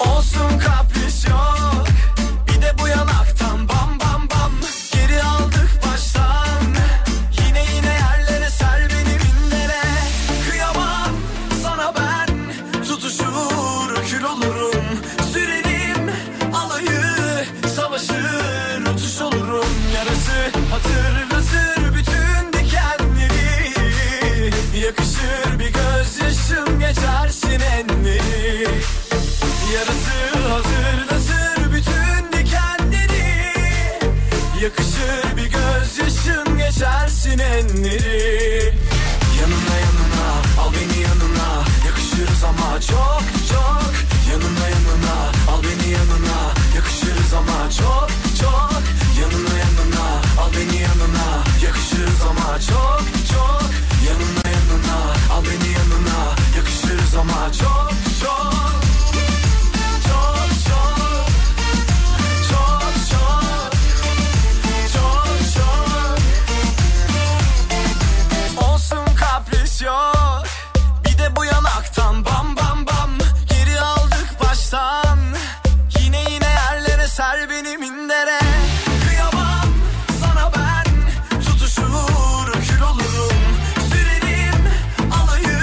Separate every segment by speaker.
Speaker 1: Olsun kapris yok Bir de bu yanaktan bam bam bam Geri aldık baştan Yine yine yerlere ser beni binlere Kıyamam sana ben Tutuşur kül olurum Sürerim alayı Savaşır utuş olurum Yarası hatırlatır bütün dikenleri Yakışır bir gözyaşım geçersin enleri Yarası hazırlasır bütün dikenleri Yakışır bir gözyaşın geçer sinenleri Yanına yanına al beni yanına Yakışırız ama çok çok Yanına yanına al beni yanına Yakışırız ama çok çok Yanına yanına al beni yanına Yakışırız ama çok çok Yanına yanına al beni yanına Yakışırız ama çok çok çok çok çok çok çok çok olsun kapris yok bir de bu yanaktan bam bam bam geri aldık baştan yine yine yerlere ser beni mindere kıyamam sana ben tutuşur kül olurum sürerim alayı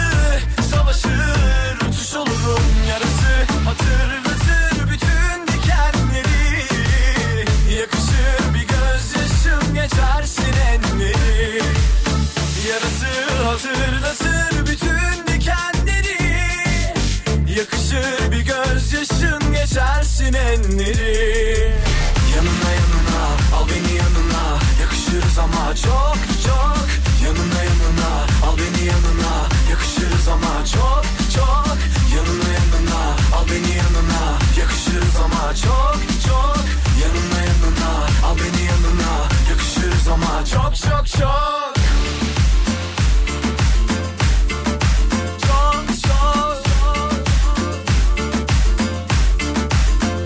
Speaker 1: savaşır uçuş olurum yarısı hatırlatır bütün dikenleri yakışır bir gözyaşım geçer sinenleri yarısı hatırlatır bütün dikenleri yakışır bir gözyaşım geçer sinenleri yanına yanına al beni yanına yakışırız ama çok çok yanına yanına al beni yanına yakışırız ama çok çok yanına yanına al beni yanına yakışırız ama çok çok yanına yanına al beni yanına yakışırız ama çok çok çok çok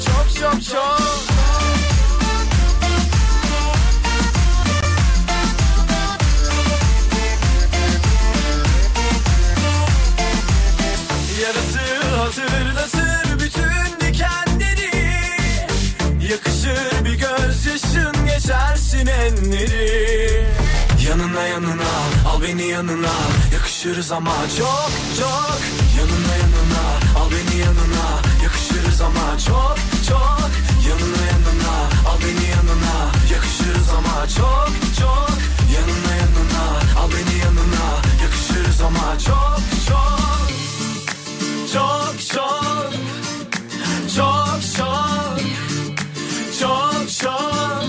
Speaker 1: çok çok çok çok Yarası hazırlasır bütün dikenleri Yakışır bir gözyaşın geçersin enleri Yanına yanına al beni yanına Yakışırız ama çok çok Yanına yanına al beni yanına Yakışırız ama çok çok Yanına yanına al beni yanına Yakışırız ama çok çok Yanına yanına al beni yanına Yakışırız ama çok çok çok şok Çok şok Çok şok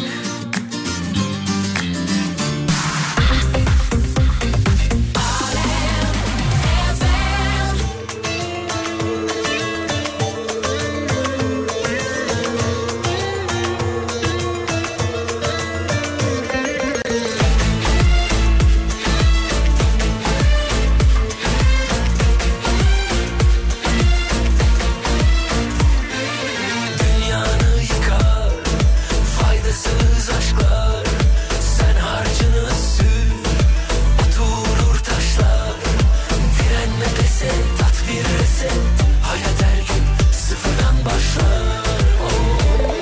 Speaker 2: Dünyanı yıkar faydasız aşklar Sen harcını sür oturur taşlar Direnme dese tat bir reset Hayat her gün sıfırdan başlar Oo.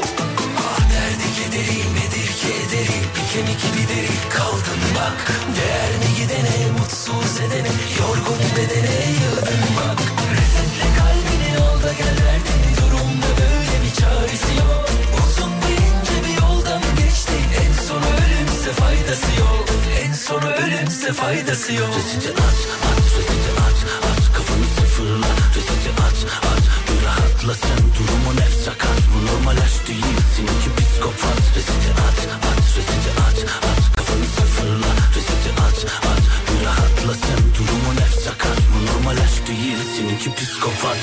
Speaker 2: Ah derdi kederi nedir ki ederi Piken iki bideri kaldın bak Değer mi gidene mutsuz edene Yorgun bedene yıldın bak Resetle kalbini al da gel derdini Durumda böyle bir çaresi yok Uzun ve ince bir yoldan geçti En sonu ölümse faydası yok En sonu ölümse faydası yok Reseti at at reseti at at Kafanı sıfırla reseti at at Bir rahatla sen durumun hep sakat Bu normal aşk değilsin ki psikopat Reseti at at reseti at at Kafanı sıfırla reseti at at Bir rahatla sen durumun hep sakat Bu normal aşk değilsin ki psikopat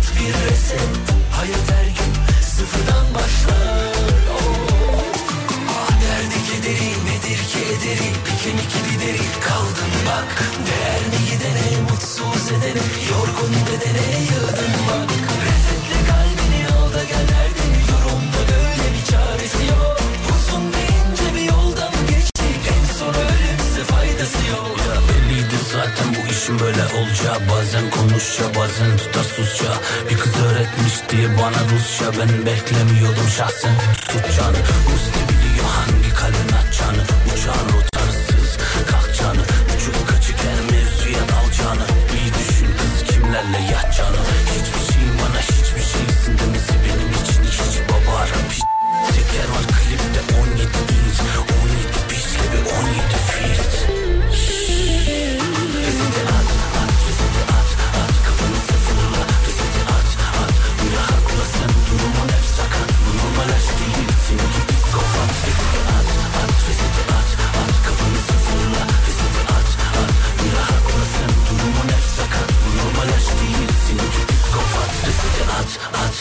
Speaker 2: Oh, ah, Yorgun bedene yığdın bak Resetle kalbini al da gel derdin Yorumda böyle bir çaresi yok Uzun ve ince bir yoldan geçtik En son ölümse faydası yok Ya belliydi zaten bu işin böyle olacağı Bazen konuşça bazen tutarsızca Bir kız öğretmişti bana Rusça Ben beklemiyordum şahsen tutacağını Rus ne biliyor hangi kalbin açacağını Uçağın rotarsız kalkacağını Uçup kaçık her mevzuya dalacağını Bir düşün kız kimlerle yatacağını Hiçbir şey bana hiçbir şeysin demesi Benim için hiç baba arap hiç Teker var klipte 17 inç 17 piç gibi 17 feet Reseti at at reseti at at Kafanı sıfırla reseti at at Yine haklısın durumun hep sakat Bu normal aşk değil seninki psikopat Reseti at at reseti at at Kafanı sıfırla reseti at at Yine haklısın durumun hep sakat Bu normal aşk değil seninki psikopat Reseti at at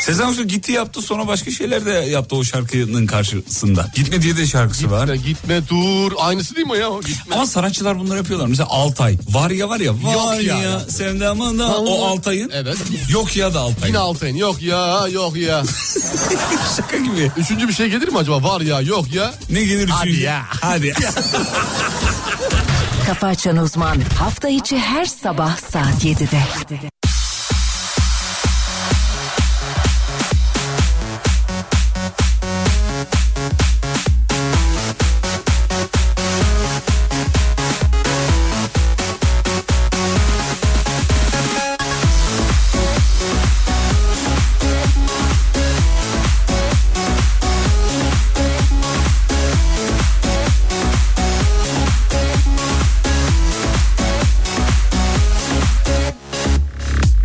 Speaker 3: Sezen Aksu gitti yaptı sonra başka şeyler de yaptı o şarkının karşısında. Gitme diye de şarkısı var.
Speaker 4: Ya gitme dur. Aynısı değil mi ya? o Gitme.
Speaker 3: Ama sanatçılar bunları yapıyorlar. Mesela Altay. Var ya var ya. Var
Speaker 4: Yok ya.
Speaker 3: ya. Sevdamın da o Altay'ın.
Speaker 4: Evet.
Speaker 3: Yok ya da Altay'ın.
Speaker 4: Yine Altay'ın. Yok ya yok ya.
Speaker 3: Şaka gibi.
Speaker 4: Üçüncü bir şey gelir mi acaba? Var ya yok ya.
Speaker 3: Ne gelir
Speaker 4: Hadi
Speaker 3: üçüncü?
Speaker 4: ya.
Speaker 3: Hadi.
Speaker 5: Kafa Açan Uzman hafta içi her sabah saat 7'de.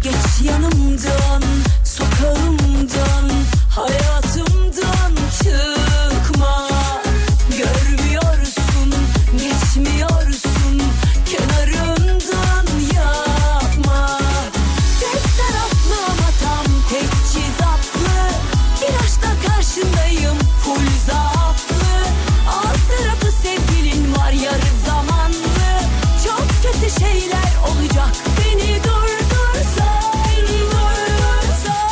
Speaker 6: Geç yanımdan, sokağımdan, hayatımdan çıkma Görmüyorsun, geçmiyorsun, kenarından yapma Tek taraflı ama tam tek cizaplı Virajda karşındayım, full zaaflı Alt tarafı sevgilin var yarı zamanlı Çok kötü şeyler olacak, beni durdursan Durdursan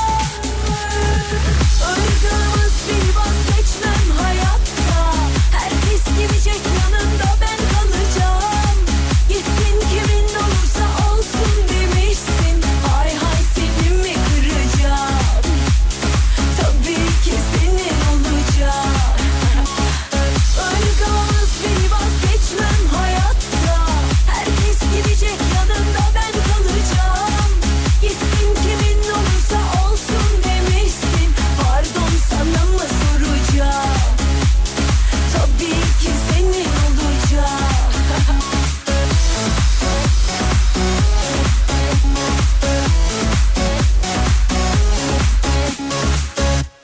Speaker 6: Öldüğümüz bir vazgeçmem hayatta Herkes gidecek yanında ben kalacağım Gitsin kimin olursa olsun demişsin Hay hay seni mi kıracağım Tabii ki senin olacak Ölgaz beni vazgeçmem hayatta Herkes gidecek yanında ben kalacağım Gitsin kimin olursa olsun demişsin Pardon sana mı soracağım Tabii ki senin olacak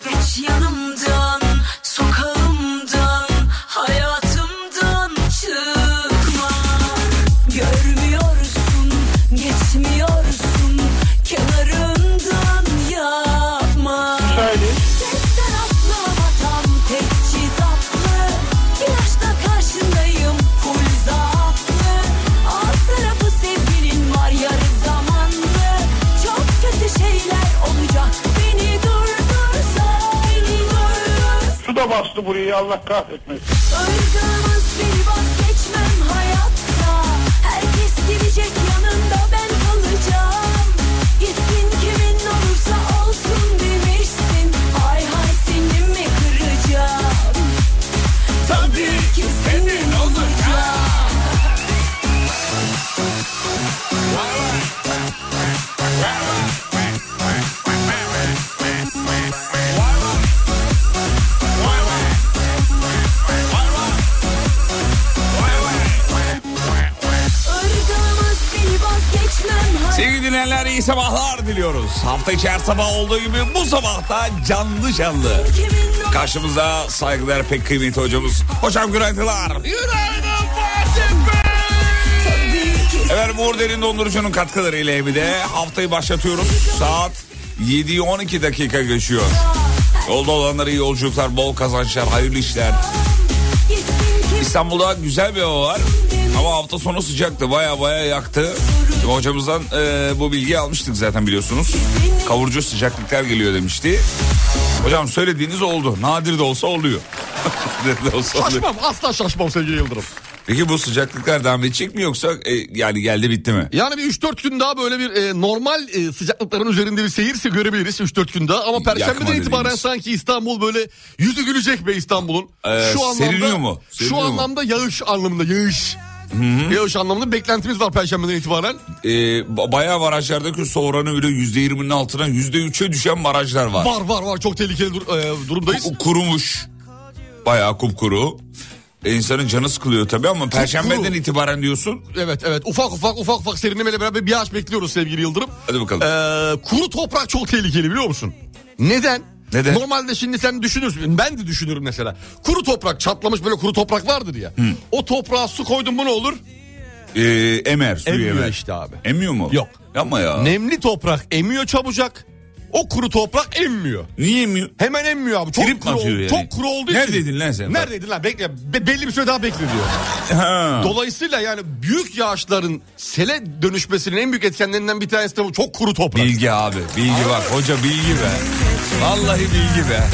Speaker 6: Geç yanımdan, sokağımdan, hayatımdan çıkma Görmüyorsun, geçmiyorsun, kenarından yapma Tek taraflı ama tam tek cizaplı Virajda karşındayım, full zaaflı Alt tarafı sevgilin var yarı zamanlı Çok kötü şeyler olacak, beni durdursan Beni durdursan
Speaker 7: Su da bastı burayı Allah kahretmesin.
Speaker 6: Öldüğümüz bir vazgeçmem hayatta Herkes gidecek yanında ben kalacağım Gitsin kimin olursa olsun demişsin Hay hay seni mi kıracağım Tabii ki senin olacağım Öldüğümüz bir vazgeçmem hayatta
Speaker 3: Sevgili dinleyenler iyi sabahlar diliyoruz. Hafta içi her sabah olduğu gibi bu sabah da canlı canlı. Karşımıza saygılar pek kıymetli hocamız. Hocam günaydınlar.
Speaker 6: Tabii ki
Speaker 3: Efendim Uğur Derin Dondurucu'nun katkılarıyla evde haftayı başlatıyoruz. Saat 7'yi 12 dakika geçiyor. Yolda olanlara iyi yolculuklar, bol kazançlar, hayırlı işler. İstanbul'da güzel bir hava var. Ama hafta sonu sıcaktı. Baya baya yaktı. Şimdi hocamızdan e, bu bilgiyi almıştık zaten biliyorsunuz. Kavurucu sıcaklıklar geliyor demişti. Hocam söylediğiniz oldu. Nadir de olsa oluyor. Nadir de olsa oluyor.
Speaker 4: Şaşmam asla şaşmam sevgili Yıldırım.
Speaker 3: Peki bu sıcaklıklar devam edecek mi yoksa e, yani geldi bitti mi?
Speaker 4: Yani bir 3-4 gün daha böyle bir e, normal e, sıcaklıkların üzerinde bir seyirse görebiliriz 3-4 gün daha. Ama
Speaker 3: Yakma
Speaker 4: perşembeden itibaren
Speaker 3: dediğimiz.
Speaker 4: sanki İstanbul böyle yüzü gülecek be İstanbul'un.
Speaker 3: Ee, seriliyor mu?
Speaker 4: şu
Speaker 3: Seriliyor mu?
Speaker 4: anlamda yağış anlamında yağış. Yağış anlamında beklentimiz var perşembeden itibaren.
Speaker 3: E, ba- bayağı barajlardaki su oranı öyle %20'nin altına %3'e düşen barajlar var.
Speaker 4: Var var var çok tehlikeli dur- e, durumdayız.
Speaker 3: Ku- Kurumuş. Bayağı kupkuru. E, insanın canı sıkılıyor tabii ama perşembeden itibaren diyorsun.
Speaker 4: Evet evet ufak ufak ufak ufak serinlemeyle beraber bir yağış bekliyoruz sevgili Yıldırım.
Speaker 3: Hadi bakalım.
Speaker 4: Ee, kuru toprak çok tehlikeli biliyor musun? Neden?
Speaker 3: Neden?
Speaker 4: Normalde şimdi sen düşünürsün. Ben de düşünürüm mesela. Kuru toprak çatlamış böyle kuru toprak vardır ya. O toprağa su koydun mu ne olur?
Speaker 3: E, emer, suyu
Speaker 4: Emmiyor
Speaker 3: emer.
Speaker 4: işte abi.
Speaker 3: Emmiyor mu?
Speaker 4: Yok.
Speaker 3: Yapma ya.
Speaker 4: Nemli toprak emiyor çabucak. O kuru toprak emmiyor.
Speaker 3: Niye emmiyor?
Speaker 4: Hemen emmiyor abi. Çok
Speaker 3: Trip mi
Speaker 4: kuru,
Speaker 3: atıyor
Speaker 4: ol-
Speaker 3: yani?
Speaker 4: çok kuru olduğu için.
Speaker 3: Neredeydin lan sen?
Speaker 4: Neredeydin lan? Bekle. Be- belli bir süre daha bekle diyor.
Speaker 3: Ha.
Speaker 4: Dolayısıyla yani büyük yağışların sele dönüşmesinin en büyük etkenlerinden bir tanesi de bu çok kuru toprak.
Speaker 3: Bilgi abi. Bilgi var. Hoca bilgi be. Vallahi bilgi be.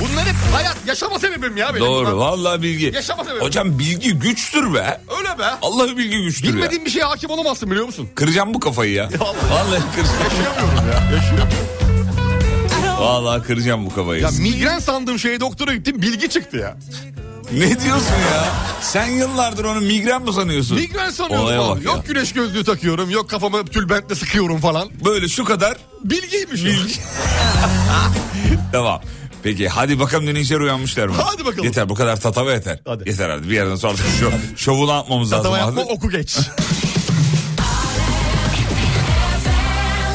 Speaker 4: Bunlar hep hayat yaşama sebebim ya benim.
Speaker 3: Doğru.
Speaker 4: Bunlar-
Speaker 3: Vallahi bilgi.
Speaker 4: Yaşama sebebi.
Speaker 3: Hocam bilgi güçtür be.
Speaker 4: Öyle be.
Speaker 3: Allah'ı bilgi güçtür ya.
Speaker 4: Bilmediğin bir şeye hakim olamazsın biliyor musun?
Speaker 3: Kıracağım bu kafayı ya.
Speaker 4: Vallahi.
Speaker 3: Vallahi kıracağım.
Speaker 4: Yaşayamıyorum ya. Yaşayamıyorum.
Speaker 3: Vallahi kıracağım bu kafayı.
Speaker 4: Ya migren sandığım şeye doktora gittim bilgi çıktı ya.
Speaker 3: ne diyorsun ya? Sen yıllardır onu migren mi sanıyorsun?
Speaker 4: Migren sanıyorum
Speaker 3: Olaya
Speaker 4: abi.
Speaker 3: bak ya.
Speaker 4: Yok güneş gözlüğü takıyorum. Yok kafamı tülbentle sıkıyorum falan.
Speaker 3: Böyle şu kadar.
Speaker 4: Bilgiymiş. Bilgi.
Speaker 3: Devam. Peki hadi bakalım dinleyiciler uyanmışlar mı?
Speaker 4: Hadi bakalım.
Speaker 3: Yeter bu kadar tatava yeter.
Speaker 4: Hadi.
Speaker 3: Yeter hadi bir yerden sonra şu şovunu atmamız
Speaker 4: Tatava
Speaker 3: lazım.
Speaker 4: yapma
Speaker 3: Hadi.
Speaker 4: oku geç.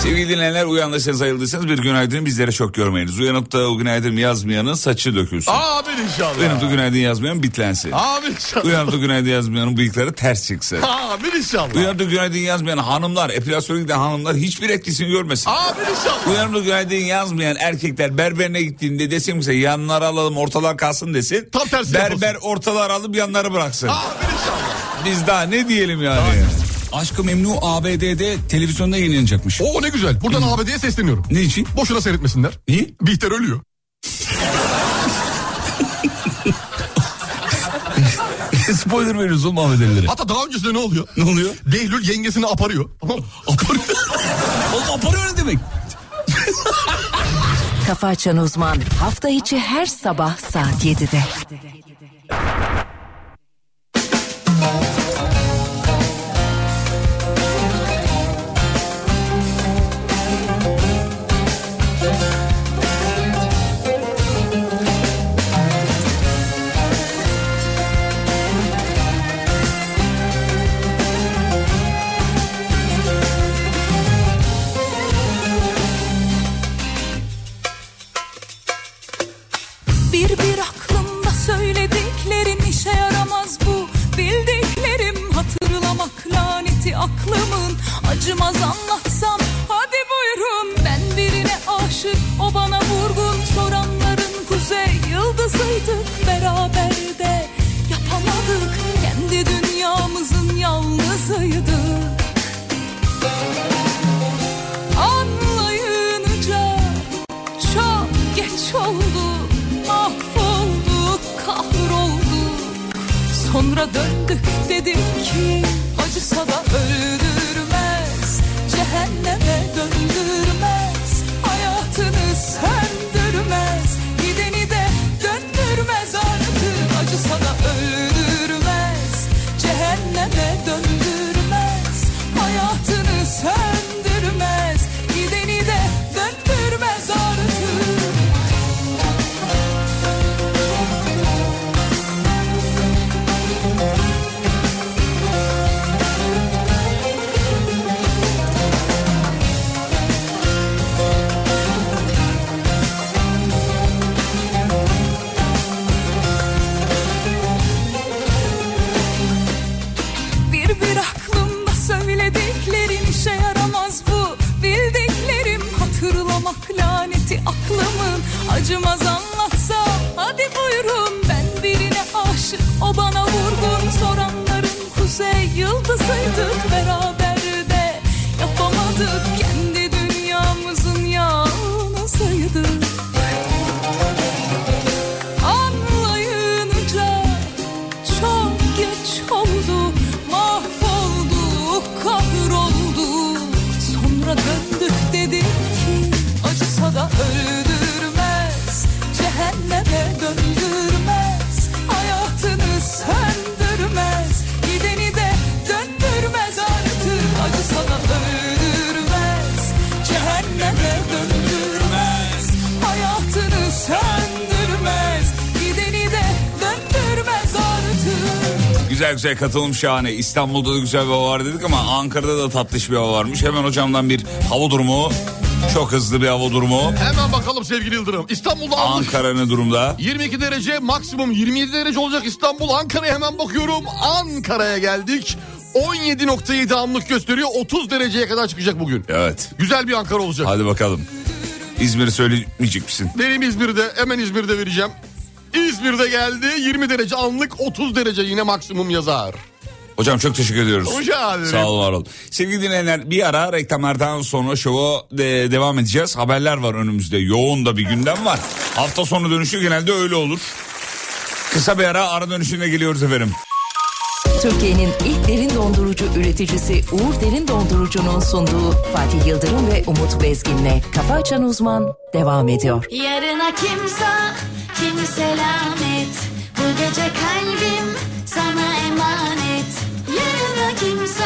Speaker 3: Sevgili dinleyenler uyandıysanız ayıldıysanız bir günaydın bizlere çok görmeyiniz. Uyanıp da o günaydın yazmayanın saçı dökülsün.
Speaker 4: Amin
Speaker 3: Uyanıp da
Speaker 4: inşallah.
Speaker 3: günaydın yazmayan bitlensin.
Speaker 4: Amin inşallah.
Speaker 3: Uyanıp da günaydın yazmayanın bıyıkları ters çıksın.
Speaker 4: Amin inşallah.
Speaker 3: Uyanıp da günaydın yazmayan hanımlar, epilasyona giden hanımlar hiçbir etkisini görmesin.
Speaker 4: Amin inşallah.
Speaker 3: Uyanıp da günaydın yazmayan erkekler berberine gittiğinde desin ki yanları alalım ortalar kalsın desin.
Speaker 4: Tam tersi
Speaker 3: Berber
Speaker 4: yapılsın.
Speaker 3: ortalar alıp yanları bıraksın.
Speaker 4: Amin inşallah.
Speaker 3: Biz daha ne diyelim yani.
Speaker 8: Aşkı Memnu ABD'de televizyonda yayınlanacakmış.
Speaker 4: Oo ne güzel. Buradan ABD'ye sesleniyorum.
Speaker 8: Ne için?
Speaker 4: Boşuna seyretmesinler.
Speaker 8: Niye?
Speaker 4: Bihter ölüyor.
Speaker 8: Spoiler veriyoruz oğlum ABD'lilere.
Speaker 4: Hatta daha öncesinde ne oluyor?
Speaker 8: Ne oluyor?
Speaker 4: Behlül yengesini aparıyor. Tamam mı? Aparıyor.
Speaker 8: Oğlum aparıyor ne demek?
Speaker 5: Kafa Açan Uzman hafta içi her sabah saat 7'de.
Speaker 9: Bir bir aklımda söylediklerin işe yaramaz bu Bildiklerim hatırlamak laneti aklımın Acımaz anlatsam hadi buyurun Ben birine aşık o bana vurgun Soranların kuzey yıldızıydık beraber de Yapamadık kendi dünyamızın yalnızıydık Anlayınca çok geç oldu, mahvolduk, kahrolduk. Sonra döndük dedik ki acısa da öldürmez, cehenneme döndürmez, hayatını söndürmez, gideni de döndürmez artık. Acısa da öldürmez, cehenneme döndürmez, hayatını söndürmez, gideni de döndürmez artık. acımaz anlatsa Hadi buyurun ben birine aşık O bana vurgun soranların kuzey yıldızıydık beraber de Yapamadık kendi dünyamızın yalnızıydık Anlayınca çok geç oldu Mahvolduk, kahrolduk Sonra döndük dedik ki Acısa da öldürmez Cehenneme döndürmez Hayatını söndürmez Gideni de döndürmez artık Acısa da öldürmez Cehenneme döndürmez Hayatını söndürmez Gideni de döndürmez artık
Speaker 3: Güzel güzel katılım şahane. İstanbul'da da güzel bir hava var dedik ama Ankara'da da tatlış bir hava varmış. Hemen hocamdan bir hava durumu. Çok hızlı bir hava durumu.
Speaker 4: Hemen bakalım sevgili Yıldırım. İstanbul'da aldık.
Speaker 3: Ankara ne durumda?
Speaker 4: 22 derece maksimum 27 derece olacak İstanbul. Ankara'ya hemen bakıyorum. Ankara'ya geldik. 17.7 anlık gösteriyor. 30 dereceye kadar çıkacak bugün.
Speaker 3: Evet.
Speaker 4: Güzel bir Ankara olacak.
Speaker 3: Hadi bakalım. İzmir'i söylemeyecek misin?
Speaker 4: Vereyim İzmir'de. Hemen İzmir'de vereceğim. İzmir'de geldi. 20 derece anlık 30 derece yine maksimum yazar.
Speaker 3: Hocam çok teşekkür ediyoruz.
Speaker 4: Rica ederim.
Speaker 3: Sağ ol var ol. Sevgili dinleyenler bir ara reklamlardan sonra şova e, devam edeceğiz. Haberler var önümüzde. Yoğun da bir gündem var. Hafta sonu dönüşü genelde öyle olur. Kısa bir ara ara dönüşüne geliyoruz efendim.
Speaker 5: Türkiye'nin ilk derin dondurucu üreticisi Uğur Derin Dondurucu'nun sunduğu Fatih Yıldırım ve Umut Bezgin'le Kafa Açan Uzman devam ediyor.
Speaker 10: Yarına kimse kim selamet Bu gece kalbim sana emanet Yarına kimse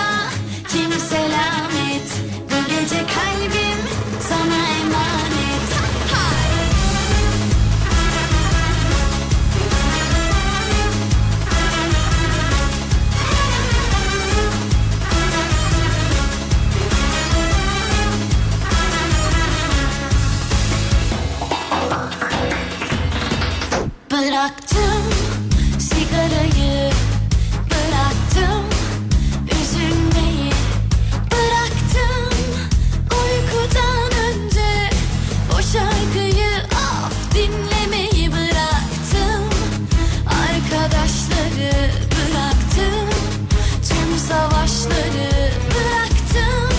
Speaker 10: kim selamet Bu gece kalbim sana emanet Bıraktım sigarayı Bıraktım üzülmeyi Bıraktım uykudan önce O şarkıyı of dinlemeyi bıraktım Arkadaşları bıraktım Tüm savaşları bıraktım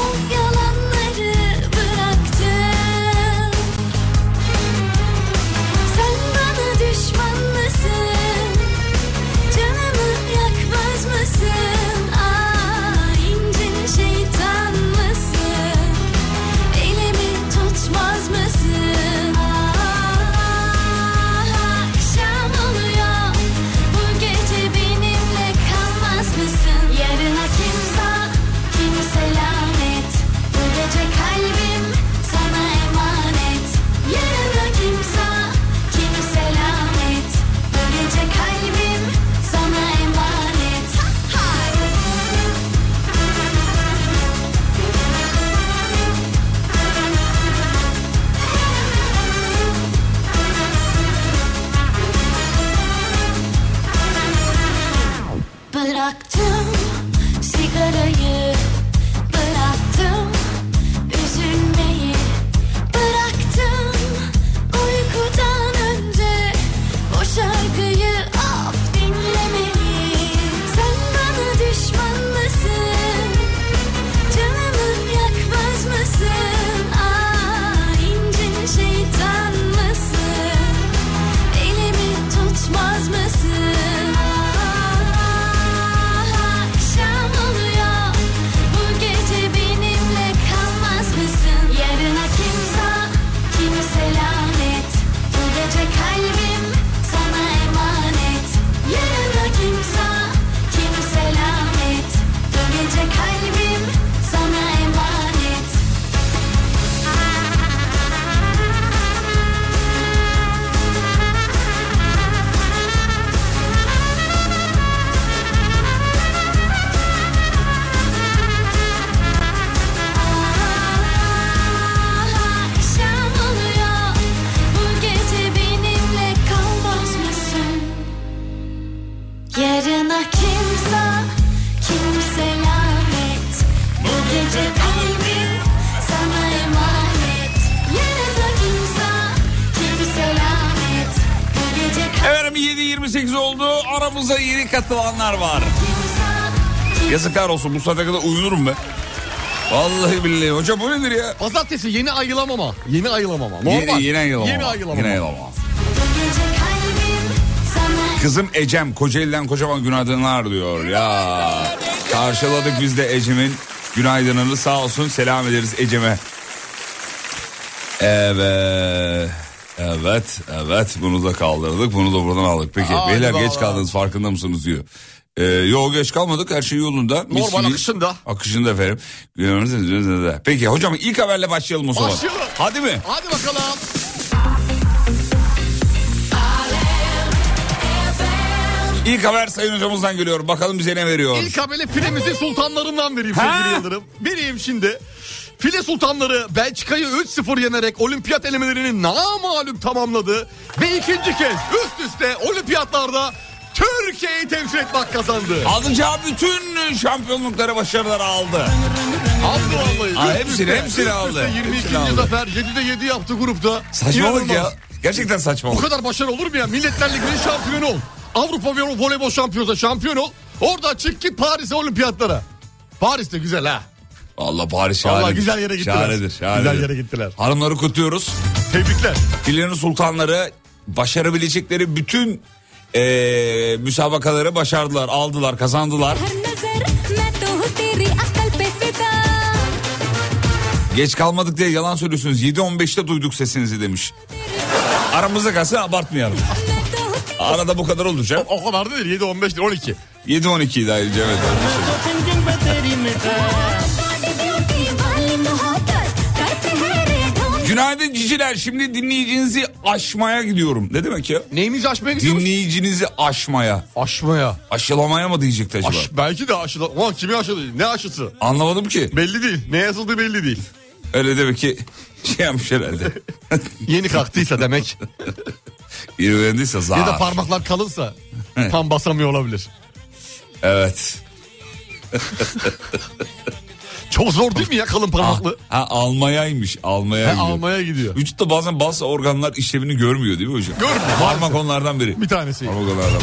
Speaker 10: O yalanları bıraktım sen bana düşman Ah, Ah,
Speaker 3: 28 oldu. Aramıza yeni katılanlar var. Yazıklar olsun bu saate kadar uyunurum ben. Vallahi billahi. Hocam bu nedir ya?
Speaker 4: Pazartesi yeni ayılamama. Yeni ayılamama. Normal.
Speaker 3: Yeni, yeni ayılamama.
Speaker 4: Yeni ayılamama.
Speaker 3: Yeni ayılamama.
Speaker 10: Gece kalbim sana
Speaker 3: Kızım Ecem Kocaeli'den kocaman günaydınlar diyor ya. Karşıladık biz de Ecem'in günaydınını sağ olsun selam ederiz Ecem'e. Evet. Evet, evet bunu da kaldırdık bunu da buradan aldık. Peki
Speaker 4: Hadi
Speaker 3: beyler geç
Speaker 4: baba.
Speaker 3: kaldınız farkında mısınız diyor. Ee, yo geç kalmadık her şey yolunda. Mis
Speaker 4: Normal
Speaker 3: gibi.
Speaker 4: akışında.
Speaker 3: Akışında efendim. Peki hocam ilk haberle başlayalım o zaman.
Speaker 4: Başlayalım.
Speaker 3: Hadi mi?
Speaker 4: Hadi bakalım.
Speaker 3: İlk haber sayın hocamızdan geliyor. Bakalım bize ne veriyor.
Speaker 4: İlk haberi filemizin sultanlarından vereyim sevgili Yıldırım. Vereyim şimdi. File sultanları Belçika'yı 3-0 yenerek olimpiyat elemelerini namalum tamamladı. Ve ikinci kez üst üste olimpiyatlarda Türkiye'yi temsil etmek kazandı.
Speaker 3: Alacağı bütün şampiyonlukları başarılar aldı.
Speaker 4: Aldı vallahi.
Speaker 3: Aa,
Speaker 4: Üst
Speaker 3: hepsini,
Speaker 4: üste,
Speaker 3: hepsini
Speaker 4: üst üste
Speaker 3: aldı.
Speaker 4: 22.
Speaker 3: Hepsini aldı.
Speaker 4: zafer 7'de 7 yaptı grupta.
Speaker 3: Saçmalık ya.
Speaker 4: İnanılmaz.
Speaker 3: Gerçekten
Speaker 4: Bu
Speaker 3: saçmalık.
Speaker 4: kadar başarı olur mu ya? Milletler Ligi'nin şampiyonu ol. Avrupa Vo- Voleybol Şampiyonası şampiyon ol. Orada çık git Paris'e olimpiyatlara. Paris de güzel ha.
Speaker 3: Allah Paris şahane.
Speaker 4: Valla güzel yere gittiler.
Speaker 3: Şahanedir, şahanedir.
Speaker 4: Güzel yere gittiler.
Speaker 3: Hanımları kutluyoruz.
Speaker 4: Tebrikler.
Speaker 3: Filenin sultanları başarabilecekleri bütün eee müsabakaları başardılar, aldılar, kazandılar.
Speaker 10: her nazar मैं तो हूँ तेरी अकल पे फिदा
Speaker 3: Geç kalmadık diye yalan söylüyorsunuz. 7-15'te duyduk sesinizi demiş. Aramızda kalsın abartmayalım.
Speaker 10: मैं तो हूँ
Speaker 3: Arada bu kadar olacak.
Speaker 4: O kadar da değil 7, 15 değil 12.
Speaker 3: 7-12 idi ayrıca evet.
Speaker 10: तेरी beauty वाली मोहब्बत करते हैं रे ढोंग
Speaker 3: Günaydın ciciler. Şimdi dinleyicinizi aşmaya gidiyorum. Ne demek ya?
Speaker 4: Neyimizi aşmaya gidiyoruz?
Speaker 3: Dinleyicinizi aşmaya.
Speaker 4: Aşmaya.
Speaker 3: Aşılamaya mı diyecekti acaba?
Speaker 4: Aş, belki de aşıda. Ulan kimin aşıdı? Ne aşısı?
Speaker 3: Anlamadım ki.
Speaker 4: Belli değil. Ne yazıldığı belli değil.
Speaker 3: Öyle demek ki şey yapmış herhalde.
Speaker 4: Yeni kalktıysa demek.
Speaker 3: İrvelendiyse zar.
Speaker 4: ya da parmaklar kalınsa tam basamıyor olabilir.
Speaker 3: Evet.
Speaker 4: Çok zor değil mi ya kalın
Speaker 3: Ah,
Speaker 4: parmaklı?
Speaker 3: ha, almayaymış. Almaya
Speaker 4: He,
Speaker 3: gidiyor.
Speaker 4: almaya gidiyor.
Speaker 3: Vücutta bazen bazı organlar işlevini görmüyor değil mi hocam?
Speaker 4: Görmüyor.
Speaker 3: Parmak onlardan biri.
Speaker 4: Bir tanesi.
Speaker 3: Parmak onlardan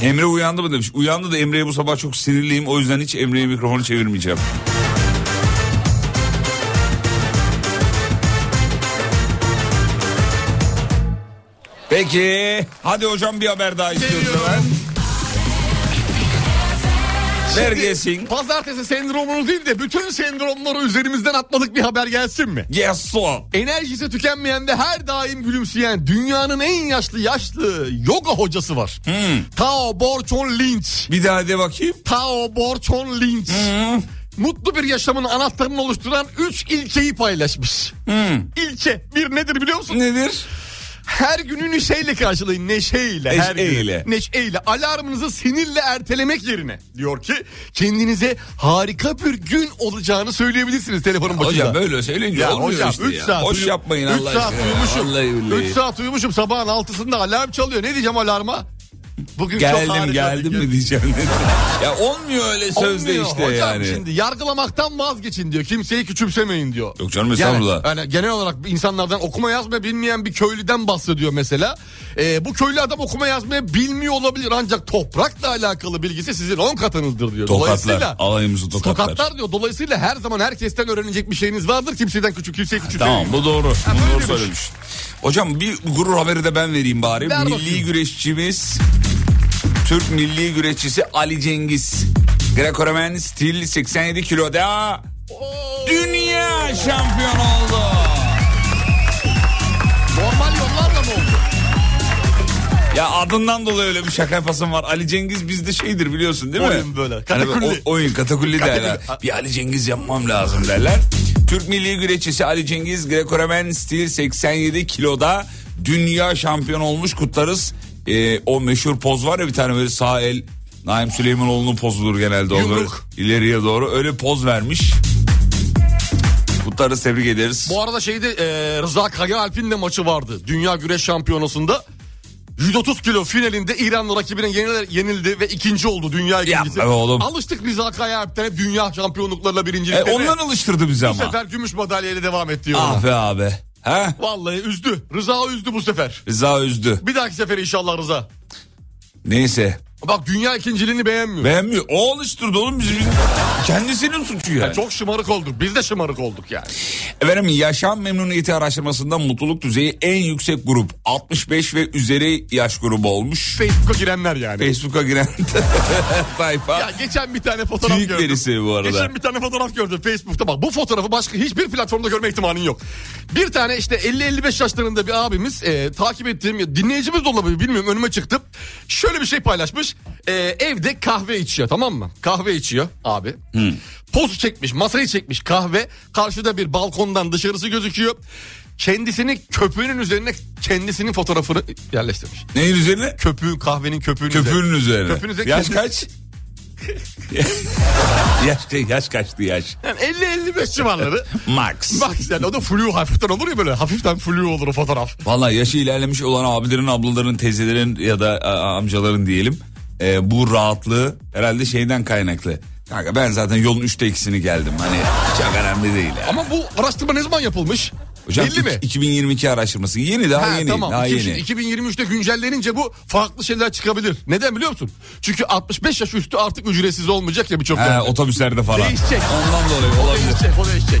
Speaker 3: biri. Emre uyandı mı demiş. Uyandı da Emre'ye bu sabah çok sinirliyim. O yüzden hiç Emre'ye mikrofonu çevirmeyeceğim. Peki. Hadi hocam bir haber daha istiyoruz
Speaker 4: Geliyorum.
Speaker 3: hemen. Ver gelsin.
Speaker 4: Pazartesi sendromunu değil de bütün sendromları üzerimizden atmadık bir haber gelsin mi?
Speaker 3: Yes so.
Speaker 4: Enerjisi tükenmeyen ve her daim gülümseyen dünyanın en yaşlı yaşlı yoga hocası var. Tao Borchon Lynch.
Speaker 3: Hmm. Bir daha de bakayım. Hmm.
Speaker 4: Tao Borchon Lynch. Mutlu bir yaşamın anahtarını oluşturan 3 ilkeyi paylaşmış. İlke bir nedir biliyor musun?
Speaker 3: Hmm. Nedir?
Speaker 4: Her günü neşeyle karşılayın. Neşeyle. her günü.
Speaker 3: Neşeyle.
Speaker 4: Neşeyle. Alarmınızı sinirle ertelemek yerine diyor ki kendinize harika bir gün olacağını söyleyebilirsiniz telefonun başında.
Speaker 3: Hocam böyle söyleyince
Speaker 4: Ya
Speaker 3: olmuyor
Speaker 4: hocam
Speaker 3: işte
Speaker 4: 3
Speaker 3: ya.
Speaker 4: saat
Speaker 3: Boş
Speaker 4: uyu-
Speaker 3: yapmayın
Speaker 4: üç
Speaker 3: Allah
Speaker 4: saat
Speaker 3: aşkına. ya. Vallahi
Speaker 4: Uyumuşum.
Speaker 3: billahi.
Speaker 4: 3 saat uyumuşum sabahın 6'sında alarm çalıyor. Ne diyeceğim alarma? Bugün çok harika
Speaker 3: geldim
Speaker 4: bir
Speaker 3: geldim
Speaker 4: gün.
Speaker 3: mi diyeceğim. ya olmuyor öyle sözde
Speaker 4: Olmuyor
Speaker 3: işte
Speaker 4: hocam
Speaker 3: yani.
Speaker 4: şimdi yargılamaktan vazgeçin diyor. Kimseyi küçümsemeyin diyor.
Speaker 3: Yok canım
Speaker 4: Yani,
Speaker 3: estağfurullah.
Speaker 4: yani genel olarak insanlardan okuma yazma bilmeyen bir köylüden bahsediyor mesela. Ee, bu köylü adam okuma yazmaya bilmiyor olabilir ancak toprakla alakalı bilgisi sizin 10 katınızdır diyor.
Speaker 3: tokatlar. Alayımızı tokatlar.
Speaker 4: tokatlar. diyor. Dolayısıyla her zaman herkesten öğrenecek bir şeyiniz vardır. Kimseden küçük, kimseye küçük.
Speaker 3: Tamam bu doğru.
Speaker 4: böyle şey.
Speaker 3: Bunu doğru
Speaker 4: demiş.
Speaker 3: söylemiş. Hocam bir gurur haberi de ben vereyim bari.
Speaker 4: Ver
Speaker 3: milli
Speaker 4: bakayım.
Speaker 3: güreşçimiz Türk milli güreşçisi Ali Cengiz. Greco-Romen stil 87 kiloda dünya şampiyon oldu.
Speaker 4: Normal yollarla mı oldu?
Speaker 3: Ya adından dolayı öyle bir şaka yapasım var. Ali Cengiz bizde şeydir biliyorsun değil mi?
Speaker 4: Oyun böyle,
Speaker 3: Hani
Speaker 4: katakulli.
Speaker 3: o- oyun katakulli derler.
Speaker 4: Katakulli.
Speaker 3: Bir Ali Cengiz yapmam lazım derler. Türk milli güreşçisi Ali Cengiz Greco-Romen stil 87 kiloda dünya şampiyon olmuş kutlarız. Ee, o meşhur poz var ya bir tane böyle sağ el Naim Süleymanoğlu'nun pozudur genelde. o böyle
Speaker 4: Yumruk.
Speaker 3: ileriye doğru öyle poz vermiş. Kutlarız tebrik ederiz.
Speaker 4: Bu arada şeyde e, Rıza Kayaalp'in de maçı vardı. Dünya Güreş Şampiyonası'nda. 130 kilo finalinde İranlı rakibine yeniler- yenildi ve ikinci oldu dünya ikincisi.
Speaker 3: Yapma be oğlum.
Speaker 4: Alıştık Rıza Kayaalp'ten hep dünya şampiyonluklarla
Speaker 3: E,
Speaker 4: birinciliklerine.
Speaker 3: ondan alıştırdı bizi
Speaker 4: Bu
Speaker 3: ama.
Speaker 4: sefer gümüş madalyayla devam etti. yoluna.
Speaker 3: Ah be abi. Ha?
Speaker 4: Vallahi üzdü. Rıza üzdü bu sefer.
Speaker 3: Rıza üzdü.
Speaker 4: Bir dahaki sefer inşallah Rıza.
Speaker 3: Neyse.
Speaker 4: Bak dünya ikinciliğini beğenmiyor.
Speaker 3: Beğenmiyor. O alıştırdı oğlum bizi. bizi. Kendisinin suçu yani.
Speaker 4: Ya Çok şımarık olduk. Biz de şımarık olduk yani.
Speaker 3: Efendim yaşam memnuniyeti araştırmasında mutluluk düzeyi en yüksek grup 65 ve üzeri yaş grubu olmuş.
Speaker 4: Facebook'a girenler yani.
Speaker 3: Facebook'a giren
Speaker 4: Ya
Speaker 3: sayfa.
Speaker 4: geçen bir tane fotoğraf
Speaker 3: Büyük
Speaker 4: gördüm.
Speaker 3: verisi bu arada.
Speaker 4: Geçen bir tane fotoğraf gördüm Facebook'ta. Bak bu fotoğrafı başka hiçbir platformda görme ihtimalin yok. Bir tane işte 50-55 yaşlarında bir abimiz e, takip ettiğim ya dinleyicimiz de olabilir bilmiyorum önüme çıktım. Şöyle bir şey paylaşmış. E, evde kahve içiyor tamam mı? Kahve içiyor abi. Poz çekmiş masayı çekmiş kahve. Karşıda bir balkondan dışarısı gözüküyor. Kendisini köpüğünün üzerine kendisinin fotoğrafını yerleştirmiş.
Speaker 3: Neyin üzerine?
Speaker 4: Köpüğün kahvenin köpüğünün
Speaker 3: Köpüğünün üzerine.
Speaker 4: Köpüğünün üzerine
Speaker 3: yaş
Speaker 4: kendisi-
Speaker 3: kaç? yaş, yaş kaçtı yaş?
Speaker 4: Yani 50-55 civarları.
Speaker 3: Max.
Speaker 4: Bak yani o da flu hafiften olur ya böyle hafiften flu olur o fotoğraf.
Speaker 3: Valla yaşı ilerlemiş olan abilerin, ablaların, teyzelerin ya da a, amcaların diyelim. e, bu rahatlığı herhalde şeyden kaynaklı. Kanka ben zaten yolun üçte ikisini geldim. Hani çok önemli değil. Yani.
Speaker 4: Ama bu araştırma ne zaman yapılmış?
Speaker 3: Hocam
Speaker 4: Belli mi?
Speaker 3: ik- 2022 araştırması. Yeni daha
Speaker 4: Ha,
Speaker 3: yeni.
Speaker 4: tamam.
Speaker 3: Daha
Speaker 4: İki-
Speaker 3: yeni.
Speaker 4: 2023'te güncellenince bu farklı şeyler çıkabilir. Neden biliyor musun? Çünkü 65 yaş üstü artık ücretsiz olmayacak ya birçok
Speaker 3: He,
Speaker 4: yerde.
Speaker 3: otobüslerde falan.
Speaker 4: Değişecek.
Speaker 3: Ondan dolayı olabilir.
Speaker 4: Değişecek, o değişecek.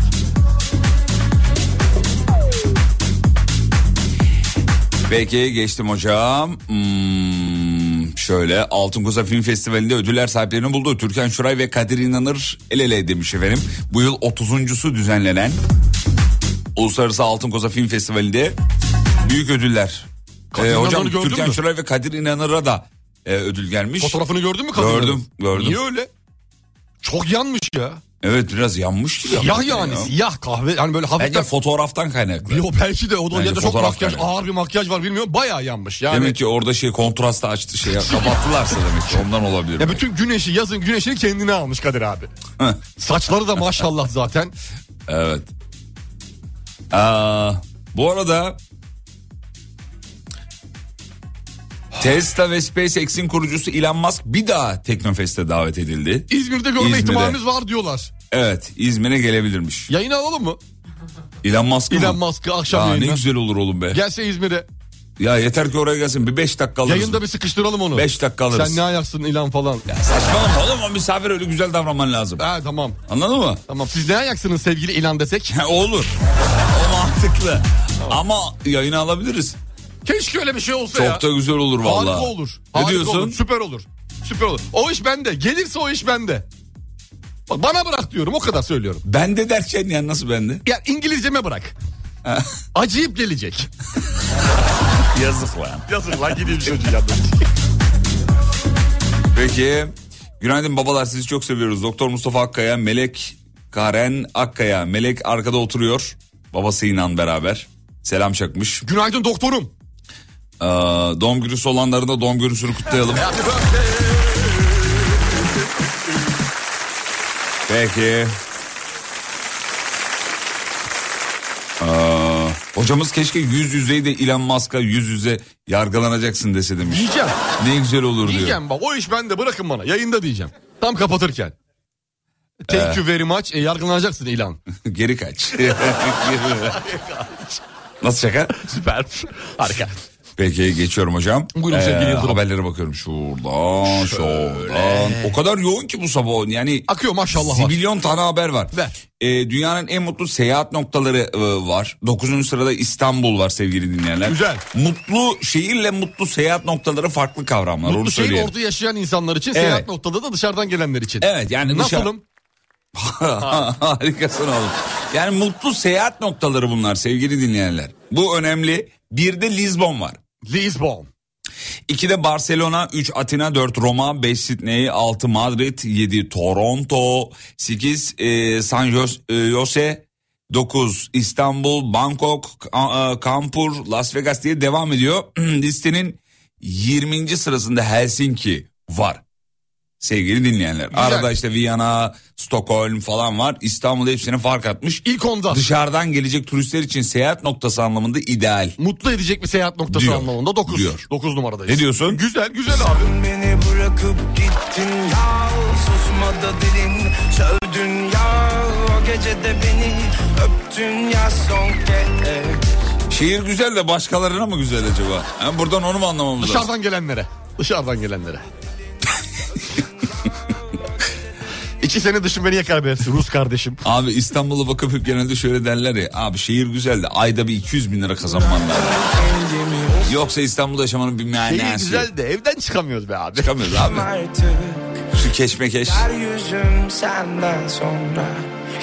Speaker 3: Peki geçtim hocam. Hmm, şöyle Altın Koza Film Festivali'nde ödüller sahiplerini buldu. Türkan Şoray ve Kadir İnanır el ele demiş efendim. Bu yıl 30.sü düzenlenen Uluslararası Altın Koza Film Festivali'nde büyük ödüller.
Speaker 4: Kadir
Speaker 3: Ee, hocam
Speaker 4: İnanır'ı gördün
Speaker 3: Türkan
Speaker 4: mü?
Speaker 3: Şoray ve Kadir İnanır'a da e, ödül gelmiş.
Speaker 4: Fotoğrafını gördün mü kadının?
Speaker 3: Gördüm, gördüm.
Speaker 4: Niye öyle? Çok yanmış ya.
Speaker 3: Evet biraz yanmış gibi.
Speaker 4: Siyah
Speaker 3: hakikaten
Speaker 4: yani
Speaker 3: ya.
Speaker 4: siyah kahve. Yani böyle
Speaker 3: Bence
Speaker 4: hafiften...
Speaker 3: fotoğraftan kaynaklı.
Speaker 4: Yo, belki de o da
Speaker 3: Bence
Speaker 4: ya da çok
Speaker 3: fotoğraf
Speaker 4: makyaj
Speaker 3: yani.
Speaker 4: ağır bir makyaj var bilmiyorum bayağı yanmış yani.
Speaker 3: Demek ki orada şey kontrastı açtı şey kapattılarsa demek ki ondan olabilir.
Speaker 4: Ya bütün güneşi yazın güneşini kendine almış Kadir abi. Saçları da maşallah zaten.
Speaker 3: Evet. Aa, bu arada Tesla ve SpaceX'in kurucusu Elon Musk bir daha Teknofest'e davet edildi.
Speaker 4: İzmir'de görme
Speaker 3: İzmir'de.
Speaker 4: ihtimalimiz var diyorlar.
Speaker 3: Evet, İzmir'e gelebilirmiş.
Speaker 4: Yayına alalım mı?
Speaker 3: Elon Musk mı?
Speaker 4: Elon Musk'ı akşam
Speaker 3: Aa, ne
Speaker 4: yayına.
Speaker 3: güzel olur oğlum be.
Speaker 4: Gelse İzmir'e.
Speaker 3: Ya yeter ki oraya gelsin. Bir 5 dakika alırız.
Speaker 4: Yayında bir sıkıştıralım onu.
Speaker 3: 5 dakika alırız.
Speaker 4: Sen ne ayaksın İlan falan.
Speaker 3: Saçmalama oğlum o misafir öyle güzel davranman lazım.
Speaker 4: Ha tamam.
Speaker 3: Anladın mı?
Speaker 4: Tamam. Siz ne ayaksınız sevgili İlan desek?
Speaker 3: Ha, olur. O mantıklı. Ama yayını alabiliriz.
Speaker 4: Keşke öyle bir şey olsa ya.
Speaker 3: Çok da güzel olur vallahi.
Speaker 4: Harika olur.
Speaker 3: Ne
Speaker 4: Harika
Speaker 3: diyorsun?
Speaker 4: olur, Süper olur. Süper olur. O iş bende. Gelirse o iş bende. Bak bana bırak diyorum o kadar söylüyorum.
Speaker 3: Bende derken yani nasıl bende?
Speaker 4: Ya İngilizceme bırak. Acıyıp gelecek.
Speaker 3: Yazık lan.
Speaker 4: Yazık lan gideyim çocuğu yandan.
Speaker 3: Peki. Günaydın babalar sizi çok seviyoruz. Doktor Mustafa Akkaya, Melek Karen Akkaya. Melek arkada oturuyor. Babası İnan beraber. Selam çakmış.
Speaker 4: Günaydın doktorum.
Speaker 3: Ee, doğum günüsü olanların da doğum günüsünü kutlayalım. Peki. Ee, hocamız keşke yüz yüzeyi de Elon Musk'a yüz yüze yargılanacaksın dese demiş.
Speaker 4: Yiyeceğim.
Speaker 3: Ne güzel olur diyor.
Speaker 4: Diyeceğim bak o iş bende bırakın bana. Yayında diyeceğim. Tam kapatırken. Thank
Speaker 3: Ee,
Speaker 4: you very much. E, yargılanacaksın ilan.
Speaker 3: Geri kaç. Geri kaç. Nasıl şaka?
Speaker 4: Süper. Harika.
Speaker 3: Peki geçiyorum hocam. Ee,
Speaker 4: Buyurun sevgili Yıldırım.
Speaker 3: Haberlere bakıyorum şuradan şuradan. O kadar yoğun ki bu sabah yani.
Speaker 4: Akıyor maşallah var.
Speaker 3: Zibilyon tane haber var.
Speaker 4: Ver.
Speaker 3: Ee, dünyanın en mutlu seyahat noktaları e, var. 9. sırada İstanbul var sevgili dinleyenler.
Speaker 4: Güzel.
Speaker 3: Mutlu şehirle mutlu seyahat noktaları farklı kavramlar. onu
Speaker 4: Mutlu şehir
Speaker 3: söyleyelim.
Speaker 4: orada yaşayan insanlar için
Speaker 3: Evet.
Speaker 4: seyahat noktada da dışarıdan gelenler için.
Speaker 3: Evet yani dışarı-
Speaker 4: Nasılım?
Speaker 3: Harikasın oğlum. Yani mutlu seyahat noktaları bunlar sevgili dinleyenler. Bu önemli. Bir de Lizbon var.
Speaker 4: Lisbon.
Speaker 3: 2'de Barcelona, 3 Atina, 4 Roma, 5 Sydney, 6 Madrid, 7 Toronto, 8 e, San Jos- e, Jose, 9 İstanbul, Bangkok, Ka- e, Kampur, Las Vegas diye devam ediyor. Listenin 20. sırasında Helsinki var. Sevgili dinleyenler. Arada işte Viyana, Stockholm falan var. İstanbul hepsine fark atmış.
Speaker 4: İlk onda.
Speaker 3: Dışarıdan gelecek turistler için seyahat noktası anlamında ideal.
Speaker 4: Mutlu edecek bir seyahat noktası
Speaker 3: Diyor.
Speaker 4: anlamında 9.
Speaker 3: Diyor.
Speaker 4: 9 numaradayız.
Speaker 3: Ne diyorsun?
Speaker 4: Güzel güzel abi.
Speaker 1: Beni bırakıp gittin ya Susmadı dilin Sövdün ya O gecede beni öptün ya son kez
Speaker 3: Şehir güzel de başkalarına mı güzel acaba? Ha, buradan onu mu anlamamız lazım?
Speaker 4: Dışarıdan gelenlere. Dışarıdan gelenlere. İki sene dışım beni yakar be Rus kardeşim.
Speaker 3: Abi İstanbul'a bakıp hep genelde şöyle derler ya. Abi şehir güzel de ayda bir 200 bin lira kazanman lazım. Yoksa İstanbul'da yaşamanın bir manası
Speaker 4: Şehir
Speaker 3: yok.
Speaker 4: güzel de evden çıkamıyoruz be abi.
Speaker 3: Çıkamıyoruz abi.
Speaker 1: artık
Speaker 3: Şu keşmekeş.
Speaker 1: Her yüzüm senden sonra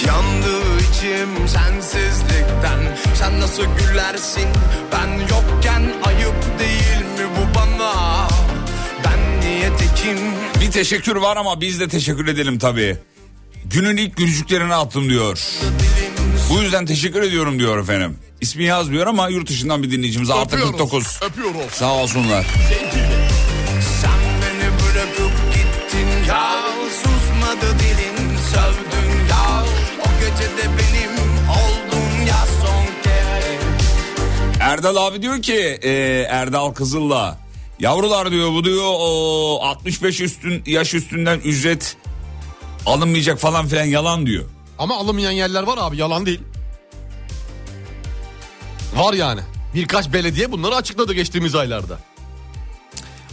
Speaker 1: Yandı içim sensizlikten Sen nasıl gülersin ben yokken Ayıp değil mi bu bana Ben niye tekim
Speaker 3: Bir teşekkür var ama biz de teşekkür edelim tabii. Günün ilk gülücüklerini attım diyor. Bu yüzden teşekkür ediyorum diyor efendim. İsmi yazmıyor ama yurt dışından bir dinleyicimiz artı
Speaker 4: Öpüyoruz,
Speaker 3: 49.
Speaker 4: Öpüyoruz.
Speaker 3: Sağ olsunlar.
Speaker 1: Sen beni bırakıp gittin ya Susmadı dilin sövdün ya O gece de benim oldun ya son kez
Speaker 3: Erdal abi diyor ki e, Erdal Kızıl'la yavrular diyor bu diyor o 65 üstün yaş üstünden ücret alınmayacak falan filan yalan diyor.
Speaker 4: Ama alınmayan yerler var abi yalan değil. Var yani. Birkaç belediye bunları açıkladı geçtiğimiz aylarda.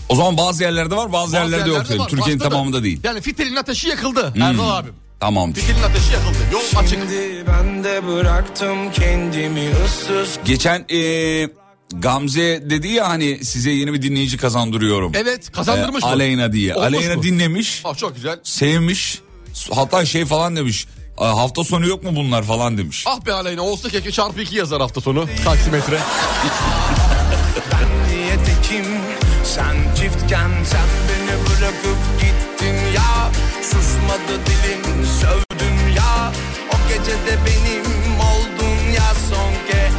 Speaker 3: O zaman bazı yerlerde var bazı, yerlerde, yok
Speaker 4: var.
Speaker 3: diyor. Türkiye'nin
Speaker 4: Başta da-
Speaker 3: tamamında değil. Hmm.
Speaker 4: Yani fitilin ateşi yakıldı Erdal abim.
Speaker 3: Tamam.
Speaker 4: Fitilin ateşi yakıldı. Yol açık.
Speaker 1: Şimdi ben de bıraktım kendimi ıssız
Speaker 3: Geçen e, Gamze dedi ya hani size yeni bir dinleyici kazandırıyorum.
Speaker 4: Evet
Speaker 3: E,
Speaker 4: kazandırmış mı?
Speaker 3: Aleyna diye.
Speaker 4: Olmuş
Speaker 3: Aleyna
Speaker 4: mu?
Speaker 3: dinlemiş,
Speaker 4: Ah, çok güzel.
Speaker 3: sevmiş. Hatta şey falan demiş. "E, Hafta sonu yok mu bunlar falan demiş.
Speaker 4: Ah be Aleyna olsa keke çarpı iki yazar hafta sonu. Taksimetre.
Speaker 1: diye tekim Sen çiftken sen beni bırakıp gittin ya Susmadı dilim sövdün ya O gece de benim oldun ya son kez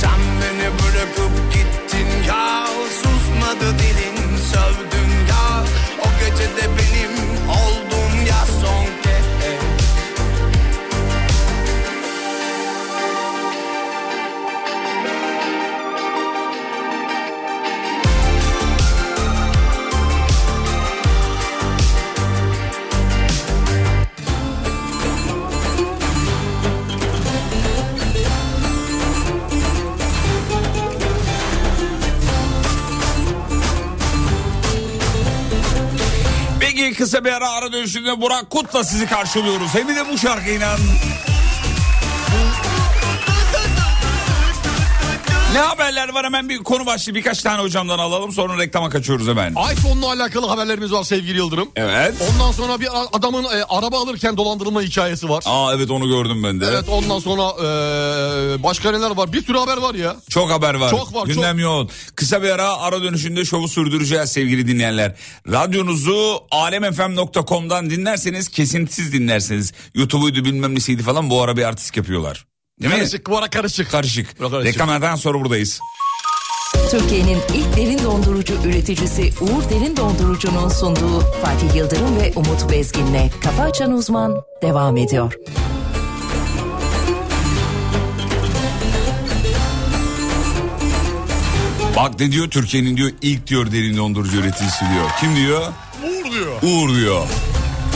Speaker 1: Sen beni bırakıp gittin ya Susmadı dilin sövdün ya O gece de benim oldun ya son kez
Speaker 3: Peki kısa bir ara ara dönüşünde Burak Kut'la sizi karşılıyoruz. Hem de bu şarkıyla. Ne haberler var hemen bir konu başlığı birkaç tane hocamdan alalım sonra reklama kaçıyoruz hemen.
Speaker 4: iPhone'la alakalı haberlerimiz var sevgili Yıldırım.
Speaker 3: Evet.
Speaker 4: Ondan sonra bir a- adamın e, araba alırken dolandırılma hikayesi var.
Speaker 3: Aa evet onu gördüm ben de.
Speaker 4: Evet ondan sonra e, başka neler var? Bir sürü haber var ya.
Speaker 3: Çok haber var.
Speaker 4: Çok var,
Speaker 3: Gündem
Speaker 4: çok.
Speaker 3: yoğun. Kısa bir ara ara dönüşünde şovu sürdüreceğiz sevgili dinleyenler. Radyonuzu alemfm.com'dan dinlerseniz kesintisiz dinlersiniz. YouTube'uydu bilmem nesiydi falan bu ara bir artist yapıyorlar. Değil mi?
Speaker 4: Karışık bu ara karışık.
Speaker 3: Karışık.
Speaker 4: Karışık.
Speaker 3: Reklamlardan sonra buradayız.
Speaker 5: Türkiye'nin ilk derin dondurucu üreticisi Uğur Derin Dondurucu'nun sunduğu Fatih Yıldırım ve Umut Bezgin'le Kafa Açan Uzman devam ediyor.
Speaker 3: Bak ne diyor Türkiye'nin diyor ilk diyor derin dondurucu üreticisi diyor. Kim diyor?
Speaker 4: Uğur diyor.
Speaker 3: Uğur diyor.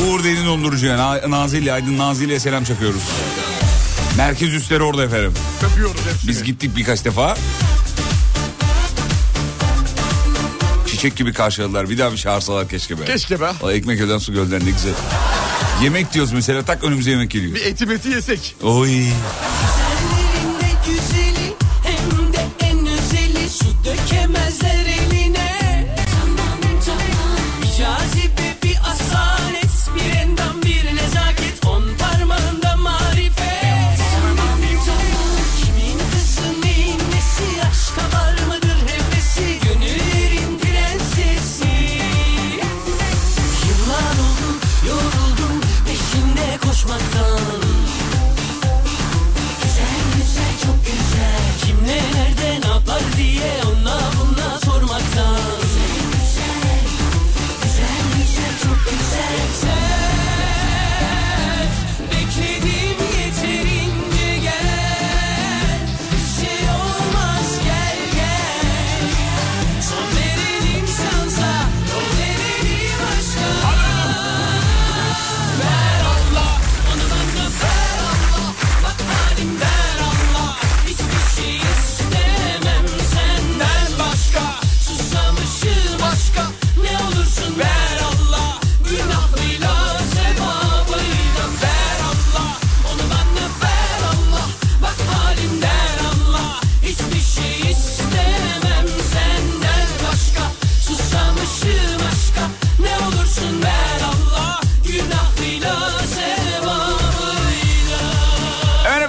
Speaker 3: Uğur derin dondurucuya Na- Nazilli Aydın Nazilli'ye selam çakıyoruz. Merkez üstleri orada efendim.
Speaker 4: Öpüyoruz hepsini.
Speaker 3: Biz gittik birkaç defa. Çiçek gibi karşıladılar. Bir daha bir çağırsalar keşke be.
Speaker 4: Keşke be.
Speaker 3: O ekmek öden su gölden ne güzel. Yemek diyoruz mesela tak önümüze yemek geliyor.
Speaker 4: Bir eti meti yesek.
Speaker 3: Oy.
Speaker 11: Ellerinde güzeli hem de en özeli su dökemezler eline. Bir cazibe bir asalet bir endam bir nezaket on parmağında marifet. Kimin kızı neyin nesi aşka var mıdır hevesi gönüllerin prensesi. Yıllar oldu yoruldum peşinde koşmaktan Güzel güzel çok güzel Kim ne nerede ne yapar diye ona buna sormaktan Güzel güzel Güzel güzel çok güzel Sen bekledim yeterince gel Bir şey olmaz gel gel Son veren insansa yol verelim aşka Ver Allah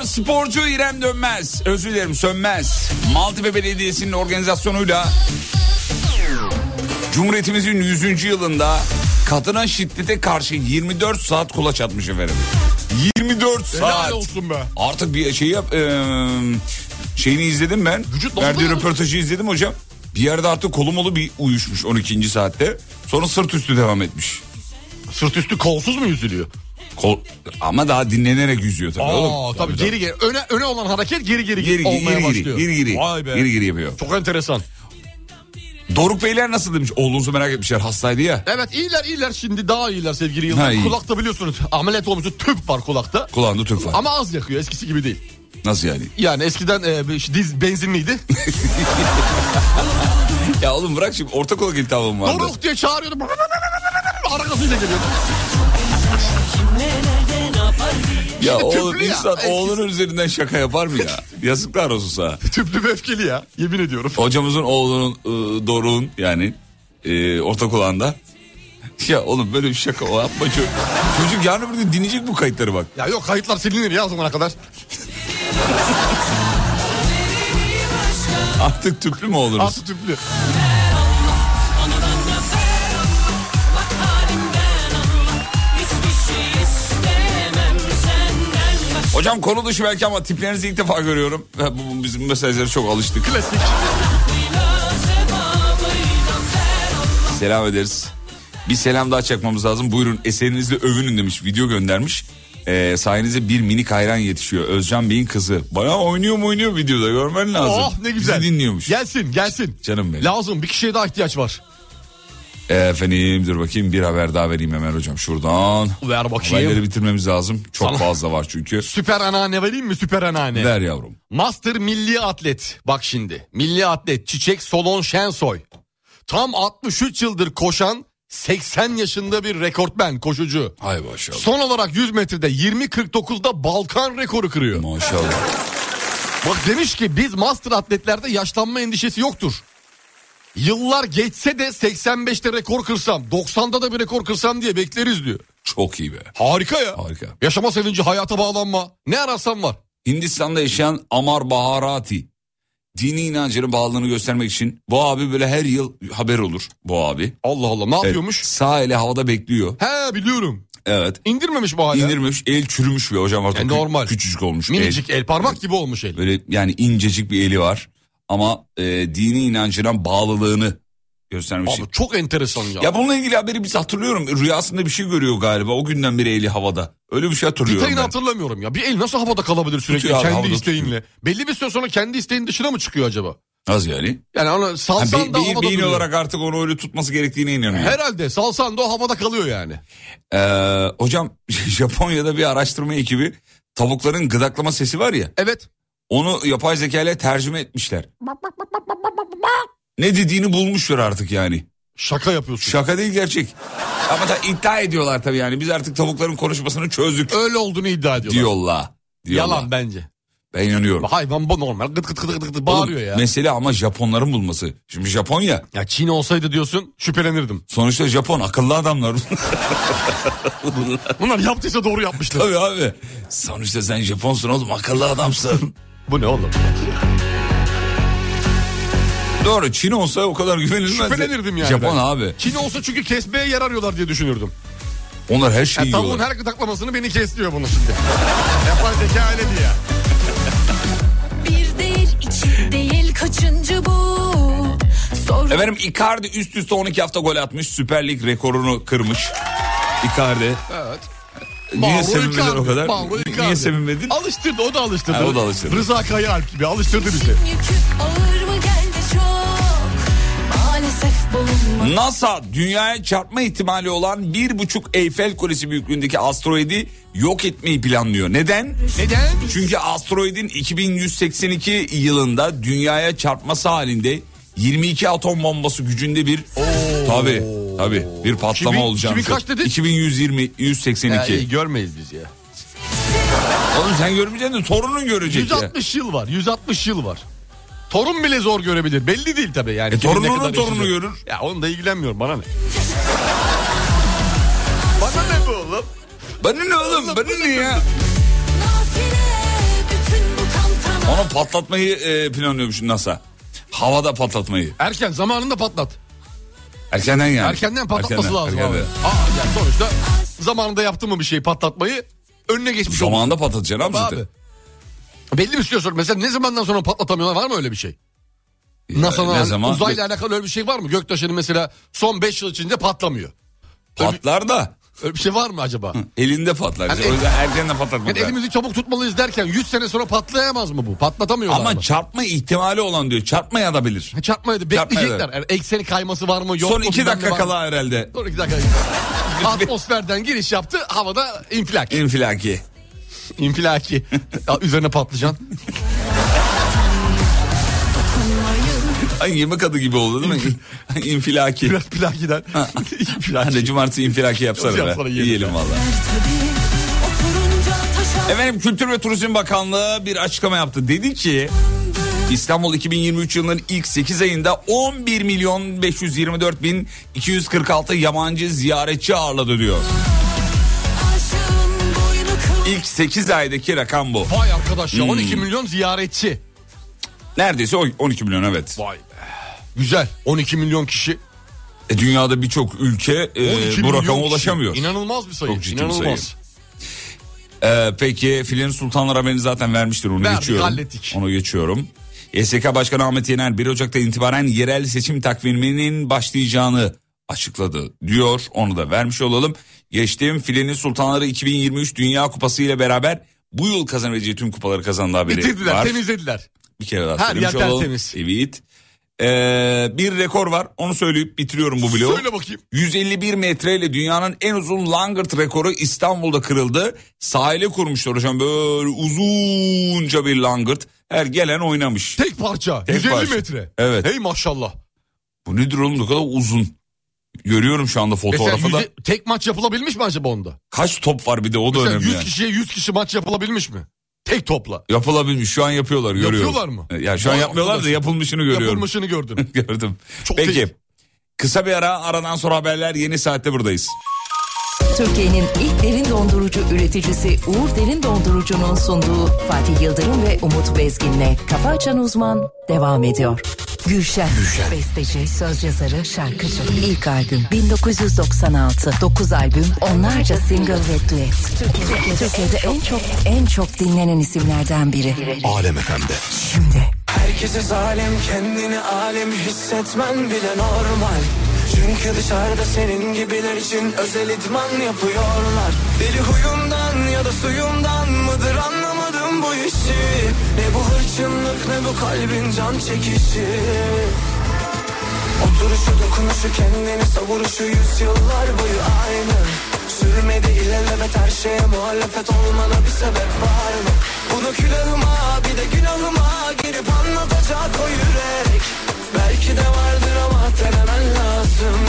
Speaker 3: Sporcu İrem Dönmez, özür dilerim Sönmez. Maltepe Belediyesi'nin organizasyonuyla Cumhuriyetimizin 100. yılında kadına şiddete karşı 24 saat kulaç atmış efendim. 24 saat.
Speaker 4: Helal olsun be.
Speaker 3: Artık bir şey yap. eee, şeyini izledim ben.
Speaker 4: Vücut nasıl
Speaker 3: Verdiği
Speaker 4: dayanır?
Speaker 3: röportajı izledim hocam. Bir yerde artık kolumolu bir uyuşmuş 12. saatte. Sonra sırt üstü devam etmiş.
Speaker 4: Sırt üstü kolsuz mu yüzülüyor?
Speaker 3: Kol, ama daha dinlenerek yüzüyor tabii
Speaker 4: Aa,
Speaker 3: oğlum.
Speaker 4: tabii, geri geri. Öne, öne olan hareket geri geri,
Speaker 3: Geri giri,
Speaker 4: olmaya
Speaker 3: geri giri,
Speaker 4: başlıyor.
Speaker 3: geri giri,
Speaker 4: Vay be.
Speaker 3: geri giri yapıyor.
Speaker 4: Çok enteresan.
Speaker 3: Doruk Beyler nasıl demiş? Oğlunuzu merak etmişler hastaydı ya.
Speaker 4: Evet iyiler iyiler şimdi daha iyiler sevgili Yıldırım.
Speaker 3: Ha, iyi.
Speaker 4: Kulakta biliyorsunuz ameliyat olmuştu tüp var kulakta.
Speaker 3: Kulağında tüp var.
Speaker 4: Ama az yakıyor eskisi gibi değil.
Speaker 3: Nasıl yani?
Speaker 4: Yani eskiden e, bir- diz benzinliydi.
Speaker 3: Ya oğlum bırak şimdi orta kulak iltihabım vardı.
Speaker 4: Doruk diye çağırıyordu. Arkasıyla geliyordu.
Speaker 3: Ya
Speaker 4: Şimdi
Speaker 3: oğlum
Speaker 4: tüplü ya.
Speaker 3: insan
Speaker 4: Eskisi-
Speaker 3: oğlunun üzerinden şaka yapar mı ya? Yazıklar olsun sana.
Speaker 4: Tüplü ve öfkeli ya yemin ediyorum.
Speaker 3: Hocamızın oğlunun e, Doruk'un yani e, orta kulağında. Ya oğlum böyle bir şaka o yapma çocuk. Çocuk yarın bir gün dinleyecek bu kayıtları bak.
Speaker 4: Ya yok kayıtlar silinir ya o zamana kadar.
Speaker 3: Artık tüplü mü oluruz?
Speaker 4: Artı tüplü.
Speaker 3: Hocam konu dışı belki ama tiplerinizi ilk defa görüyorum. Ha, Bu, bu- bizim mesajlara çok alıştık.
Speaker 4: Klasik.
Speaker 3: Selam ederiz. Bir selam daha çakmamız lazım. Buyurun eserinizle övünün demiş. Video göndermiş. Ee, sayenizde bir minik hayran yetişiyor. Özcan Bey'in kızı. Bayağı oynuyor mu oynuyor videoda görmen lazım.
Speaker 4: Oh ne güzel.
Speaker 3: Bizi dinliyormuş.
Speaker 4: Gelsin gelsin.
Speaker 3: Canım benim.
Speaker 4: Lazım bir kişiye daha ihtiyaç var.
Speaker 3: Efendim dur bakayım bir haber daha vereyim hemen hocam şuradan.
Speaker 4: Ver bakayım.
Speaker 3: Haberleri bitirmemiz lazım. Çok
Speaker 4: Sana-
Speaker 3: fazla var çünkü.
Speaker 4: Süper anneanne vereyim mi süper anneanne?
Speaker 3: Ver yavrum.
Speaker 4: Master milli atlet. Bak şimdi. Milli atlet Çiçek Solon Şensoy. Tam 63 yıldır koşan 80 yaşında bir rekortmen koşucu.
Speaker 3: Hay maşallah.
Speaker 4: Son olarak 100 metrede 20.49'da Balkan rekoru kırıyor.
Speaker 3: Maşallah.
Speaker 4: Bak demiş ki biz master atletlerde yaşlanma endişesi yoktur. Yıllar geçse de 85'te rekor kırsam, 90'da da bir rekor kırsam diye bekleriz diyor.
Speaker 3: Çok iyi be.
Speaker 4: Harika ya.
Speaker 3: Harika.
Speaker 4: Yaşama sevinci, hayata bağlanma. Ne ararsan var.
Speaker 3: Hindistan'da yaşayan Amar Baharati dini inancının bağlılığını göstermek için bu abi böyle her yıl haber olur bu abi.
Speaker 4: Allah Allah ne
Speaker 3: Evet,
Speaker 4: yapıyormuş?
Speaker 3: Sağ eli havada bekliyor.
Speaker 4: He biliyorum.
Speaker 3: Evet.
Speaker 4: İndirmemiş bu hala.
Speaker 3: İndirmemiş el çürümüş ve hocam artık
Speaker 4: E,
Speaker 3: kü-
Speaker 4: normal.
Speaker 3: küçücük olmuş.
Speaker 4: Minicik
Speaker 3: el.
Speaker 4: el, parmak gibi olmuş el.
Speaker 3: Böyle yani incecik bir eli var ama e, dini inancına bağlılığını göstermiş.
Speaker 4: Abi çok enteresan ya.
Speaker 3: Ya bununla ilgili haberi biz hatırlıyorum. Rüyasında bir şey görüyor galiba. O günden beri eli havada. Öyle bir şey hatırlıyorum
Speaker 4: Detayını
Speaker 3: ben.
Speaker 4: hatırlamıyorum ya. Bir el nasıl havada kalabilir sürekli
Speaker 3: Tutuyor abi,
Speaker 4: kendi
Speaker 3: havada
Speaker 4: isteğinle? Belli bir süre sonra kendi isteğin dışına mı çıkıyor acaba?
Speaker 3: Nasıl yani?
Speaker 4: Yani onu
Speaker 3: Ha,
Speaker 4: salsan
Speaker 3: be-
Speaker 4: da
Speaker 3: beyin,
Speaker 4: havada
Speaker 3: beyin
Speaker 4: duruyor.
Speaker 3: olarak artık onu öyle tutması gerektiğine inanıyorum.
Speaker 4: Herhalde salsan da o havada kalıyor yani.
Speaker 3: Ee, hocam Japonya'da bir araştırma ekibi tavukların gıdaklama sesi var ya.
Speaker 4: Evet.
Speaker 3: Onu yapay zeka ile tercüme etmişler. Ne dediğini bulmuşlar artık yani.
Speaker 4: Şaka yapıyorsun.
Speaker 3: Şaka değil gerçek. Ama da iddia ediyorlar tabii yani. Biz artık tavukların konuşmasını çözdük
Speaker 4: Öyle olduğunu iddia ediyorlar.
Speaker 3: diyorlar. diyorlar.
Speaker 4: Yalan bence.
Speaker 3: Ben inanıyorum.
Speaker 4: Hayvan bu normal gıt gıt gıt gıt gıt gıt
Speaker 3: Oğlum,
Speaker 4: bağırıyor ya.
Speaker 3: Mesele ama Japonların bulması. Şimdi Japonya
Speaker 4: Ya Çin olsaydı diyorsun şüphelenirdim.
Speaker 3: sonuçta Japon akıllı adamlar.
Speaker 4: Bunlar yaptıysa doğru yapmışlar.
Speaker 3: tabii abi. Sonuçta sen Japonsun oğlum akıllı adamsın.
Speaker 4: bu ne oğlum?
Speaker 3: Doğru Çin olsa o kadar güvenilmez. de.
Speaker 4: Şüphelenirdim yani
Speaker 3: Japon
Speaker 4: ben.
Speaker 3: abi.
Speaker 4: Çin olsa çünkü kesmeye yarar diyorlar diye düşünürdüm.
Speaker 3: Onlar her şeyi
Speaker 4: Ya tavuğun
Speaker 3: yiyorlar.
Speaker 4: her gıdaklamasını beni kes diyor bunu şimdi. Yapay zeka öyle diyor.
Speaker 10: Bir değil, iki değil, kaçıncı bu? Sor
Speaker 3: Efendim Icardi üst üste 12 hafta gol atmış. Süper Lig rekorunu kırmış. Icardi.
Speaker 4: Evet.
Speaker 3: Niye
Speaker 4: Mauro
Speaker 3: sevinmedin
Speaker 4: Icardi,
Speaker 3: o kadar?
Speaker 4: Mauro Icardi.
Speaker 3: Niye sevinmedin?
Speaker 4: Alıştırdı o da alıştırdı.
Speaker 3: Ha, o da alıştırdı.
Speaker 4: Rıza Kayaalp gibi alıştırdı bizi.
Speaker 10: İşin yükü ağır mı geldi çok? Maalesef bulunmadı.
Speaker 3: NASA dünyaya çarpma ihtimali olan bir buçuk Eyfel Kulesi büyüklüğündeki asteroidi yok etmeyi planlıyor. Neden?
Speaker 4: Neden?
Speaker 3: Çünkü asteroidin 2182 yılında dünyaya çarpması halinde 22 atom bombası gücündü bir tabi tabi bir patlama
Speaker 4: Kimin-
Speaker 3: olacağını.
Speaker 4: kimin kaç dedin?
Speaker 3: 2120 182.
Speaker 4: Ya, iyi, görmeyiz biz ya.
Speaker 3: Oğlum sen görmeyeceksin de torunun görecek ya.
Speaker 4: 160 yıl var. 160 yıl var. Torun bile zor görebilir. Belli değil tabii yani.
Speaker 3: E,
Speaker 4: Kimin ne
Speaker 3: torununun
Speaker 4: kadar
Speaker 3: torunu
Speaker 4: yaşayacak.
Speaker 3: görür.
Speaker 4: Ya onu da ilgilenmiyorum bana ne? bana ne bu oğlum?
Speaker 3: Bana ne oğlum bana ne ya?
Speaker 10: Nafile bütün
Speaker 3: Onu patlatmayı e, planlıyormuş NASA. Havada patlatmayı.
Speaker 4: Erken zamanında patlat.
Speaker 3: Erkenden yani.
Speaker 4: Erkenden patlatması
Speaker 3: Erkenden,
Speaker 4: lazım
Speaker 3: erkenden.
Speaker 4: abi. Aa, yani sonuçta zamanında yaptın mı bir şey patlatmayı önüne geçmiş olmuş.
Speaker 3: Zamanında patlatacaksın abi zaten.
Speaker 4: Abi. Belli bir süre sonra mesela ne zamandan sonra patlatamıyorlar var mı öyle bir şey? NASA'nın
Speaker 3: ne
Speaker 4: hani
Speaker 3: zaman?
Speaker 4: uzayla alakalı öyle bir şey var mı? Göktaşı'nın mesela son 5 yıl içinde patlamıyor.
Speaker 3: Patlar da
Speaker 4: Öyle bir şey var mı acaba?
Speaker 3: elinde patlar.
Speaker 4: Yani
Speaker 3: o yüzden erkenden patlatmak
Speaker 4: Yani
Speaker 3: lazım.
Speaker 4: elimizi çabuk tutmalıyız derken 100 sene sonra patlayamaz mı bu? Patlatamıyorlar
Speaker 3: Ama
Speaker 4: mı?
Speaker 3: çarpma ihtimali olan diyor. Çarpmaya da bilir.
Speaker 4: Ha, Çarpmaydı bekleyecekler. Yani ekseni kayması var mı yok
Speaker 3: Son
Speaker 4: mu?
Speaker 3: iki
Speaker 4: bilmem ne
Speaker 3: dakika
Speaker 4: var mı?
Speaker 3: kala herhalde.
Speaker 4: Son iki dakika. Atmosferden giriş yaptı havada infilak.
Speaker 3: İnfilaki.
Speaker 4: İnfilaki. Ya, Üzerine patlıcan.
Speaker 3: Ay yemek adı gibi oldu değil mi? infilaki.
Speaker 4: Biraz plakiden.
Speaker 3: Hadi cumartesi infilaki yapsana
Speaker 4: Yapsana,
Speaker 3: be.
Speaker 4: yiyelim.
Speaker 3: Yiyelim valla. Efendim Kültür ve Turizm Bakanlığı bir açıklama yaptı. Dedi ki İstanbul 2023 yılının ilk 8 ayında 11 milyon 524 bin 246 yabancı ziyaretçi ağırladı diyor. İlk 8 aydaki rakam bu.
Speaker 4: Vay arkadaş ya
Speaker 3: Hmm.
Speaker 4: 12 milyon ziyaretçi.
Speaker 3: Neredeyse on- 12 milyon evet.
Speaker 4: Vay be. Güzel 12 milyon kişi.
Speaker 3: E, dünyada birçok ülke e, bu
Speaker 4: 12 milyon
Speaker 3: rakama
Speaker 4: kişi.
Speaker 3: ulaşamıyor.
Speaker 4: İnanılmaz bir sayı.
Speaker 3: Çok ciddi bir
Speaker 4: İnanılmaz.
Speaker 3: Ee, peki Filin Sultanlar haberini zaten vermiştir onu
Speaker 4: Verdik,
Speaker 3: geçiyorum.
Speaker 4: hallettik.
Speaker 3: Onu geçiyorum. YSK Başkanı Ahmet Yener 1 Ocak'ta itibaren yerel seçim takviminin başlayacağını açıkladı diyor. Onu da vermiş olalım. Geçtiğim Filenin Sultanları 2023 Dünya Kupası ile beraber bu yıl kazanabileceği tüm kupaları kazandı haberi
Speaker 4: Bitirdiler
Speaker 3: var.
Speaker 4: temizlediler.
Speaker 3: Bir kere daha
Speaker 4: Her
Speaker 3: söylemiş
Speaker 4: yer
Speaker 3: olalım.
Speaker 4: tertemiz.
Speaker 3: Evet. Ee, bir rekor var onu söyleyip bitiriyorum bu bloğu.
Speaker 4: Söyle bakayım.
Speaker 3: 151 metreyle dünyanın en uzun langırt rekoru İstanbul'da kırıldı. Sahile kurmuşlar hocam böyle uzunca bir langırt. Her gelen oynamış.
Speaker 4: Tek parça.
Speaker 3: Tek
Speaker 4: 150
Speaker 3: parça.
Speaker 4: metre.
Speaker 3: Evet.
Speaker 4: Hey maşallah.
Speaker 3: Bu nedir oğlum ne kadar uzun. Görüyorum şu anda
Speaker 4: Mesela
Speaker 3: fotoğrafı da.
Speaker 4: yüze- tek maç yapılabilmiş mi acaba onda?
Speaker 3: Kaç top var bir de o da
Speaker 4: Mesela
Speaker 3: önemli.
Speaker 4: 100
Speaker 3: yani.
Speaker 4: kişiye 100 kişi maç yapılabilmiş mi? Tek topla.
Speaker 3: Yapılabilmiş şu an yapıyorlar görüyorum. E,
Speaker 4: Yapıyorlar mı?
Speaker 3: Ya şu an
Speaker 4: Vay
Speaker 3: yapmıyorlar da
Speaker 4: arkadaş.
Speaker 3: yapılmışını görüyorum.
Speaker 4: Yapılmışını gördün.
Speaker 3: Gördüm.
Speaker 4: Çok
Speaker 3: Peki.
Speaker 4: tehlikeli.
Speaker 3: Kısa bir ara aradan sonra haberler yeni saatte buradayız.
Speaker 5: Türkiye'nin ilk derin dondurucu üreticisi Uğur Derin Dondurucu'nun sunduğu Fatih Yıldırım ve Umut Bezgin'le Kafa Açan Uzman devam ediyor. Gülşen, besteci, söz yazarı, şarkıcı. İlk albüm 1996, 9 albüm, onlarca single ve duet. Türkiye'de, Türkiye'de en çok en çok dinlenen isimlerden biri.
Speaker 4: Alem efendi.
Speaker 5: Şimdi
Speaker 1: Herkese zalim kendini alem hissetmen bile normal Çünkü dışarıda senin gibiler için özel idman yapıyorlar Deli huyumdan ya da suyumdan mıdır anlamadım bu işi Ne bu hırçınlık ne bu kalbin can çekişi Oturuşu dokunuşu kendini savuruşu yüzyıllar boyu aynı Sürmedi ilerlemet her şeye muhalefet olmana bir sebep var mı? Bunu külahıma bir de günahıma girip anlatacak o yürek Belki de vardır ama denemen lazım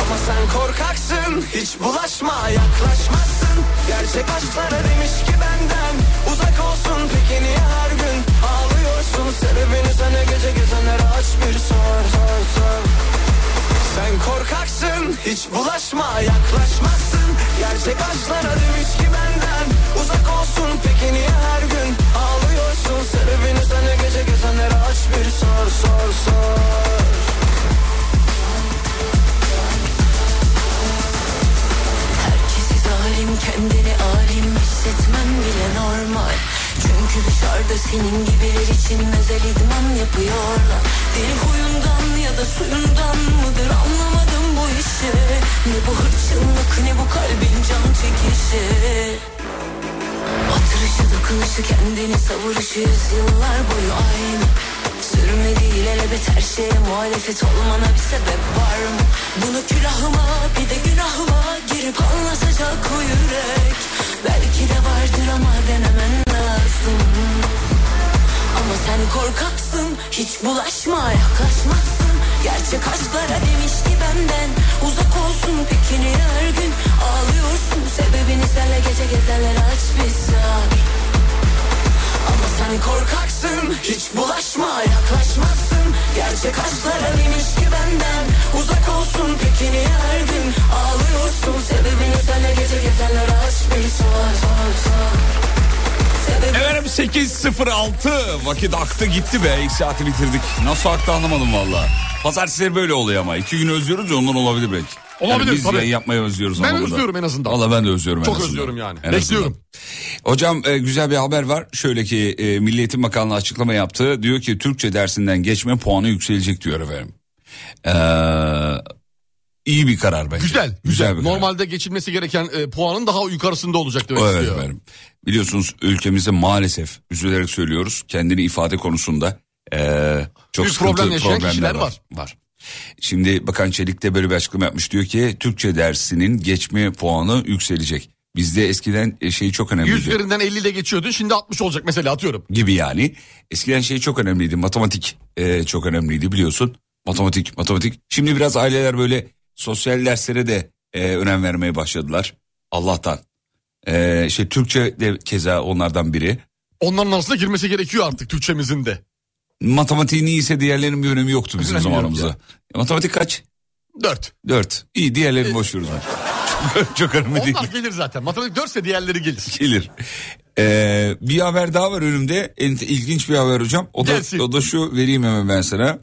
Speaker 1: Ama sen korkaksın hiç bulaşma yaklaşmazsın Gerçek aşklara demiş ki benden uzak olsun peki niye her gün ağlıyorsun Sebebini sana gece gezenlere aç bir sor sor sor sen korkaksın hiç bulaşma yaklaşmazsın Gerçek aşklara demiş ki benden uzak olsun peki niye her gün ağlıyorsun Sebebini sana gece gezenlere aç bir sor sor sor
Speaker 6: Herkesi zalim kendini alim hissetmen bile normal Çünkü dışarıda senin gibiler için özel idman yapıyorlar Deli huyundan ya da suyundan mıdır anlamadım bu işi Ne bu hırçınlık ne bu kalbin can çekişi Hatırışı dokunuşu kendini savuruşu yıllar boyu aynı Sürmedi ilelebet her şeye muhalefet olmana bir sebep var mı? Bunu külahıma bir de günahıma girip anlatacak o yürek Belki de vardır ama denemen lazım ama sen korkaksın hiç bulaşma yaklaşmazsın Gerçek aşklara demiş ki benden uzak olsun peki niye her gün ağlıyorsun Sebebini senle gece gezenlere aç bir sar Ama sen korkaksın hiç bulaşma yaklaşmazsın Gerçek aşklara demiş ki benden uzak olsun peki niye her gün ağlıyorsun Sebebini senle gece gezenlere aç bir sar sar sar Sen
Speaker 3: Efendim 8.06 vakit aktı gitti be ilk saati bitirdik. Nasıl aktı anlamadım valla. Pazartesileri böyle oluyor ama. iki gün özlüyoruz ya ondan olabilir belki.
Speaker 4: Olabilir,
Speaker 3: yani biz
Speaker 4: tabii.
Speaker 3: yayın yapmayı özlüyoruz.
Speaker 4: Ben
Speaker 3: ama
Speaker 4: özlüyorum en azından.
Speaker 3: Valla ben de özlüyorum en
Speaker 4: Çok
Speaker 3: azından.
Speaker 4: özlüyorum yani.
Speaker 3: En
Speaker 4: Bekliyorum.
Speaker 3: azından. Hocam e, güzel bir haber var. Şöyle ki e, Milli Eğitim Bakanlığı açıklama yaptı. Diyor ki Türkçe dersinden geçme puanı yükselecek diyor efendim. Ee, iyi bir karar bence.
Speaker 4: Güzel.
Speaker 3: Güzel bir karar.
Speaker 4: Normalde geçilmesi gereken e, puanın daha yukarısında olacak demek
Speaker 3: Evet
Speaker 4: istiyor.
Speaker 3: efendim. Biliyorsunuz ülkemizde maalesef üzülerek söylüyoruz kendini ifade konusunda eee, çok
Speaker 4: Büyük
Speaker 3: sıkıntı
Speaker 4: problem yaşayan
Speaker 3: problemler
Speaker 4: kişiler
Speaker 3: var.
Speaker 4: var.
Speaker 3: var. Şimdi Bakan Çelik de böyle bir açıklama yapmış diyor ki Türkçe dersinin geçme puanı yükselecek. Bizde eskiden e, şey çok önemliydi.
Speaker 4: Yüzlerinden 50 ile geçiyordu şimdi 60 olacak mesela atıyorum.
Speaker 3: gibi yani. Eskiden şey çok önemliydi. Matematik e, çok önemliydi biliyorsun. Matematik, matematik. Şimdi biraz aileler böyle sosyal derslere de e, önem vermeye başladılar. Allah'tan. E, işte Türkçe de keza onlardan biri.
Speaker 4: Onların arasına girmesi gerekiyor artık Türkçemizin de.
Speaker 3: Matematiğin iyiyse diğerlerinin bir önemi yoktu bizim
Speaker 4: Önemli yok
Speaker 3: zamanımızda. E,
Speaker 4: ya.
Speaker 3: Matematik kaç?
Speaker 4: 4.
Speaker 3: Dört. İyi diğerlerini boş veriyoruz. çok, çok önemli değil.
Speaker 4: E, Onlar gelir zaten. Matematik 4 ise diğerleri gelir.
Speaker 3: gelir. Ee, bir haber daha var önümde. En- İlginç bir haber hocam. O da,
Speaker 4: Gelsin.
Speaker 3: o da şu vereyim hemen ben sana.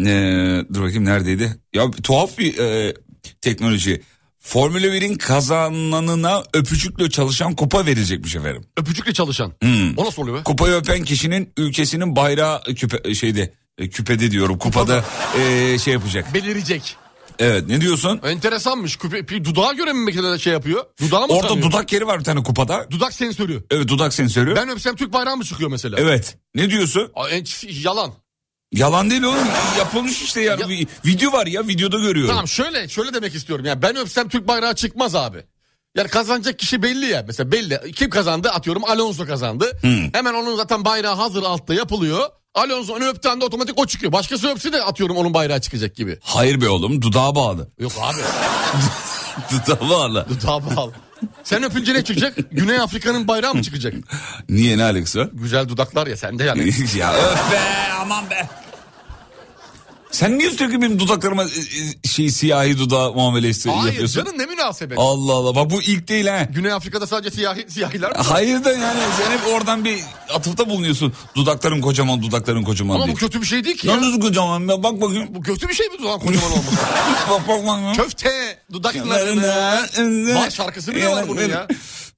Speaker 3: Ee, dur bakayım neredeydi? Ya bir tuhaf bir e, teknoloji. Formula 1'in kazananına öpücükle çalışan kupa verilecekmiş efendim.
Speaker 4: Öpücükle çalışan.
Speaker 3: Hmm.
Speaker 4: O nasıl oluyor be?
Speaker 3: Kupayı öpen kişinin ülkesinin bayrağı küpe, şeyde e, küpede diyorum kupada e, şey yapacak.
Speaker 4: Belirecek.
Speaker 3: Evet ne diyorsun?
Speaker 4: Enteresanmış. Küpe, pi- dudağa göre mi mesela şey yapıyor? Dudağa mı
Speaker 3: Orada
Speaker 4: tanıyor?
Speaker 3: dudak yeri var bir tane kupada.
Speaker 4: Dudak sensörü.
Speaker 3: Evet dudak sensörü.
Speaker 4: Ben öpsem Türk bayrağı mı çıkıyor mesela?
Speaker 3: Evet. Ne diyorsun?
Speaker 4: Aa, en- yalan.
Speaker 3: Yalan değil oğlum yapılmış işte yani
Speaker 4: Ya-
Speaker 3: Bir video var ya videoda görüyorum.
Speaker 4: Tamam şöyle şöyle demek istiyorum. Yani ben öpsem Türk bayrağı çıkmaz abi. Yani kazanacak kişi belli ya. Mesela belli. Kim kazandı? Atıyorum Alonso kazandı.
Speaker 3: Hmm.
Speaker 4: Hemen onun zaten bayrağı hazır altta yapılıyor. Alonso onu öptüğü anda otomatik o çıkıyor. Başkası öpse de atıyorum onun bayrağı çıkacak gibi.
Speaker 3: Hayır be oğlum dudağa bağlı.
Speaker 4: Yok abi.
Speaker 3: Dudağa bağlı.
Speaker 4: Dudağa bağlı. Sen öpünce ne çıkacak? Güney Afrika'nın bayrağı mı çıkacak?
Speaker 3: Niye ne alakası var?
Speaker 4: Güzel dudaklar ya sende yani.
Speaker 3: ya öf be aman be. Sen niye sürekli benim dudaklarıma e, e, şey siyahi dudağı muamelesi
Speaker 4: Hayır
Speaker 3: yapıyorsun?
Speaker 4: canım ne münasebet.
Speaker 3: Allah Allah bak bu ilk değil ha.
Speaker 4: Güney Afrika'da sadece siyahi, siyahiler mi?
Speaker 3: Hayır da yani şey- sen hep oradan bir atıfta bulunuyorsun. Dudakların kocaman dudakların kocaman
Speaker 4: Ama bu
Speaker 3: diye.
Speaker 4: kötü bir şey değil ki. ya.
Speaker 3: Yalnız kocaman ya bak bakayım.
Speaker 4: Bu kötü bir şey mi dudağın kocaman olması?
Speaker 3: bak bak bak.
Speaker 4: Köfte dudaklarını. Vay şarkısı bile var bunun ya.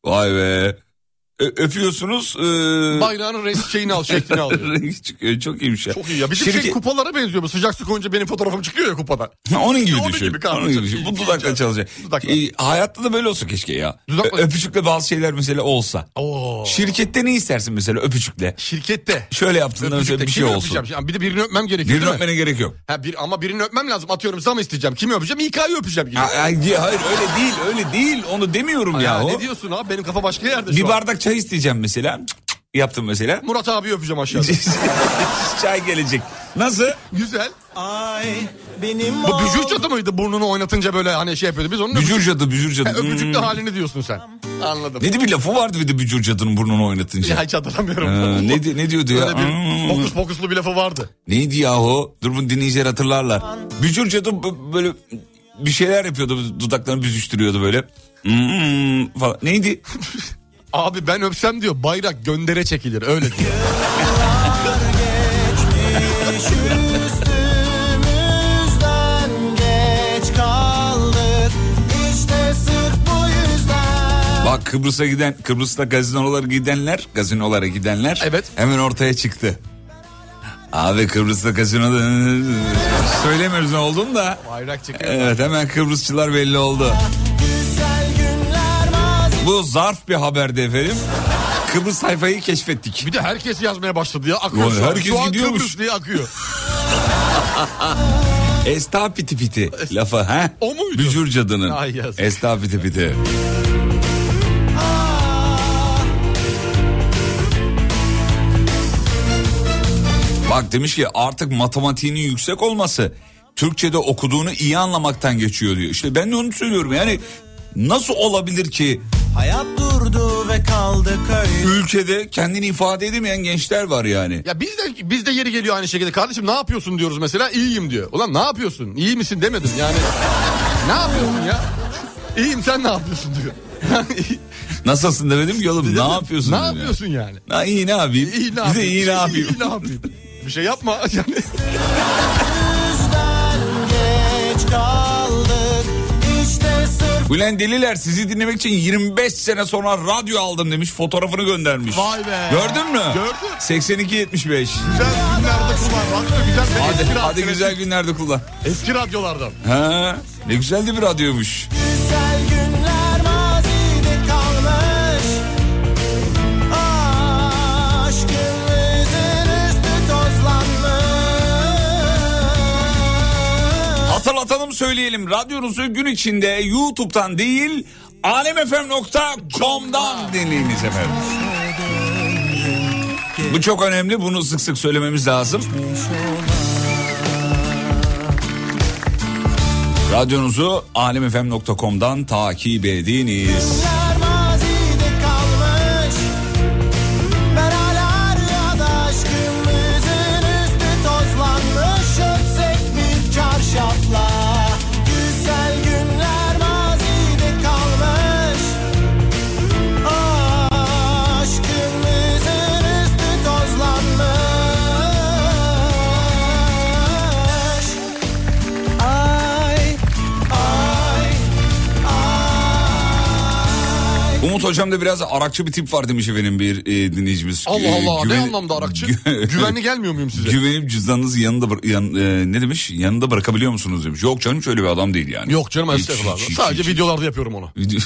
Speaker 3: Vay be. Ö- öpüyorsunuz. ee,
Speaker 4: Bayrağının res şeyini al şeklini al. diyor.
Speaker 3: rengi çıkıyor. Çok iyiymiş ya.
Speaker 4: Çok iyi ya. Bizim
Speaker 3: Şirket-
Speaker 4: şey kupalara benziyor bu. Sıcak su koyunca benim fotoğrafım çıkıyor ya kupada.
Speaker 3: Onun gibi
Speaker 4: Onun
Speaker 3: düşün.
Speaker 4: gibi kanka,
Speaker 3: Onun gibi
Speaker 4: çok
Speaker 3: düşün.
Speaker 4: iyi,
Speaker 3: Bu
Speaker 4: iyi
Speaker 3: dudakla
Speaker 4: ya.
Speaker 3: çalışacak.
Speaker 4: Dudakla.
Speaker 3: Ee, hayatta da böyle olsa keşke ya.
Speaker 4: Dudakla.
Speaker 3: Ö- Öpücükle bazı şeyler mesela olsa.
Speaker 4: Oo.
Speaker 3: Şirkette ne istersin mesela öpücükle?
Speaker 4: Şirkette.
Speaker 3: Şöyle yaptığında mesela
Speaker 4: Öpücükte
Speaker 3: bir şey
Speaker 4: kimi
Speaker 3: olsun.
Speaker 4: öpeceğim? Yani bir de birini öpmem gerekiyor
Speaker 3: Birini
Speaker 4: değil mi?
Speaker 3: öpmene gerek yok.
Speaker 4: Ha, bir, ama birini öpmem lazım. Atıyorum zam isteyeceğim. Kimi öpeceğim? İK'yı öpeceğim. Gibi.
Speaker 3: Ha- ha- Hayır öyle değil öyle değil onu demiyorum
Speaker 4: ya,
Speaker 3: ya.
Speaker 4: ne diyorsun abi? Benim kafa başka yerde şu
Speaker 3: Bir
Speaker 4: an.
Speaker 3: bardak çay isteyeceğim mesela. Cık, cık, Yaptım mesela.
Speaker 4: Murat abi öpeceğim aşağıda.
Speaker 3: çay gelecek. Nasıl?
Speaker 4: Güzel.
Speaker 1: Ay benim
Speaker 4: Bu bücür çatı mıydı? Burnunu oynatınca böyle hani şey yapıyordu. Biz onun
Speaker 3: Bücür cadı bücür cadı.
Speaker 4: Ha, öpücükle
Speaker 3: Hmm.
Speaker 4: halini diyorsun sen. Anladım.
Speaker 3: Ne de bir lafı vardı bir de bücür cadının burnunu oynatınca.
Speaker 4: Ya hiç hatırlamıyorum.
Speaker 3: Ee, ne, di- ne diyordu ya?
Speaker 4: Öyle bir
Speaker 3: Hmm.
Speaker 4: pokus pokuslu bir lafı vardı.
Speaker 3: Neydi yahu? Dur bunu dinleyiciler hatırlarlar. Bücür cadı bö- böyle bir şeyler yapıyordu. Dudaklarını büzüştürüyordu böyle. Hmm, falan. Neydi?
Speaker 4: Abi ben öpsem diyor bayrak göndere çekilir öyle diyor.
Speaker 1: Üstümüzden geç kaldık İşte sırf bu yüzden
Speaker 3: Bak Kıbrıs'a giden, Kıbrıs'ta gazinolara gidenler, gazinolara gidenler
Speaker 4: Evet.
Speaker 3: hemen ortaya çıktı. Abi Kıbrıs'ta gazinoda söylemiyoruz ne olduğunu da.
Speaker 4: Bayrak çekilir.
Speaker 3: Evet hemen Kıbrısçılar belli oldu.
Speaker 1: Güzel günler mazi
Speaker 3: Bu zarf bir haberdi efendim. Kıbrıs sayfayı keşfettik.
Speaker 4: Bir de herkes yazmaya başladı ya. Akıyor
Speaker 3: Oğlum,
Speaker 4: şu an.
Speaker 3: herkes
Speaker 4: şu an
Speaker 3: gidiyormuş.
Speaker 4: Kıbrıs diye akıyor.
Speaker 3: Esta piti piti lafı ha?
Speaker 4: O muydu?
Speaker 3: Bücür cadının.
Speaker 4: Ay yazık.
Speaker 3: Esta piti piti. Bak demiş ki artık matematiğinin yüksek olması Türkçe'de okuduğunu iyi anlamaktan geçiyor diyor. İşte ben de onu söylüyorum yani nasıl olabilir ki
Speaker 1: Hayat durdu ve kaldık öyle
Speaker 3: ülkede kendini ifade edemeyen gençler var yani.
Speaker 4: Ya biz de biz de yeri geliyor aynı şekilde. Kardeşim ne yapıyorsun diyoruz mesela. İyiyim diyor. Ulan ne yapıyorsun? İyi misin demedim yani. ne yapıyorsun ya? İyiyim sen ne yapıyorsun diyor.
Speaker 3: Nasılsın demedim ki oğlum ne yapıyorsun?
Speaker 4: Ne
Speaker 3: dedim ya.
Speaker 4: yapıyorsun yani?
Speaker 3: Ha, iyi ne yapayım?
Speaker 4: İyi ne
Speaker 3: Bir de iyi ne yapayım?
Speaker 4: İyi ne yapayım? Bir şey yapma yani.
Speaker 3: Bülent Deliler sizi dinlemek için 25 sene sonra radyo aldım demiş. Fotoğrafını göndermiş.
Speaker 4: Vay be.
Speaker 3: Gördün mü?
Speaker 4: Gördüm.
Speaker 3: 82-75.
Speaker 4: Güzel günlerde kullan. Bak da güzel.
Speaker 3: Hadi,
Speaker 4: eski
Speaker 3: hadi
Speaker 4: radyolar-
Speaker 3: güzel günlerde kullan.
Speaker 4: Eski radyolardan.
Speaker 3: Ha, ne güzel de bir radyoymuş.
Speaker 1: Güzel günler mazide kalmış Aşkımızın üstü tozlanmış
Speaker 3: Hatırlatalım söyleyelim. Radyonuzu gün içinde YouTube'dan değil alemfm.com'dan dinleyiniz efendim. Bu çok önemli. Bunu sık sık söylememiz lazım. Radyonuzu alemfm.com'dan takip ediniz.
Speaker 1: Günler mazide kalmış Ben hala rüyada aşkımızın üstü tozlanmış Öpsek bir çarşafla Güzel günler mazide kalmış Aşkımızın üstü tozlanmış Ay, ay, ay
Speaker 3: Umut hocam da biraz arakçı bir tip var demiş efendim bir e, dinleyicimiz.
Speaker 4: Allah
Speaker 3: E,
Speaker 4: Allah ne
Speaker 3: güven-
Speaker 4: anlamda Arakçı?
Speaker 3: Gü-
Speaker 4: Güvenli gelmiyor muyum size?
Speaker 3: Güvenip cüzdanınızı yanında bıra- yan, e, ne demiş? Yanında bırakabiliyor musunuz demiş. Yok canım şöyle bir adam değil yani.
Speaker 4: Yok canım
Speaker 3: Hiç,
Speaker 4: estağfurullah.
Speaker 3: hiç, hiç,
Speaker 4: Sadece
Speaker 3: hiç.
Speaker 4: videolarda yapıyorum onu.
Speaker 3: Video-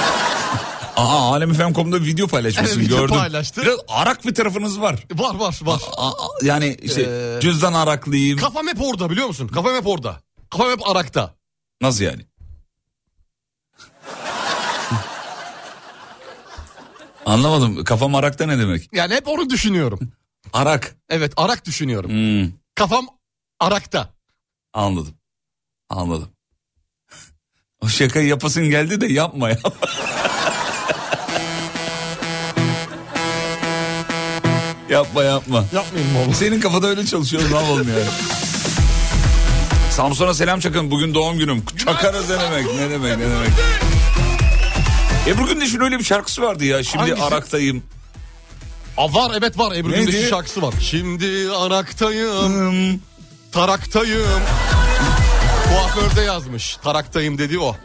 Speaker 3: Aha alemfm.com'da video paylaşmışsın
Speaker 4: Evet, video
Speaker 3: gördüm.
Speaker 4: paylaştı.
Speaker 3: Biraz arak bir tarafınız var.
Speaker 4: Var var var.
Speaker 3: A- a- yani işte
Speaker 4: Ee,
Speaker 3: cüzdan araklıyım.
Speaker 4: Kafam hep orada biliyor musun? Kafam hep orada. Kafam hep Arak'ta.
Speaker 3: Nasıl yani? Anlamadım. Kafam arakta ne demek?
Speaker 4: Yani hep onu düşünüyorum.
Speaker 3: Arak.
Speaker 4: Evet Arak düşünüyorum.
Speaker 3: Hmm,
Speaker 4: Kafam Arak'ta.
Speaker 3: anladım. Anladım. O şakayı yapasın geldi de yapma ya. yapma yapma.
Speaker 4: Yapmayayım oğlum.
Speaker 3: Senin kafada öyle çalışıyor ne yapalım yani. Samsun'a selam çakın bugün doğum günüm. Çakarız ne demek ne demek ne demek. E Ebru Gündeş'in öyle bir şarkısı vardı ya şimdi
Speaker 4: Hangisi?
Speaker 3: Arak'tayım.
Speaker 4: Aa, var evet var Ebru
Speaker 3: Neydi?
Speaker 4: Gündeş'in şarkısı var. Hmm. Şimdi Arak'tayım, Tarak'tayım. Kuaförde yazmış. Tarak'tayım dedi o.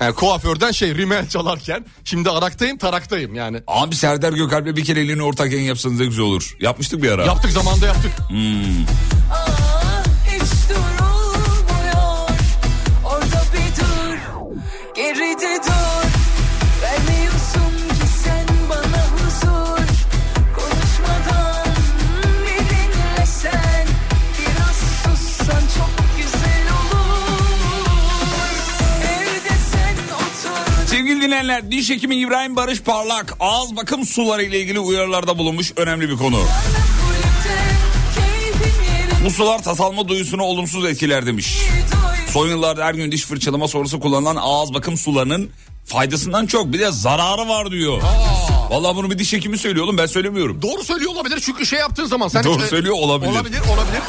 Speaker 4: Yani kuaförden şey rimel çalarken şimdi Arak'tayım, Tarak'tayım yani.
Speaker 3: Abi Serdar Gökalp'le bir kere elini ortak yayın yapsanız da güzel olur. Yapmıştık bir ara. Hmm.
Speaker 4: Yaptık zamanda yaptık.
Speaker 9: Aa, hiç durulmuyor Orada bir dur Geride dur Vermiyorsun ki sen bana huzur Konuşmadan Benimle sen Biraz sussan çok güzel olur Evde sen otur
Speaker 3: Sevgili dinleyenler diş hekimi İbrahim Barış Parlak ağız bakım suları ile ilgili uyarılarda bulunmuş önemli bir konu.
Speaker 9: Bana kulüpte Keyfin
Speaker 3: Bu
Speaker 9: yerine
Speaker 3: sular tasalma duyusunu olumsuz etkiler demiş.
Speaker 9: doy
Speaker 3: Son yıllarda her gün diş fırçalama sonrası kullanılan ağız bakım sularının faydasından çok bir de zararı var diyor. Vallahi bunu bir diş hekimi söylüyor oğlum ben söylemiyorum.
Speaker 4: Doğru söylüyor olabilir çünkü şey yaptığın zaman sen
Speaker 3: Doğru söylüyor olabilir.
Speaker 4: Olabilir, olabilir.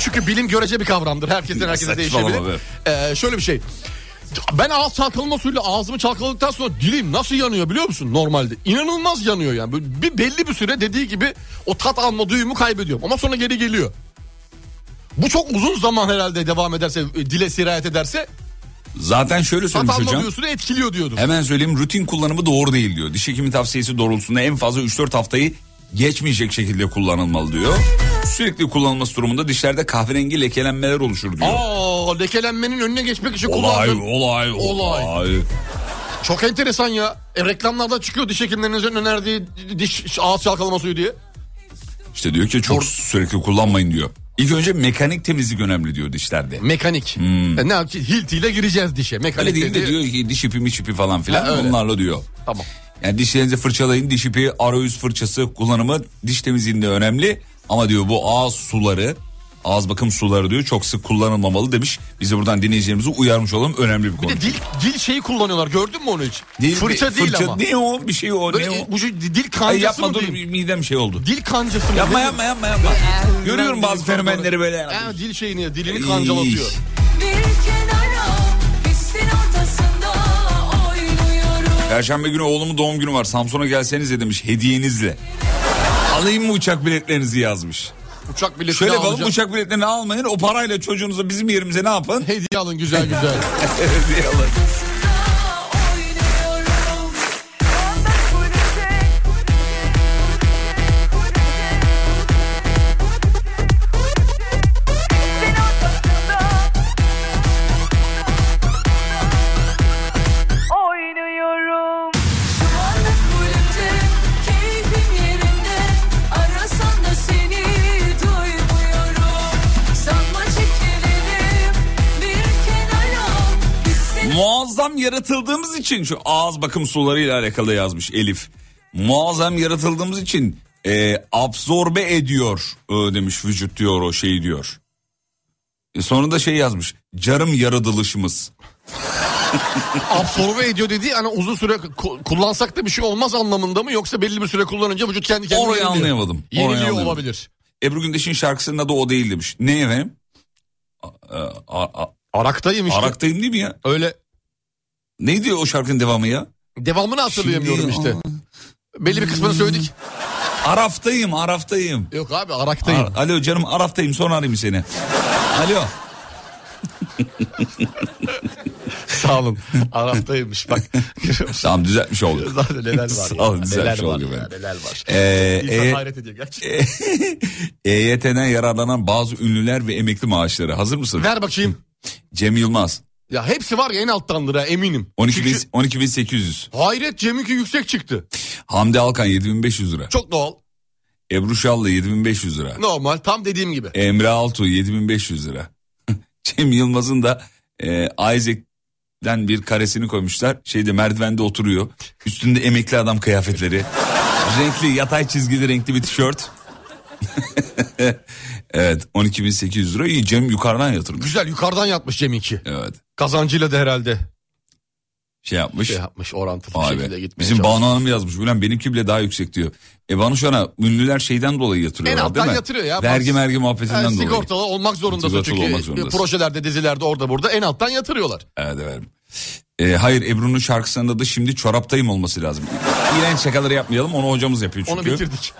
Speaker 4: çünkü bilim görece bir kavramdır. Herkesten herkese
Speaker 3: Saçmalama
Speaker 4: değişebilir. Ee, şöyle bir şey. Ben ağız çalkalama suyuyla ağzımı çalkaladıktan sonra dilim nasıl yanıyor biliyor musun normalde? İnanılmaz yanıyor yani. Böyle Bir belli bir süre dediği gibi o tat alma duyumu kaybediyorum ama sonra geri geliyor. Bu çok uzun zaman herhalde devam ederse, e, dile sirayet ederse
Speaker 3: Zaten şöyle
Speaker 4: tat
Speaker 3: söylemiş
Speaker 4: alma
Speaker 3: hocam.
Speaker 4: duyusunu etkiliyor diyordu.
Speaker 3: Hemen söyleyeyim rutin kullanımı doğru değil diyor. Diş hekimi tavsiyesi doğrultusunda en fazla 3-4 haftayı geçmeyecek şekilde kullanılmalı diyor. Sürekli kullanılması durumunda dişlerde kahverengi lekelenmeler oluşur diyor.
Speaker 4: Aa lekelenmenin önüne geçmek için
Speaker 3: Olay,
Speaker 4: kullandığın-
Speaker 3: olay, olay,
Speaker 4: Olay. Çok enteresan ya. E, reklamlarda çıkıyor diş hekimlerinizin önerdiği diş ağız çalkalama suyu diye.
Speaker 3: İşte diyor ki çok sürekli kullanmayın diyor. İlk önce mekanik temizlik önemli diyor dişlerde.
Speaker 4: Mekanik. E, ne yapacağız? Hiltiyle gireceğiz dişe. Mekanik
Speaker 3: Hmm. Öyle değil de
Speaker 4: dediği-
Speaker 3: diyor ki diş ipi miç ipi falan filan
Speaker 4: Ha, öyle.
Speaker 3: onlarla diyor.
Speaker 4: Tamam.
Speaker 3: Yani dişlerinizi fırçalayın diş ipi arayüz fırçası kullanımı diş temizliğinde önemli. Ama diyor bu ağız suları ağız bakım suları diyor çok sık kullanılmamalı demiş. Biz de buradan dinleyicilerimizi uyarmış olalım önemli bir konu.
Speaker 4: Bir de dil, dil şeyi kullanıyorlar gördün mü onu hiç?
Speaker 3: Değil,
Speaker 4: fırça
Speaker 3: bir-
Speaker 4: değil ama.
Speaker 3: Ne o bir şey o
Speaker 4: Böyle
Speaker 3: ne o.
Speaker 4: e, bu şu dil kancası
Speaker 3: Ay yapma
Speaker 4: mı
Speaker 3: dur
Speaker 4: diyeyim?
Speaker 3: midem şey oldu.
Speaker 4: Dil kancası mı?
Speaker 3: Yapma
Speaker 4: Ne-
Speaker 3: yapma yapma yapma. Görüyorum bazı fenomenleri böyle.
Speaker 4: Ha, dil şeyini dilini
Speaker 3: İyi.
Speaker 4: kancalatıyor.
Speaker 9: Bir kenara pistin ortasında oyna
Speaker 3: Perşembe günü oğlumun doğum günü var. Samsun'a gelsenize demiş hediyenizle. Alayım mı uçak biletlerinizi yazmış.
Speaker 4: Uçak biletini
Speaker 3: Şöyle yapalım
Speaker 4: alacağım.
Speaker 3: uçak biletlerini almayın. O parayla çocuğunuza bizim yerimize ne yapın?
Speaker 4: Hediye alın güzel güzel.
Speaker 3: Hediye alın.
Speaker 9: oynuyorum. Şu anda kulüpte keyfim yerinde. Arasan da seni duymuyorum. Sanma çekilirim bir kenara. Biz seni
Speaker 3: Muazzam yaratıldığımız için şu ağız bakım sularıyla alakalı yazmış Elif. Muazzam yaratıldığımız için e, absorbe ediyor e, demiş vücut diyor o şeyi diyor. E, sonra da şey yazmış carım yaratılışımız.
Speaker 4: Absorbe ediyor dediği hani uzun süre ku- kullansak da bir şey olmaz anlamında mı yoksa belli bir süre kullanınca vücut kendi kendine
Speaker 3: Orayı
Speaker 4: yeniliyor.
Speaker 3: anlayamadım. Orayı
Speaker 4: Yeniliyor
Speaker 3: anlayamadım.
Speaker 4: olabilir.
Speaker 3: Ebru Gündeş'in şarkısının adı o değil demiş. Ne efendim? A- a- a-
Speaker 4: Araktayım işte.
Speaker 3: Araktayım değil mi ya?
Speaker 4: Öyle
Speaker 3: Neydi o şarkının devamı ya?
Speaker 4: devamını hatırlayamıyorum
Speaker 3: Şimdi-
Speaker 4: işte. Belli bir kısmını söyledik.
Speaker 3: Hmm. Araftayım, Araftayım.
Speaker 4: Yok abi araktayım.
Speaker 3: Ar- Alo canım Araf'tayım sonra arayayım seni. Alo.
Speaker 4: Sağ olun. Araktaymış bak. Görüyor musun?
Speaker 3: Tamam düzeltmiş olduk.
Speaker 4: Zaten neler var
Speaker 3: Sağ
Speaker 4: ya.
Speaker 3: olun, güzel bir
Speaker 4: Neler
Speaker 3: şey
Speaker 4: var
Speaker 3: oldu
Speaker 4: ya,
Speaker 3: efendim.
Speaker 4: neler var.
Speaker 3: Ee,
Speaker 4: İnsan
Speaker 3: e-
Speaker 4: hayret ediyor gerçekten.
Speaker 3: EYT'den E yararlanan bazı ünlüler ve emekli maaşları. Hazır mısın?
Speaker 4: Ver bakayım.
Speaker 3: Cem Yılmaz.
Speaker 4: Ya hepsi var ya en alttandır ha eminim.
Speaker 3: 12 bin-
Speaker 4: Çünkü
Speaker 3: 12.800.
Speaker 4: hayret Cem'inki yüksek çıktı.
Speaker 3: Hamdi Alkan 7500 lira.
Speaker 4: Çok doğal.
Speaker 3: Ebru Şallı 7500 lira.
Speaker 4: Normal tam dediğim gibi.
Speaker 3: Emre Altuğ 7500 lira. Cem Yılmaz'ın da e, Isaac'den bir karesini koymuşlar. Şeyde merdivende oturuyor. Üstünde emekli adam kıyafetleri. renkli yatay çizgili renkli bir tişört. evet 12.800 lira. İyi Cem yukarıdan yatırmış.
Speaker 4: Güzel yukarıdan yatmış Cem'inki.
Speaker 3: Evet
Speaker 4: Kazancıyla da herhalde
Speaker 3: şey yapmış.
Speaker 4: şey yapmış orantılı bir
Speaker 3: Vay
Speaker 4: şekilde
Speaker 3: be.
Speaker 4: gitmeye
Speaker 3: Bizim
Speaker 4: çalışmış.
Speaker 3: Banu Hanım yazmış. Ulan benimki bile daha yüksek diyor. E Banu Şan'a ünlüler şeyden dolayı yatırıyorlar
Speaker 4: En
Speaker 3: değil mi?
Speaker 4: alttan yatırıyor ya.
Speaker 3: Vergi
Speaker 4: Bazı-
Speaker 3: mergi
Speaker 4: Yani
Speaker 3: muhabbetinden dolayı.
Speaker 4: sigortalı olmak zorundasın
Speaker 3: Sigortalı
Speaker 4: çünkü
Speaker 3: olmak zorundasın.
Speaker 4: projelerde dizilerde orada burada en alttan yatırıyorlar.
Speaker 3: Evet efendim. E, hayır Ebru'nun şarkısında da şimdi çoraptayım olması lazım. İğrenç şakaları yapmayalım onu hocamız yapıyor
Speaker 4: Onu
Speaker 3: çünkü.
Speaker 4: bitirdik.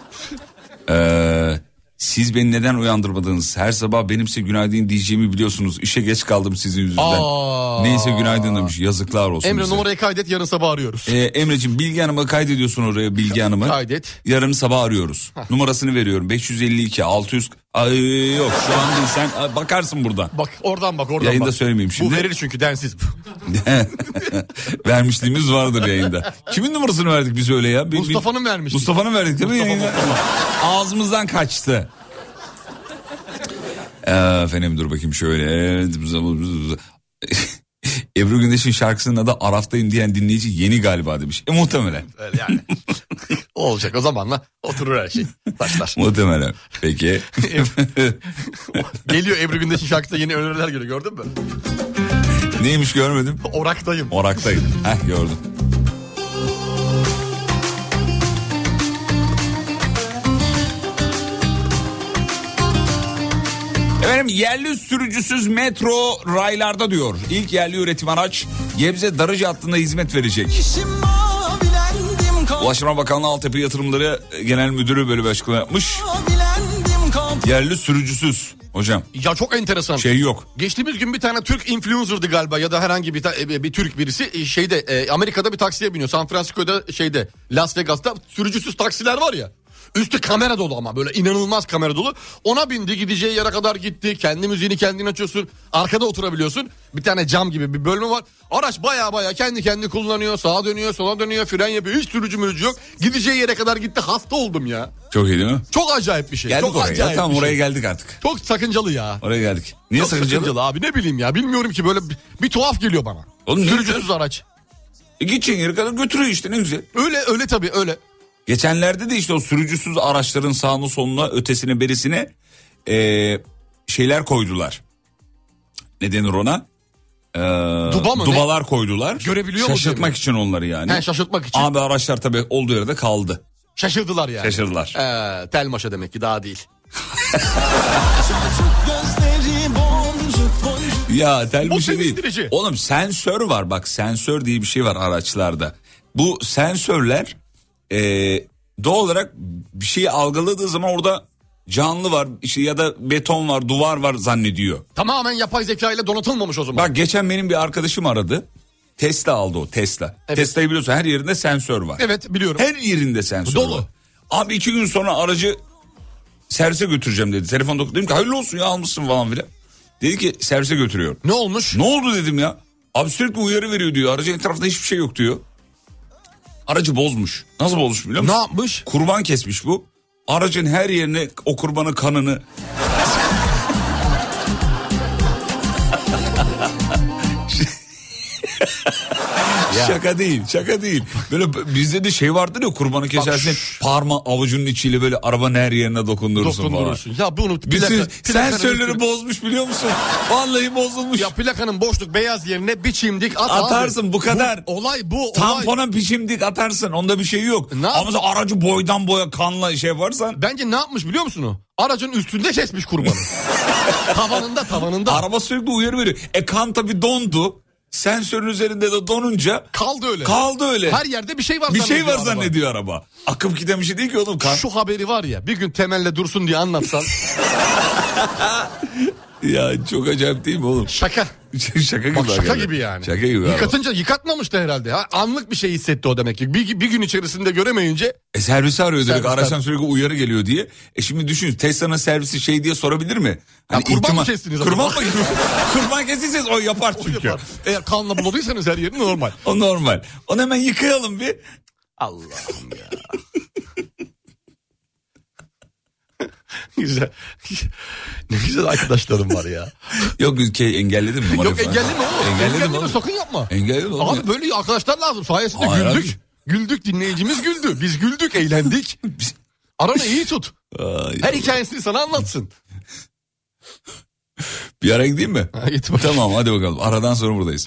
Speaker 3: E, siz beni neden uyandırmadınız? Her sabah benimse günaydın diyeceğimi biliyorsunuz. İşe geç kaldım sizin yüzünden.
Speaker 4: Aa.
Speaker 3: Neyse günaydın demiş. Yazıklar olsun
Speaker 4: Emre
Speaker 3: bize.
Speaker 4: numarayı kaydet yarın sabah arıyoruz.
Speaker 3: E, Emre'cim Bilge Hanım'ı kaydediyorsun oraya Bilge Hanım'ı.
Speaker 4: Kaydet.
Speaker 3: Yarın sabah arıyoruz. Numarasını veriyorum. 552 600 Ay, yok şu an değil sen ay, bakarsın burada.
Speaker 4: Bak oradan bak oradan
Speaker 3: Yayında
Speaker 4: bak.
Speaker 3: söylemeyeyim şimdi.
Speaker 4: Bu verir çünkü densiz.
Speaker 3: Vermişliğimiz vardır yayında. Kimin numarasını verdik biz öyle ya? Bir- bir-
Speaker 4: Mustafa'nın vermişti.
Speaker 3: Mustafa'nın verdik değil mi?
Speaker 4: Mustafa,
Speaker 3: yayında? Ağzımızdan kaçtı. Ee, Efendim dur bakayım şöyle. Ebru Gündeş'in şarkısının adı Araf'tayım diyen dinleyici yeni galiba demiş. E, muhtemelen.
Speaker 4: Öyle yani. o olacak o zamanla oturur her şey. Başlar.
Speaker 3: Muhtemelen. Peki.
Speaker 4: Geliyor Ebru Gündeş'in şarkısında yeni öneriler geliyor gördün mü?
Speaker 3: Neymiş görmedim.
Speaker 4: Oraktayım.
Speaker 3: Oraktayım. Heh gördüm. Efendim yerli sürücüsüz metro raylarda diyor. İlk yerli üretim araç Gebze Darıcı hattında hizmet verecek. Ulaştırma Bakanlığı Altyapı Yatırımları e, Genel Müdürü böyle bir açıklama yapmış. Yerli sürücüsüz hocam
Speaker 4: Ya çok enteresan.
Speaker 3: şey yok.
Speaker 4: Geçtiğimiz gün bir tane Türk influencer'dı galiba ya da herhangi bir, ta- e, bir Türk birisi e, şeyde e, Amerika'da bir taksiye biniyor. San Francisco'da şeyde Las Vegas'ta sürücüsüz taksiler var ya. Üstü kamera dolu ama böyle inanılmaz kamera dolu. Ona bindi gideceği yere kadar gitti. Kendi müziğini kendin açıyorsun. Arkada oturabiliyorsun. Bir tane cam gibi bir bölme var. Araç baya baya kendi kendi kullanıyor. Sağa dönüyor sola dönüyor fren yapıyor. Hiç sürücü mürücü yok. Gideceği yere kadar gitti. Hasta oldum ya.
Speaker 3: Çok iyi değil mi?
Speaker 4: Çok acayip bir şey.
Speaker 3: Geldik
Speaker 4: Çok
Speaker 3: oraya.
Speaker 4: acayip
Speaker 3: Ya, tamam
Speaker 4: bir
Speaker 3: oraya
Speaker 4: şey.
Speaker 3: geldik artık.
Speaker 4: Çok sakıncalı ya.
Speaker 3: Oraya geldik. Niye
Speaker 4: Çok
Speaker 3: sakıncalı?
Speaker 4: abi ne bileyim ya bilmiyorum ki böyle bir, bir tuhaf geliyor bana.
Speaker 3: Oğlum ne
Speaker 4: Sürücüsüz
Speaker 3: yapıyorsun?
Speaker 4: araç.
Speaker 3: E gideceğin yere kadar götürüyor işte ne güzel.
Speaker 4: Öyle öyle tabii öyle.
Speaker 3: Geçenlerde de işte o sürücüsüz araçların sağını soluna ötesine berisine e, şeyler koydular. Ne denir ona? E,
Speaker 4: Duba mı
Speaker 3: Dubalar koydular.
Speaker 4: Görebiliyor mu
Speaker 3: Şaşırtmak
Speaker 4: Cemil?
Speaker 3: için onları yani.
Speaker 4: He, şaşırtmak için.
Speaker 3: Abi araçlar tabii olduğu yerde kaldı.
Speaker 4: Şaşırdılar yani.
Speaker 3: Şaşırdılar.
Speaker 4: Ee, telmaşa demek ki daha değil.
Speaker 3: Ya tel
Speaker 4: Bu
Speaker 3: bir şey değil.
Speaker 4: sevindirici.
Speaker 3: Oğlum sensör var bak sensör diye bir şey var şey araçlarda. bu sensörler e, doğal olarak bir şeyi algıladığı zaman orada canlı var işte ya da beton var duvar var zannediyor.
Speaker 4: Tamamen yapay zeka ile donatılmamış o zaman.
Speaker 3: Bak geçen benim bir arkadaşım aradı. Tesla aldı o Tesla. Tesla'yı biliyorsun her yerinde sensör var.
Speaker 4: Evet biliyorum.
Speaker 3: Her yerinde sensör Dolu. var. Abi iki gün sonra aracı servise götüreceğim dedi. Telefon dokun dedim ki hayırlı olsun ya almışsın falan filan. Dedi ki servise götürüyorum.
Speaker 4: Ne olmuş?
Speaker 3: Ne oldu dedim ya. Abi sürekli uyarı veriyor diyor. Aracın etrafında hiçbir şey yok diyor. Aracı bozmuş. Nasıl bozmuş biliyor musun? Ne
Speaker 4: yapmış?
Speaker 3: Kurban kesmiş bu. Aracın her yerine o kurbanın kanını Şaka değil, şaka değil. Böyle b- bizde de şey vardır ya kurbanı kesersin parma avucunun içiyle böyle arabanın her yerine dokundurursun,
Speaker 4: Dokundurursun.
Speaker 3: falan.
Speaker 4: Ya bunu
Speaker 3: Bütün sensörleri bozmuş biliyor musun? Vallahi bozulmuş.
Speaker 4: Ya plakanın boşluk beyaz yerine biçimdik at
Speaker 3: Atarsın,
Speaker 4: abi.
Speaker 3: bu kadar.
Speaker 4: olay bu. olay. E,
Speaker 3: Tampona biçimdik atarsın onda bir şey yok. Ama sen aracı boydan boya kanla şey varsan.
Speaker 4: Bence ne yapmış biliyor musun o? Aracın üstünde kesmiş kurbanı. tavanında tavanında.
Speaker 3: Araba sürekli uyarı veriyor. E kan tabi dondu. Sensörün üzerinde de donunca.
Speaker 4: Kaldı öyle.
Speaker 3: Kaldı öyle.
Speaker 4: Her yerde bir şey var
Speaker 3: Bir şey var
Speaker 4: zannediyor araba.
Speaker 3: zannediyor araba. Akıp giden bir şey değil ki oğlum kan.
Speaker 4: Şu haberi var ya bir gün temelle dursun diye anlatsan.
Speaker 3: Ya çok acayip değil mi oğlum?
Speaker 4: Şaka.
Speaker 3: şaka gibi.
Speaker 4: Bak şaka
Speaker 3: hakikaten.
Speaker 4: gibi yani.
Speaker 3: Şaka gibi. araba.
Speaker 4: Yıkatınca yıkatmamıştı herhalde. Ha, anlık bir şey hissetti o demek ki. Bir, bir gün içerisinde göremeyince
Speaker 3: E servisi arıyor direkt
Speaker 4: Servisler-
Speaker 3: araçtan sürekli uyarı geliyor diye. E şimdi düşün Tesla'nın servisi şey diye sorabilir mi? Hani
Speaker 4: kurban mı
Speaker 3: ihtimal-
Speaker 4: kestiniz
Speaker 3: Kurban
Speaker 4: acaba?
Speaker 3: mı kurban kestiyseniz o yapar çünkü.
Speaker 4: eğer kanla buladıysanız her yerini normal.
Speaker 3: O normal. Onu hemen yıkayalım bir. Allah'ım ya.
Speaker 4: güzel. ne güzel arkadaşlarım var ya.
Speaker 3: Yok ülkeyi engelledim mi?
Speaker 4: Yok engelleme oğlum.
Speaker 3: Engelledim,
Speaker 4: Engelleme
Speaker 3: oğlum.
Speaker 4: sakın yapma.
Speaker 3: Engelledim oğlum.
Speaker 4: Abi böyle arkadaşlar lazım. Sayesinde
Speaker 3: Hayır
Speaker 4: güldük.
Speaker 3: abi.
Speaker 4: Güldük dinleyicimiz güldü. Biz güldük eğlendik. Aranı iyi tut.
Speaker 3: Ay.
Speaker 4: Her hikayesini sana anlatsın.
Speaker 3: Bir ara gideyim mi? tamam hadi bakalım. Aradan sonra buradayız.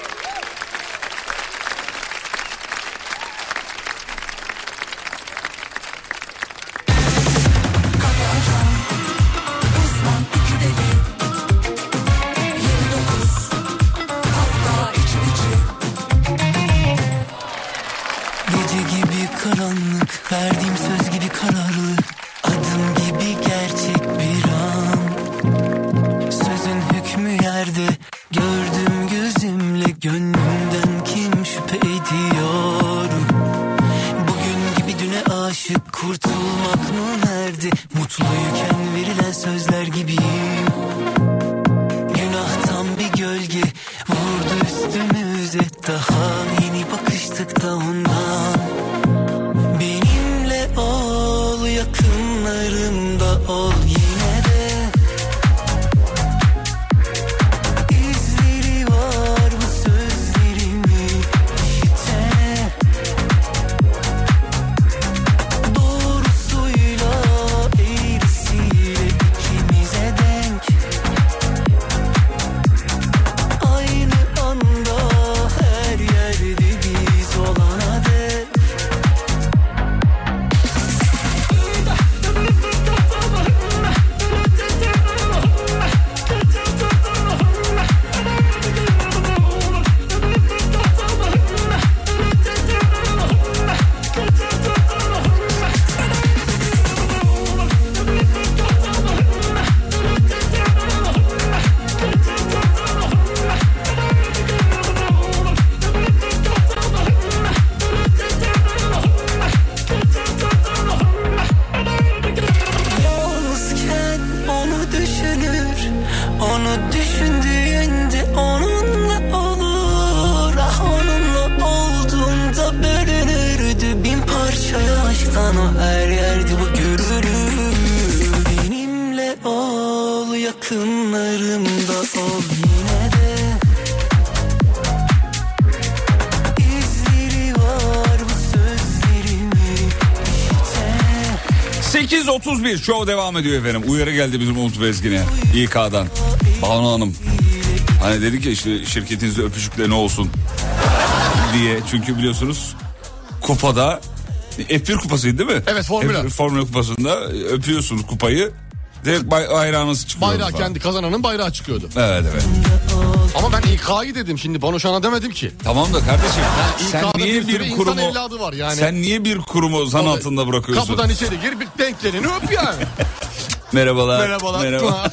Speaker 1: Gece gibi karanlık, verdiğim söz gibi kararlı. Adım gibi gerçek bir an. Sözün hükmü yerde, gördüm gözümle gönlümden kim şüphe ediyor? Bugün gibi düne aşık kurtulmak mı nerede? Mutluyken verilen sözler gibiyim. Günahtan bir gölge vurdu üstümüze Daha yeni bakıştık da ondan Benimle ol yakınlarımda ol yine de İzleri var bu sözlerimin içine Doğrusuyla eğrisiyle ikimize denk Aynı anda her yerde biz olana dek Yalnızken onu düşünür Onu düşündüğünde onunla olur Ah onunla olduğunda bölünürdü Bin parçaya aşktan o her yerde bu görülür Benimle ol yakınlarımda ol yine de İzleri var bu sözlerimin içte
Speaker 3: 8.31 show devam ediyor efendim. Uyarı geldi bizim Umut Bezgin'e. İK'dan. Banu Hanım. Hani dedi ki işte şirketinizde öpücükle ne olsun diye. Çünkü biliyorsunuz kupada F1 kupasıydı değil mi?
Speaker 4: Evet, Formula.
Speaker 3: F1 Formula kupasında öpüyorsunuz kupayı. Direkt bay- bayrağınız çıkıyor.
Speaker 4: Bayrağı
Speaker 3: falan.
Speaker 4: kendi kazananın bayrağı çıkıyordu.
Speaker 3: Evet evet.
Speaker 4: Ama ben İK'yı dedim şimdi Banoşan'a demedim ki.
Speaker 3: Tamam da kardeşim sen
Speaker 4: İK'da
Speaker 3: niye
Speaker 4: sürü
Speaker 3: bir
Speaker 4: insan
Speaker 3: kurumu
Speaker 4: evladı var yani.
Speaker 3: sen niye bir kurumu zan
Speaker 4: Vallahi
Speaker 3: altında bırakıyorsun?
Speaker 4: Kapıdan içeri gir bir denk geleni öp yani.
Speaker 3: Merhabalar.
Speaker 4: Merhabalar.
Speaker 3: Merhaba.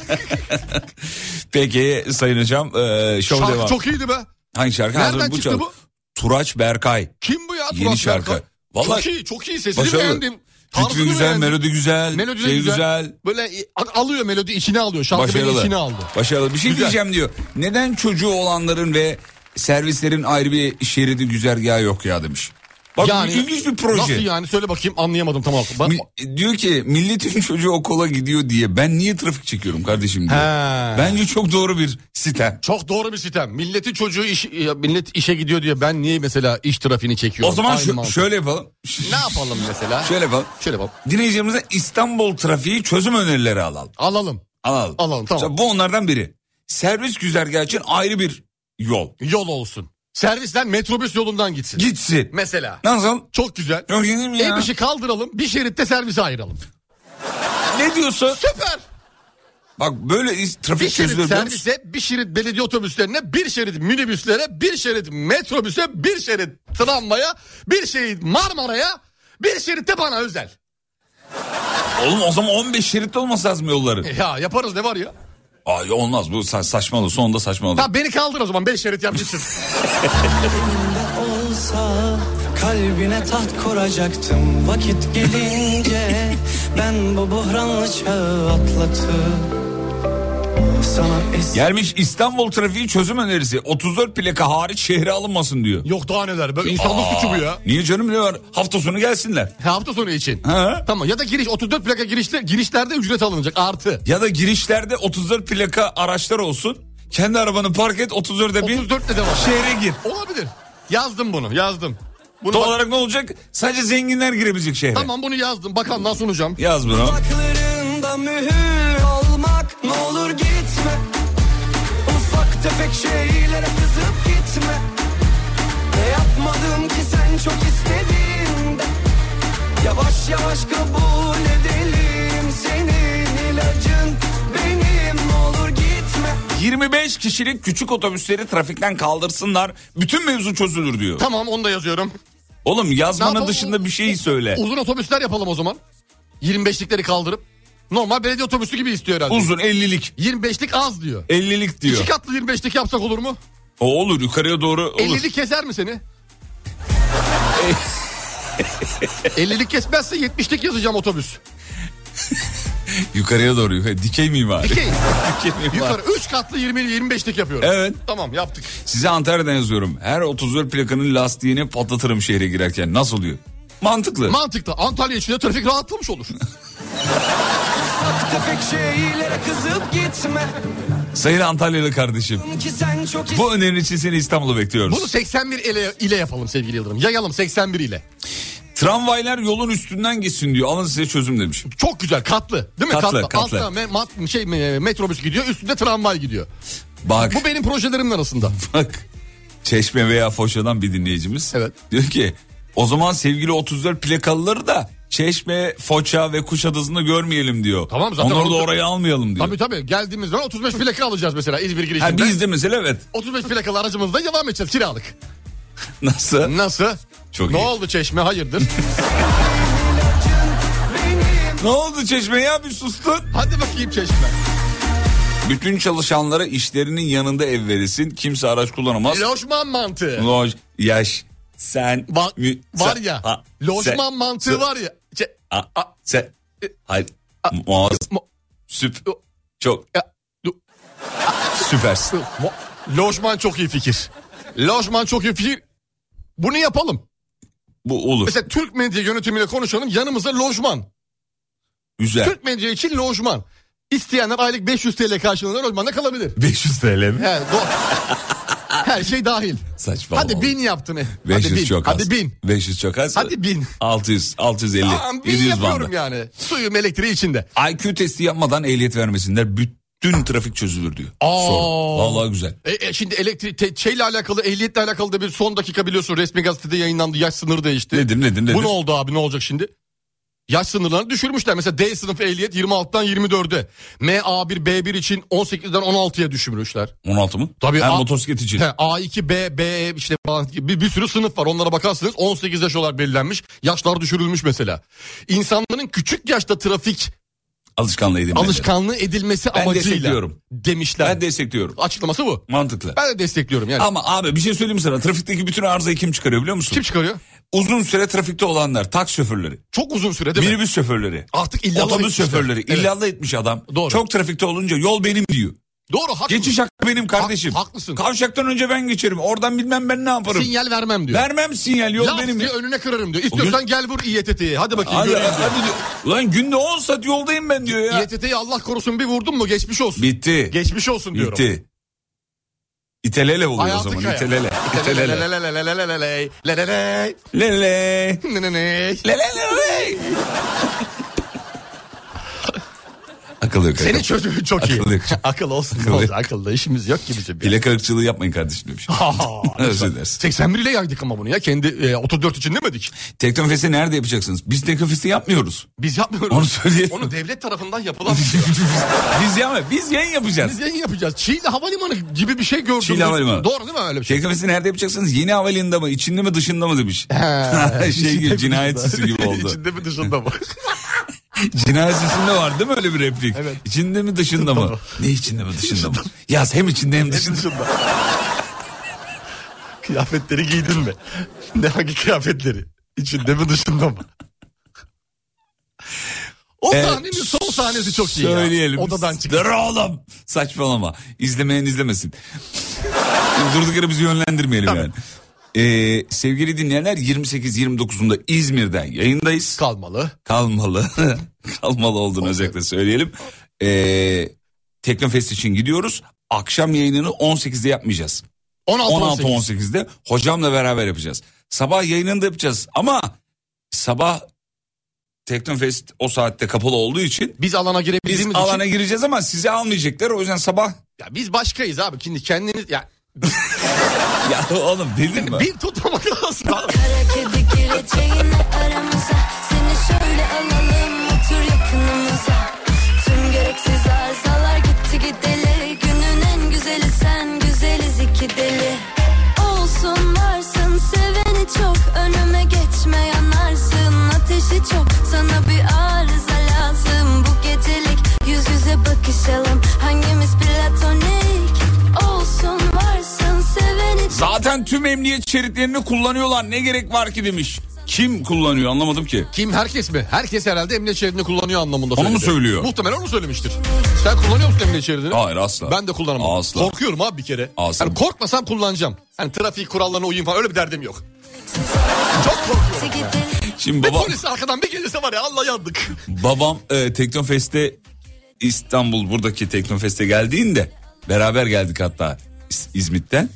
Speaker 3: Peki Sayın Hocam e, şov
Speaker 4: Şarkı
Speaker 3: devam.
Speaker 4: çok iyiydi be.
Speaker 3: Hangi şarkı?
Speaker 4: Nereden
Speaker 3: Hazır
Speaker 4: çıktı
Speaker 3: çal-
Speaker 4: bu?
Speaker 3: Turaç Berkay.
Speaker 4: Kim bu ya?
Speaker 3: Yeni
Speaker 4: Turan
Speaker 3: şarkı.
Speaker 4: Berkan?
Speaker 3: Vallahi-
Speaker 4: Çok iyi çok iyi sesini
Speaker 3: Başarılı.
Speaker 4: beğendim.
Speaker 3: Fikri güzel, melodi güzel,
Speaker 4: Melodi de
Speaker 3: şey
Speaker 4: güzel.
Speaker 3: güzel.
Speaker 4: Böyle i- a- alıyor melodi içine alıyor. Şarkı beni
Speaker 3: Başarılı.
Speaker 4: içine aldı.
Speaker 3: Başarılı. Bir şey
Speaker 4: Güzel.
Speaker 3: diyeceğim diyor. Neden çocuğu olanların ve servislerin ayrı bir şeridi güzergahı yok ya demiş. Bak bu ilginç bir proje.
Speaker 4: Nasıl yani söyle bakayım anlayamadım tamam. Ben,
Speaker 3: Mi- diyor ki milletin çocuğu okula gidiyor diye ben niye trafik çekiyorum kardeşim diyor.
Speaker 4: He.
Speaker 3: Bence çok doğru bir sitem.
Speaker 4: Çok doğru bir sitem. Milletin çocuğu iş, ya millet işe gidiyor diye ben niye mesela iş trafiğini çekiyorum?
Speaker 3: O zaman
Speaker 4: Aynı
Speaker 3: şu-
Speaker 4: mantık.
Speaker 3: şöyle yapalım.
Speaker 4: Ne yapalım mesela?
Speaker 3: Şöyle yapalım.
Speaker 4: Şöyle yapalım.
Speaker 3: Dinleyicilerimize İstanbul trafiği çözüm önerileri alalım.
Speaker 4: Alalım.
Speaker 3: Alalım.
Speaker 4: Alalım, tamam.
Speaker 3: Mesela bu onlardan biri. Servis güzergahı için ayrı bir yol.
Speaker 4: Yol olsun. Servisten metrobüs yolundan gitsin.
Speaker 3: Gitsin.
Speaker 4: Mesela.
Speaker 3: Nasıl?
Speaker 4: Çok güzel.
Speaker 3: Yok yeni mi ya?
Speaker 4: E5'i kaldıralım bir şeritte servise ayıralım.
Speaker 3: Ne diyorsun?
Speaker 4: Süper.
Speaker 3: Bak böyle is-
Speaker 4: Bir
Speaker 3: trafik çözülür.
Speaker 4: şerit
Speaker 3: biliyor musun?
Speaker 4: servise, bir şerit belediye otobüslerine, bir şerit minibüslere, bir şerit metrobüse, bir şerit tramvaya, bir şerit Marmara'ya, bir şerit de bana özel.
Speaker 3: Oğlum o zaman 15 şerit olması lazım yolları.
Speaker 4: Ya yaparız ne var ya?
Speaker 3: Ay olmaz bu sa- saçmalı. Sonunda saçmalı.
Speaker 4: Tamam beni kaldır o zaman 5 şerit yapacaksın.
Speaker 1: olsa kalbine taht kuracaktım vakit gelince ben bu buhranlı çağı atlatıp sana es
Speaker 3: Gelmiş İstanbul trafiği çözüm önerisi. 34 plaka hariç şehre alınmasın diyor.
Speaker 4: Yok daha neler be insanlık
Speaker 3: Aa,
Speaker 4: suçu bu ya.
Speaker 3: Niye canım ne var? Hafta sonu gelsinler.
Speaker 4: Ha, Hafta sonu için.
Speaker 3: Ha?
Speaker 4: Tamam ya da giriş 34 plaka girişte girişlerde ücret alınacak artı.
Speaker 3: Ya da girişlerde 34 plaka araçlar olsun. Kendi arabanı park et 34'e bir
Speaker 4: 34 de de var.
Speaker 3: şehre gir.
Speaker 4: Olabilir. Yazdım bunu yazdım. Bunu
Speaker 3: Doğal
Speaker 4: bak-
Speaker 3: olarak ne olacak? Sadece zenginler girebilecek şehre.
Speaker 4: tamam bunu yazdım bakanlığa sunacağım.
Speaker 3: Yaz bunu.
Speaker 1: Dudaklarında mühür olmak ne olur gitme Ufak tefek şeylere kızıp gitme Ne yapmadım ki sen çok istediğinde Yavaş yavaş kabul edelim senin ilacın benim ne olur gitme
Speaker 3: 25 kişilik küçük otobüsleri trafikten kaldırsınlar. Bütün mevzu çözülür diyor.
Speaker 4: Tamam onu da yazıyorum.
Speaker 3: Oğlum
Speaker 4: Ne
Speaker 3: yazmanın
Speaker 4: yapalım?
Speaker 3: dışında bir şey söyle.
Speaker 4: Uzun otobüsler yapalım o zaman. 25'likleri kaldırıp. Normal belediye otobüsü gibi istiyor herhalde.
Speaker 3: Uzun 50'lik.
Speaker 4: 25'lik az diyor.
Speaker 3: 50'lik diyor.
Speaker 4: İki katlı 25'lik yapsak olur mu?
Speaker 3: O olur yukarıya doğru olur.
Speaker 4: 50'lik keser mi seni? 50'lik kesmezse 70'lik yazacağım otobüs.
Speaker 3: Yukarıya doğru yukarı. Dikey mimari.
Speaker 4: Dikey.
Speaker 3: Dikey mimari.
Speaker 4: Yukarı 3 katlı 20'li 25'lik yapıyorum.
Speaker 3: Evet.
Speaker 4: Tamam yaptık.
Speaker 3: Size Antalya'dan yazıyorum. Her 34 plakanın lastiğini patlatırım şehre girerken. Nasıl oluyor? Mantıklı.
Speaker 4: Mantıklı. Antalya içinde trafik rahatlamış olur.
Speaker 1: Ufak tefek şeylere kızıp gitme
Speaker 3: Sayın Antalyalı kardeşim.
Speaker 1: Ki sen çok
Speaker 3: Bu önerin için seni İstanbul'a bekliyoruz.
Speaker 4: Bunu 81 ile, ile yapalım sevgili Yıldırım. Yayalım 81 ile.
Speaker 3: Tramvaylar yolun üstünden gitsin diyor. Alın size çözüm demiş.
Speaker 4: Çok güzel katlı. Değil mi?
Speaker 3: Katlı, katlı.
Speaker 4: Altta me- mat- şey, me- metrobüs gidiyor üstünde tramvay gidiyor.
Speaker 3: Bak
Speaker 4: Bu benim projelerim arasında.
Speaker 3: bak. Çeşme veya Foça'dan bir dinleyicimiz.
Speaker 4: Evet.
Speaker 3: Diyor ki o zaman sevgili 34 plakalıları da Çeşme, Foça ve Kuşadası'nı görmeyelim diyor.
Speaker 4: Tamam zaten
Speaker 3: Onları da
Speaker 4: onu-
Speaker 3: oraya almayalım diyor.
Speaker 4: Tabii tabii geldiğimiz zaman 35 plaka alacağız mesela İzmir
Speaker 3: Ha,
Speaker 4: girişinde.
Speaker 3: biz de mesela evet.
Speaker 4: 35 plakalı aracımızda devam edeceğiz kiralık.
Speaker 3: Nasıl?
Speaker 4: Nasıl?
Speaker 3: Çok
Speaker 4: ne
Speaker 3: iyi.
Speaker 4: oldu çeşme hayırdır?
Speaker 3: Ne oldu Çeşme ya bir sustun.
Speaker 4: Hadi bakayım çeşme.
Speaker 3: Bütün çalışanlara işlerinin yanında ev verilsin. Kimse araç kullanamaz.
Speaker 4: Lojman mantığı.
Speaker 3: Loj, yaş, sen,
Speaker 4: Va-
Speaker 3: mü-
Speaker 4: var
Speaker 3: sen-
Speaker 4: ya.
Speaker 3: ha,
Speaker 4: lojman
Speaker 3: sen-
Speaker 4: mantığı
Speaker 3: sen-
Speaker 4: var ya. Çe-
Speaker 3: A, a, sen, hayır, muaz,
Speaker 4: mu-
Speaker 3: süp,
Speaker 4: mu-
Speaker 3: çok,
Speaker 4: ya, du-
Speaker 3: süpersin.
Speaker 4: Mo- Lojman çok iyi fikir. Lojman çok iyi fikir. Bunu yapalım.
Speaker 3: Bu olur,
Speaker 4: Mesela Türk medya yönetimiyle konuşalım. Yanımıza lojman.
Speaker 3: güzel.
Speaker 4: Türk medya için lojman. İsteyenler aylık 500 TL karşılığında lojmanda kalabilir.
Speaker 3: 500 TL mi?
Speaker 4: He, doğru. Her şey dahil.
Speaker 3: Saçma.
Speaker 4: Hadi
Speaker 3: olmalı.
Speaker 4: bin yaptın. Hadi
Speaker 3: 500
Speaker 4: bin.
Speaker 3: çok az.
Speaker 4: Hadi bin.
Speaker 3: 500 çok az.
Speaker 4: Hadi bin.
Speaker 3: 600, 650,
Speaker 4: Tamam, bin
Speaker 3: 700
Speaker 4: yapıyorum
Speaker 3: bandı.
Speaker 4: yani. Suyum elektriği içinde.
Speaker 3: IQ testi yapmadan ehliyet vermesinler. Bütün trafik çözülür diyor.
Speaker 4: Aa.
Speaker 3: Sorun. Vallahi güzel.
Speaker 4: E, e, şimdi elektrik te- şeyle alakalı ehliyetle alakalı da bir son dakika biliyorsun resmi gazetede yayınlandı yaş sınırı değişti.
Speaker 3: Nedir nedir nedir?
Speaker 4: Bu ne oldu abi ne olacak şimdi? yaş sınırlarını düşürmüşler. Mesela D sınıfı ehliyet 26'dan 24'e. MA1 B1 için 18'den 16'ya düşürmüşler.
Speaker 3: 16 mı?
Speaker 4: Tabii
Speaker 3: Her
Speaker 4: A-
Speaker 3: motosiklet için.
Speaker 4: He, A2 B B işte falan gibi bir, bir sürü sınıf var. Onlara bakarsınız 18 yaş olarak belirlenmiş. Yaşlar düşürülmüş mesela. İnsanların küçük yaşta trafik
Speaker 3: Alışkanlığı edinmeleri.
Speaker 4: alışkanlığı edilmesi
Speaker 3: Ben
Speaker 4: amacıyla
Speaker 3: destekliyorum.
Speaker 4: demişler.
Speaker 3: Ben destekliyorum.
Speaker 4: Açıklaması bu.
Speaker 3: Mantıklı.
Speaker 4: Ben de destekliyorum yani.
Speaker 3: Ama abi bir şey söyleyeyim mi sana. Trafikteki bütün arızayı kim çıkarıyor biliyor musun?
Speaker 4: Kim çıkarıyor?
Speaker 3: Uzun süre trafikte olanlar, taksi şoförleri,
Speaker 4: Çok uzun süre değil mi?
Speaker 3: minibüs şoförleri,
Speaker 4: Artık illallah
Speaker 3: otobüs
Speaker 4: etmişler.
Speaker 3: şoförleri.
Speaker 4: Evet.
Speaker 3: İllallah etmiş adam.
Speaker 4: Doğru.
Speaker 3: Çok trafikte olunca yol benim diyor.
Speaker 4: Doğru haklısın.
Speaker 3: Geçiş hakkı benim kardeşim.
Speaker 4: Ha- haklısın.
Speaker 3: Kavşaktan önce ben geçerim. Oradan bilmem ben ne yaparım.
Speaker 4: Sinyal vermem diyor.
Speaker 3: Vermem sinyal yol
Speaker 4: Laf
Speaker 3: benim.
Speaker 4: diye
Speaker 3: diyor.
Speaker 4: önüne kırarım diyor. İstiyorsan gel vur İETT'ye. Hadi bakayım.
Speaker 3: Hadi,
Speaker 4: göreyim diyor.
Speaker 3: hadi diyor. Lan günde 10 saat yoldayım ben diyor ya.
Speaker 4: İETT'yi Allah korusun bir vurdun mu geçmiş olsun.
Speaker 3: Bitti.
Speaker 4: Geçmiş olsun diyorum.
Speaker 3: Bitti. İtelele oluyor o zaman.
Speaker 4: kaya.
Speaker 3: İtelele. İtelele.
Speaker 4: Leleleleleleleleleley, leleley,
Speaker 3: Lele.
Speaker 4: neneney.
Speaker 3: Lelele. Akıl yok.
Speaker 4: Senin çözümün çok iyi.
Speaker 3: Akıllı yok.
Speaker 4: Akıl olsun.
Speaker 3: Akıllı
Speaker 4: Akıllı.
Speaker 3: yok.
Speaker 4: Akıllı işimiz yok ki bizim. ya.
Speaker 3: Plak ırkçılığı yapmayın kardeşim şey. demiş.
Speaker 4: Ha,
Speaker 3: Özür
Speaker 4: lütfen.
Speaker 3: dileriz.
Speaker 4: 81 ile yaydık ama bunu ya. Kendi e, 34 için demedik.
Speaker 3: Teknofest'i nerede yapacaksınız? Biz teknofesti yapmıyoruz.
Speaker 4: Biz yapmıyoruz.
Speaker 3: Onu söyleyelim.
Speaker 4: Onu devlet tarafından yapılan bir şey.
Speaker 3: biz yapma. Biz yayın yapacağız.
Speaker 4: Biz yayın yapacağız. Çiğli Havalimanı gibi bir şey gördüm.
Speaker 3: Çiğli Havalimanı.
Speaker 4: Doğru değil mi öyle bir şey?
Speaker 3: Teknofest'i nerede yapacaksınız? Yeni havalimanında mı? İçinde mi dışında mı demiş.
Speaker 4: He.
Speaker 3: şey gibi cinayet süsü gibi oldu.
Speaker 4: İçinde mi dışında mı?
Speaker 3: Cinayet süsünde var değil mi öyle bir replik?
Speaker 4: Evet.
Speaker 3: İçinde mi dışında mı?
Speaker 4: mı?
Speaker 3: ne içinde mi dışında mı? Yaz hem içinde hem dışında.
Speaker 4: dışında. Kıyafetleri giydin mi? Ne hangi kıyafetleri? İçinde mi dışında mı? O
Speaker 3: Evet,
Speaker 4: sahnenin son sahnesi çok iyi
Speaker 3: Söyleyelim.
Speaker 4: ya. Odadan çıktı.
Speaker 3: Dur oğlum. Saçmalama. İzlemeyen izlemesin. Şimdi Durduk yere bizi yönlendirmeyelim yani. Ee, sevgili dinleyenler 28-29'unda İzmir'den yayındayız.
Speaker 4: Kalmalı.
Speaker 3: Kalmalı. Kalmalı olduğunu özellikle söyleyelim. Ee, Teknofest için gidiyoruz. Akşam yayınını 18'de yapmayacağız.
Speaker 4: 16-18.
Speaker 3: 16-18'de hocamla beraber yapacağız. Sabah yayınında yapacağız ama sabah Teknofest o saatte kapalı olduğu için
Speaker 4: Biz alana
Speaker 3: biz
Speaker 4: girebildiğimiz
Speaker 3: alana
Speaker 4: için.
Speaker 3: gireceğiz ama sizi almayacaklar. O yüzden sabah
Speaker 4: Ya biz başkayız abi. Şimdi kendiniz... Ya,
Speaker 3: ya oğlum bildin mi?
Speaker 4: bir tutmamak lazım. abi.
Speaker 6: Kara kedi gireceğine aramıza Seni şöyle alalım otur yakınımıza Tüm gereksiz arızalar gitti gideli Günün en güzeli sen güzeliz iki deli Olsun varsın seveni çok Önüme geçme yanarsın ateşi çok Sana bir arıza lazım bu gecelik Yüz yüze bakışalım hangimiz platonik Olsun varsın seveni çok
Speaker 3: Zaten tüm emniyet şeritlerini kullanıyorlar. Ne gerek var ki demiş. Kim kullanıyor anlamadım ki.
Speaker 4: Kim herkes mi? Herkes herhalde emniyet şeridini kullanıyor anlamında
Speaker 3: Onu mu
Speaker 4: söyledi.
Speaker 3: söylüyor?
Speaker 4: Muhtemelen onu söylemiştir. Sen kullanıyor musun emniyet şeridini?
Speaker 3: Hayır asla.
Speaker 4: Ben de kullanamam.
Speaker 3: Asla.
Speaker 4: Korkuyorum abi bir kere.
Speaker 3: Asla.
Speaker 4: Yani korkmasam kullanacağım. Hani trafik kurallarına uyayım falan öyle bir derdim yok.
Speaker 3: Şimdi
Speaker 4: Bir
Speaker 3: babam,
Speaker 4: polis arkadan bir gelirse var ya Allah yandık.
Speaker 3: babam e, Teknofest'e İstanbul buradaki Teknofest'e geldiğinde beraber geldik hatta İz- İzmit'ten.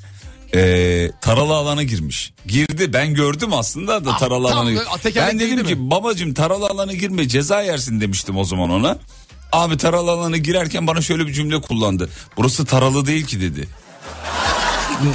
Speaker 3: E, taralı alana girmiş. Girdi ben gördüm aslında da taralı
Speaker 4: Ah, tam
Speaker 3: alana.
Speaker 4: da
Speaker 3: gir-
Speaker 4: tekerlek
Speaker 3: Ben
Speaker 4: değil
Speaker 3: dedim
Speaker 4: mi?
Speaker 3: ki babacım taralı alana girme ceza yersin demiştim o zaman ona. Abi taralı alana girerken bana şöyle bir cümle kullandı. Burası taralı değil ki dedi.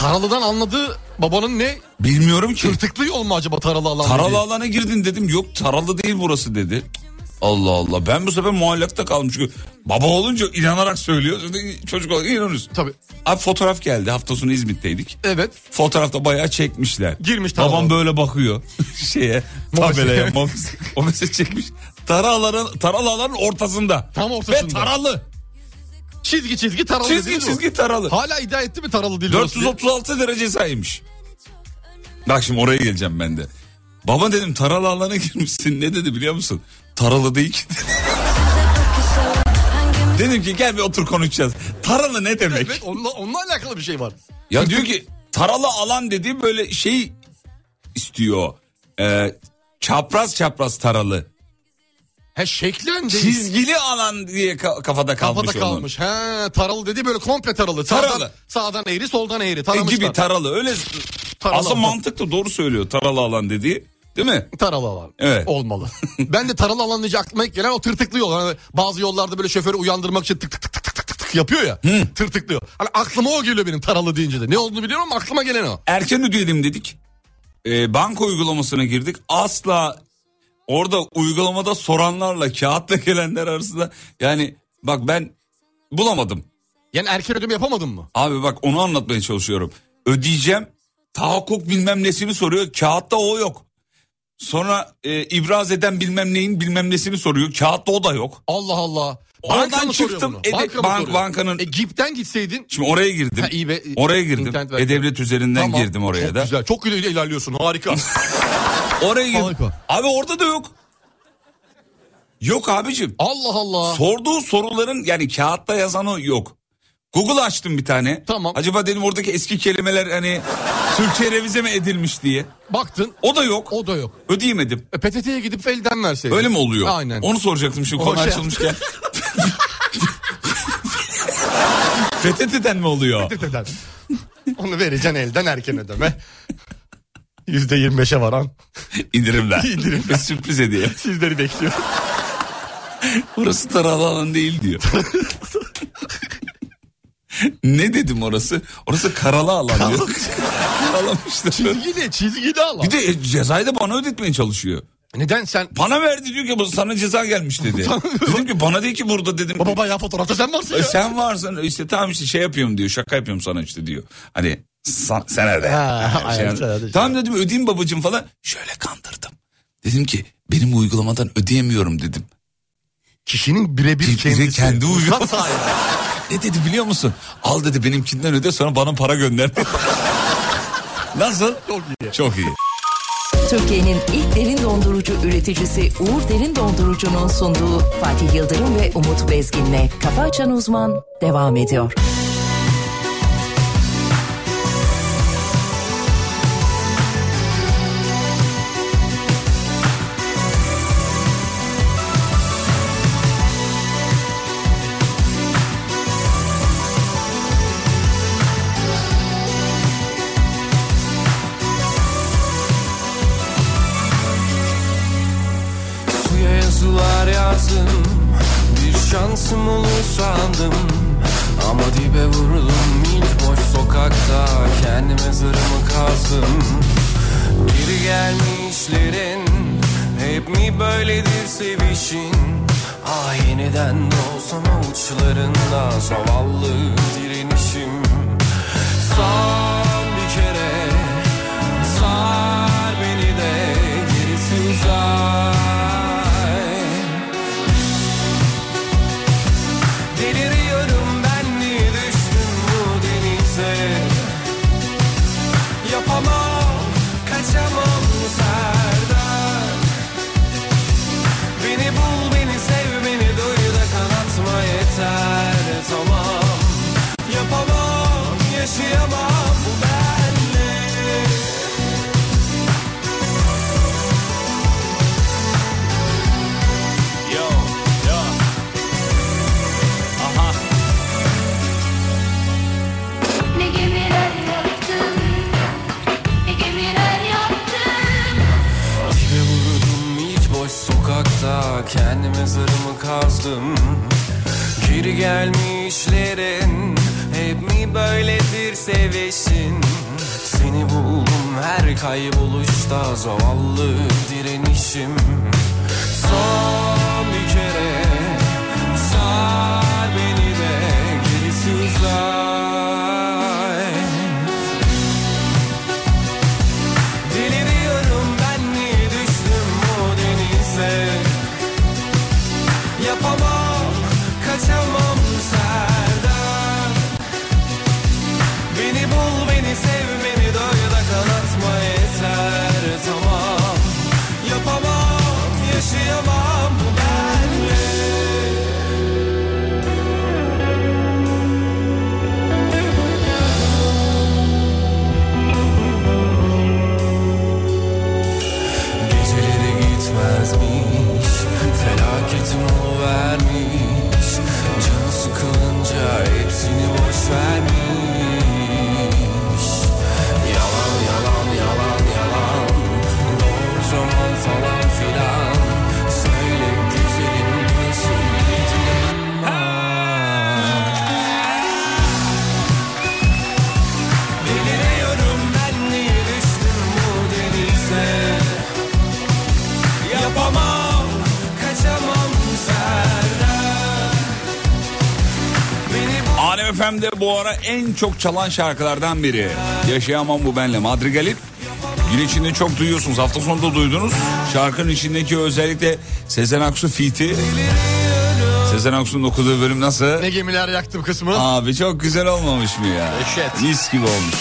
Speaker 4: Taralı'dan anladığı babanın ne?
Speaker 3: Bilmiyorum ki.
Speaker 4: Tırtıklı yol mu acaba Taralı alan?
Speaker 3: Taralı
Speaker 4: dediği?
Speaker 3: alana girdin dedim. Yok taralı değil burası dedi. Cık, Allah Allah. Ben bu sefer muallakta kalmış. Çünkü baba olunca inanarak söylüyor. Şimdi Çocuk olarak inanıyoruz.
Speaker 4: Tabii.
Speaker 3: Abi fotoğraf geldi. Hafta sonu İzmit'teydik.
Speaker 4: Evet.
Speaker 3: Fotoğrafta bayağı çekmişler.
Speaker 4: Girmiş taralı
Speaker 3: Babam
Speaker 4: alana.
Speaker 3: böyle bakıyor. Şeye.
Speaker 4: Mobese.
Speaker 3: Tabelaya. mobese- Mobese çekmiş. Taraların, taralı alanın ortasında.
Speaker 4: Tam ortasında.
Speaker 3: Ve taralı.
Speaker 4: Çizgi çizgi Taralı
Speaker 3: Çizgi
Speaker 4: dediğiniz bu.
Speaker 3: çizgi taralı.
Speaker 4: Hala iddia etti mi Taralı değil orası diye?
Speaker 3: 436 derece saymış. Bak şimdi oraya geleceğim ben de. Baba dedim taralı alana girmişsin. Ne dedi biliyor musun? Taralı değil ki. dedim ki gel bir otur konuşacağız. Taralı ne demek?
Speaker 4: Evet onunla, onunla alakalı bir şey var.
Speaker 3: Ya diyor ki taralı alan dediği böyle şey istiyor. Ee, çapraz çapraz taralı.
Speaker 4: He şeklen değil.
Speaker 3: Çizgili alan diye ka- kafada kalmış
Speaker 4: Kafada
Speaker 3: onun.
Speaker 4: kalmış. He taralı dedi böyle komple taralı. Sağdan,
Speaker 3: Taralı.
Speaker 4: Sağdan eğri soldan eğri.
Speaker 3: E,
Speaker 4: Taramışlar.
Speaker 3: gibi taralı öyle.
Speaker 4: Taralı
Speaker 3: Aslında
Speaker 4: alan.
Speaker 3: mantıklı doğru söylüyor taralı alan dediği. Değil mi?
Speaker 4: Taralı alan.
Speaker 3: Evet.
Speaker 4: Olmalı. ben de taralı alan deyince aklıma ilk gelen o tırtıklı yol. Hani bazı yollarda böyle şoförü uyandırmak için tık tık tık tık tık tık tık tık yapıyor ya. Tırtıklıyor. Hani aklıma o geliyor benim taralı deyince de. Ne olduğunu biliyorum ama aklıma gelen o.
Speaker 3: erken ödeyelim dedik. Ee, banka uygulamasına girdik. Asla orada uygulamada soranlarla kağıtla gelenler arasında yani bak ben bulamadım.
Speaker 4: Yani erken ödeme yapamadın mı?
Speaker 3: Abi bak onu anlatmaya çalışıyorum. Ödeyeceğim tahakkuk bilmem nesini soruyor kağıtta o yok. Sonra e, ibraz eden bilmem neyin bilmem nesini soruyor kağıtta o da yok.
Speaker 4: Allah Allah.
Speaker 3: Oradan
Speaker 4: Banka mı soruyor
Speaker 3: çıktım
Speaker 4: bunu?
Speaker 3: e,
Speaker 4: Banka mı
Speaker 3: bank-
Speaker 4: soruyor?
Speaker 3: bankanın
Speaker 4: E GİP'ten gitseydin.
Speaker 3: Şimdi oraya girdim.
Speaker 4: Ha, iyi be.
Speaker 3: Oraya girdim.
Speaker 4: İnternet ver-
Speaker 3: E-Devlet üzerinden
Speaker 4: Tamam.
Speaker 3: girdim oraya
Speaker 4: Çok
Speaker 3: da.
Speaker 4: güzel. Çok güzel ilerliyorsun. Harika.
Speaker 3: Oraya girdim.
Speaker 4: Harika.
Speaker 3: Abi orada da yok. Yok abicim.
Speaker 4: Allah Allah.
Speaker 3: Sorduğu soruların yani kağıtta yazanı yok. Google açtım bir tane.
Speaker 4: Tamam.
Speaker 3: Acaba dedim oradaki eski kelimeler hani Türkçe revize mi edilmiş diye.
Speaker 4: Baktın.
Speaker 3: O da yok.
Speaker 4: O da yok.
Speaker 3: Ödeyemedim.
Speaker 4: E, PTT'ye gidip elden verseydin.
Speaker 3: Öyle mi oluyor?
Speaker 4: Aynen.
Speaker 3: Onu soracaktım şimdi konu
Speaker 4: şey-
Speaker 3: açılmışken. PTT'den mi oluyor?
Speaker 4: Öder. Onu vereceksin elden erken ödeme. %25'e varan
Speaker 3: İndirimler.
Speaker 4: İndirimler.
Speaker 3: Sürpriz hediye.
Speaker 4: sizleri bekliyor.
Speaker 3: Burası taralı alan değil diyor. ne dedim orası? Orası karalı alan diyor. Karalamışlar.
Speaker 4: Çizgili, çizgili alan.
Speaker 3: Bir de e, cezayı da bana ödetmeye çalışıyor.
Speaker 4: Neden sen...
Speaker 3: Bana verdi diyor ki bu sana ceza gelmiş dedi. dedim ki bana değil ki burada dedim.
Speaker 4: Baba ya fotoğrafta sen varsın
Speaker 3: "E,
Speaker 4: ya.
Speaker 3: Sen varsın işte tamam işte şey yapıyorum diyor şaka yapıyorum sana işte diyor. Hani sen, sen öde.
Speaker 4: Ha,
Speaker 3: Yani şey-
Speaker 4: aynen, sen öde.
Speaker 3: tamam dedim ödeyeyim babacığım falan. Şöyle kandırdım. Dedim ki benim uygulamadan ödeyemiyorum dedim.
Speaker 4: Kişinin birebir
Speaker 3: Birebir
Speaker 4: kendisi.
Speaker 3: kendi uyuyor.
Speaker 4: Ruhsat sahibi.
Speaker 3: Ne dedi biliyor musun? Al dedi benimkinden öde sonra bana para gönder. Nasıl? Çok iyi. Çok iyi.
Speaker 5: Türkiye'nin ilk derin dondurucu üreticisi Uğur Derin Dondurucu'nun sunduğu Fatih Yıldırım ve Umut Bezgin'le Kafa Açan Uzman devam ediyor.
Speaker 12: Suya yazılar yazdım Bir şansım olur sandım Ama dibe vuruldum ilk boş sokakta Kendime zırhımı kazdım Geri gelmişlerin Hep mi böyledir sevişin Ah yeniden doğsam uçlarında Zavallı direnişim Sağ bir kere Sar beni de gerisi uzay Deliriyorum ben niye düştüm bu denize Yapamam kaçamam Serdar Beni bul beni sev beni duy da kanatma yeter tamam Yapamam yaşayamam bu benle Yo, yo. Uh-huh. Aha.
Speaker 10: Ne gemiler yaptın Ne gemiler yaptın
Speaker 12: Dibe vurdum ilk boş sokakta Kendime zarımı kazdım Geri gelmişlerin Hep mi böyledir sevişin Seni buldum her kayboluşta Zavallı direnişim Son bir kere Sar beni de gerisi uzay Deliriyorum ben niye düştüm bu denize Yapamam kaçamam Serdar Beni bul beni sev beni doy da kanatma yeter tamam Yapamam yaşayamam bu
Speaker 3: Alem FM'de bu ara en çok çalan şarkılardan biri. Yaşayamam bu benle. Madrigal'in gün içinde çok duyuyorsunuz. Hafta sonu da duydunuz. Şarkının içindeki özellikle Sezen Aksu fiti. Sezen Aksu'nun okuduğu bölüm nasıl?
Speaker 4: Ne gemiler yaktım kısmı.
Speaker 3: Abi çok güzel olmamış mı ya?
Speaker 4: Eşet.
Speaker 3: Mis gibi olmuş.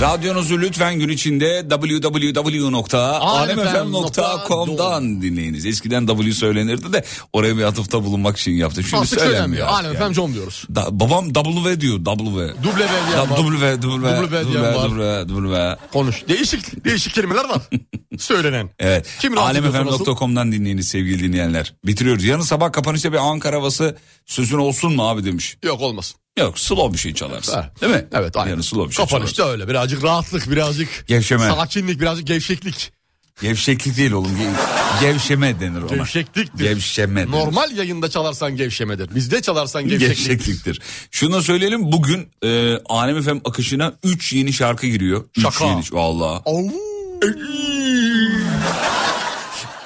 Speaker 3: Radyonuzu lütfen gün içinde www.alemfm.com'dan dinleyiniz. Eskiden W söylenirdi de oraya bir atıfta bulunmak için yaptım. Şimdi
Speaker 4: Artık
Speaker 3: söylenmiyor.
Speaker 4: söylenmiyor.
Speaker 3: artık
Speaker 4: Alem
Speaker 3: yani.
Speaker 4: efendim John diyoruz.
Speaker 3: Da- babam W diyor W.
Speaker 4: Duble V diyen
Speaker 3: Da-
Speaker 4: var.
Speaker 3: W, W,
Speaker 4: W diyen var.
Speaker 3: W, W.
Speaker 4: Konuş. Değişik değişik kelimeler var. Söylenen.
Speaker 3: Evet.
Speaker 4: Kim rahatsız ediyorsa nasıl?
Speaker 3: Alemfm.com'dan dinleyiniz sevgili dinleyenler. Bitiriyoruz. Yarın sabah kapanışta bir Ankara havası sözün olsun mu abi demiş.
Speaker 4: Yok olmasın.
Speaker 3: Yok slow bir şey çalarsın.
Speaker 4: Ha.
Speaker 3: Değil mi?
Speaker 4: Evet aynen.
Speaker 3: Yarın slow bir şey çalarsın.
Speaker 4: Kapanışta öyle. Birazcık rahatlık, birazcık
Speaker 3: Gevşeme.
Speaker 4: sakinlik, birazcık gevşeklik.
Speaker 3: Gevşeklik değil oğlum. Ge- Gevşeme denir ona.
Speaker 4: Gevşekliktir.
Speaker 3: Gevşeme denir.
Speaker 4: Normal yayında çalarsan gevşemedir. Bizde çalarsan gevşeklik.
Speaker 3: Gevşekliktir. Şunu da söyleyelim bugün e, Alem FM akışına 3 yeni şarkı giriyor. Üç
Speaker 4: Şaka.
Speaker 3: Yeni, vallahi.
Speaker 4: Au.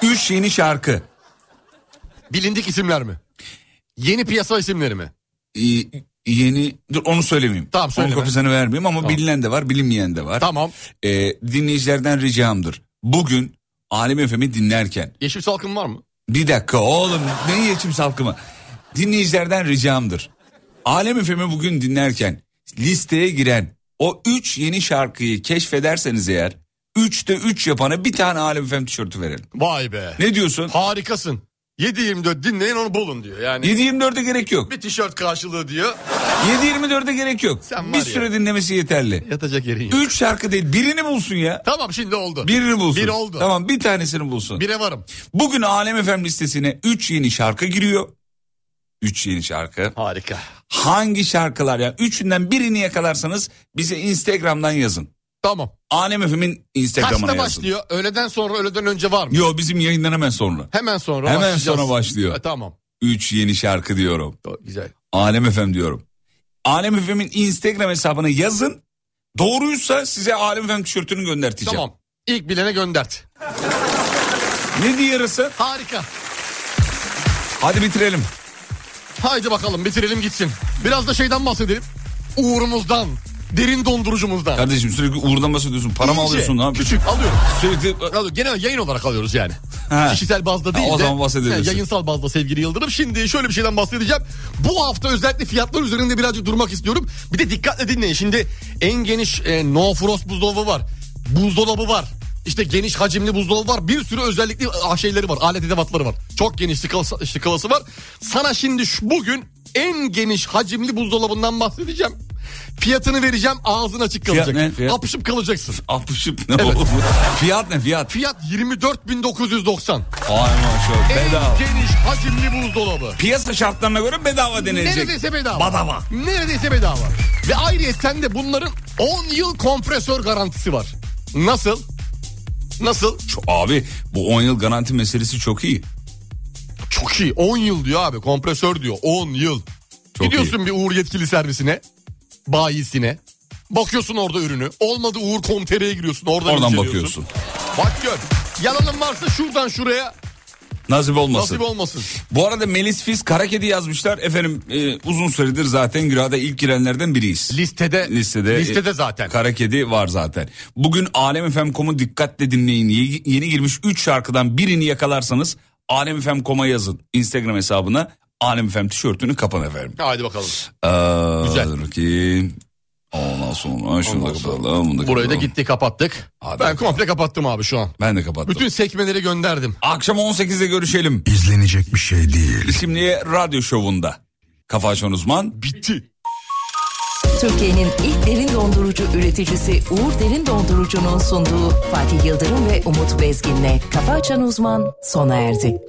Speaker 3: Ee, 3 yeni şarkı.
Speaker 4: Bilindik isimler mi? Yeni piyasa isimleri mi?
Speaker 3: E, yeni dur onu söylemeyeyim.
Speaker 4: Tamam,
Speaker 3: Onun
Speaker 4: söyleme.
Speaker 3: kopyasını vermeyeyim ama bilinen de var bilinmeyen de var.
Speaker 4: Tamam.
Speaker 3: E, dinleyicilerden ricamdır. Bugün Alem FM'i dinlerken
Speaker 4: Yeşil Salkım var mı?
Speaker 3: Bir dakika oğlum ne yeçim salkımı. Dinleyicilerden ricamdır. Alem FM'i bugün dinlerken listeye giren o 3 yeni şarkıyı keşfederseniz eğer 3'te 3 yapana bir tane Alem FM tişörtü verelim.
Speaker 4: Vay be.
Speaker 3: Ne diyorsun?
Speaker 4: Harikasın. 7-24 dinleyin onu bulun diyor. Yani
Speaker 3: 7-24'e gerek yok.
Speaker 4: bir tişört karşılığı diyor.
Speaker 3: 7-24'e gerek yok.
Speaker 4: Sen var
Speaker 3: bir
Speaker 4: ya.
Speaker 3: süre dinlemesi yeterli.
Speaker 4: Yatacak yerin yok.
Speaker 3: 3 şarkı değil birini bulsun ya.
Speaker 4: Tamam şimdi oldu.
Speaker 3: Birini bulsun.
Speaker 4: Bir oldu.
Speaker 3: Tamam bir tanesini bulsun.
Speaker 4: Bire varım.
Speaker 3: Bugün Alem FM listesine 3 yeni şarkı giriyor. 3 yeni şarkı.
Speaker 4: Harika.
Speaker 3: hangi şarkılar ya? Üçünden birini yakalarsanız bize Instagram'dan yazın.
Speaker 4: Tamam.
Speaker 3: Alem Efem'in Instagram'ına
Speaker 4: Kaçta
Speaker 3: yazın.
Speaker 4: başlıyor? Öğleden sonra öğleden önce var mı?
Speaker 3: Yo bizim yayından hemen sonra.
Speaker 4: Hemen sonra
Speaker 3: Hemen
Speaker 4: başlayacağız.
Speaker 3: sonra başlıyor.
Speaker 4: Ha, tamam.
Speaker 3: Üç yeni şarkı diyorum.
Speaker 4: Do- Güzel.
Speaker 3: Alem Efem diyorum. Alem Efem'in Instagram hesabına yazın. Doğruysa size Alem Efem tişörtünü gönderteceğim.
Speaker 4: Tamam. İlk bilene göndert.
Speaker 3: Ne diye yarısı?
Speaker 4: Harika.
Speaker 3: Hadi bitirelim.
Speaker 4: Haydi bakalım bitirelim gitsin. Biraz da şeyden bahsedelim. Uğurumuzdan. Derin dondurucumuzdan.
Speaker 3: Kardeşim sürekli uğurdan bahsediyorsun. Para mı
Speaker 4: İyice
Speaker 3: alıyorsun? Ne yapıyorsun?
Speaker 4: şey. Küçük alıyorum.
Speaker 3: Sürekli...
Speaker 4: Alıyor. Genel yayın olarak alıyoruz yani.
Speaker 3: He.
Speaker 4: Kişisel bazda değil
Speaker 3: Ha, o
Speaker 4: de.
Speaker 3: zaman bahsedebilirsin.
Speaker 4: yani Yayınsal bazda sevgili Yıldırım. Şimdi şöyle bir şeyden bahsedeceğim. Bu hafta özellikle fiyatlar üzerinde birazcık durmak istiyorum. Bir de dikkatle dinleyin. Şimdi en geniş e, no frost buzdolabı var. Buzdolabı var. İşte geniş hacimli buzdolabı var. Bir sürü özellikli ah, şeyleri var. Alet edevatları var. Çok geniş skalası, skalası var. Sana şimdi şu, bugün en geniş hacimli buzdolabından bahsedeceğim. Fiyatını vereceğim ağzın açık
Speaker 3: Fiyat
Speaker 4: kalacak.
Speaker 3: ne? Fiyat?
Speaker 4: Apışıp kalacaksın.
Speaker 3: Apışıp ne olur mu? Fiyat ne fiyat?
Speaker 4: Fiyat 24.990.
Speaker 3: Ay maşallah
Speaker 4: En
Speaker 3: bedava.
Speaker 4: geniş hacimli buzdolabı.
Speaker 3: Piyasa şartlarına göre bedava denilecek.
Speaker 4: Neredeyse bedava.
Speaker 3: Badava.
Speaker 4: Neredeyse bedava. Ve ayrıyeten de bunların 10 yıl kompresör garantisi var. Nasıl? Nasıl?
Speaker 3: Şu- Abi bu 10 yıl garanti meselesi çok iyi.
Speaker 4: Çok iyi. 10 yıl diyor abi. Kompresör diyor. 10 yıl.
Speaker 3: Çok
Speaker 4: Gidiyorsun bir Uğur yetkili servisine. Bayisine. Bakıyorsun orada ürünü. Olmadı Uğur.com.tr'ye giriyorsun. Oradan,
Speaker 3: Oradan bakıyorsun.
Speaker 4: inceliyorsun. Bak gör. Yalanın varsa şuradan şuraya
Speaker 3: Nasip olmasın.
Speaker 4: nasip olmasın.
Speaker 3: Bu arada Melis Fiz Karakedi yazmışlar. Efendim e, uzun süredir zaten Gürad'a ilk girenlerden biriyiz.
Speaker 4: Listede
Speaker 3: Listede,
Speaker 4: listede
Speaker 3: e,
Speaker 4: zaten.
Speaker 3: Karakedi var zaten. Bugün alemfm.com'u dikkatle dinleyin. Ye- Yeni girmiş 3 şarkıdan birini yakalarsanız alemfm.com'a yazın. Instagram hesabına alemfm tişörtünü kapan efendim.
Speaker 4: Haydi bakalım.
Speaker 12: Euh,
Speaker 3: Aa,
Speaker 4: Güzel.
Speaker 3: dur Ki, ondan sonra şunu da kapatalım. bunu da
Speaker 4: Burayı da
Speaker 3: kapatalım.
Speaker 4: gitti kapattık.
Speaker 3: Hadi
Speaker 4: ben
Speaker 3: bakalım.
Speaker 4: komple kapattım abi şu an.
Speaker 3: Ben de kapattım.
Speaker 4: Bütün sekmeleri gönderdim.
Speaker 3: Akşam 18'de görüşelim.
Speaker 13: İzlenecek bir şey değil.
Speaker 3: Şimdi radyo şovunda. Kafa Açan Uzman
Speaker 4: Bitti.
Speaker 5: Türkiye'nin ilk derin dondurucu üreticisi Uğur Derin Dondurucu'nun sunduğu Fatih Yıldırım ve Umut Bezgin'le Kafa Açan Uzman sona erdi.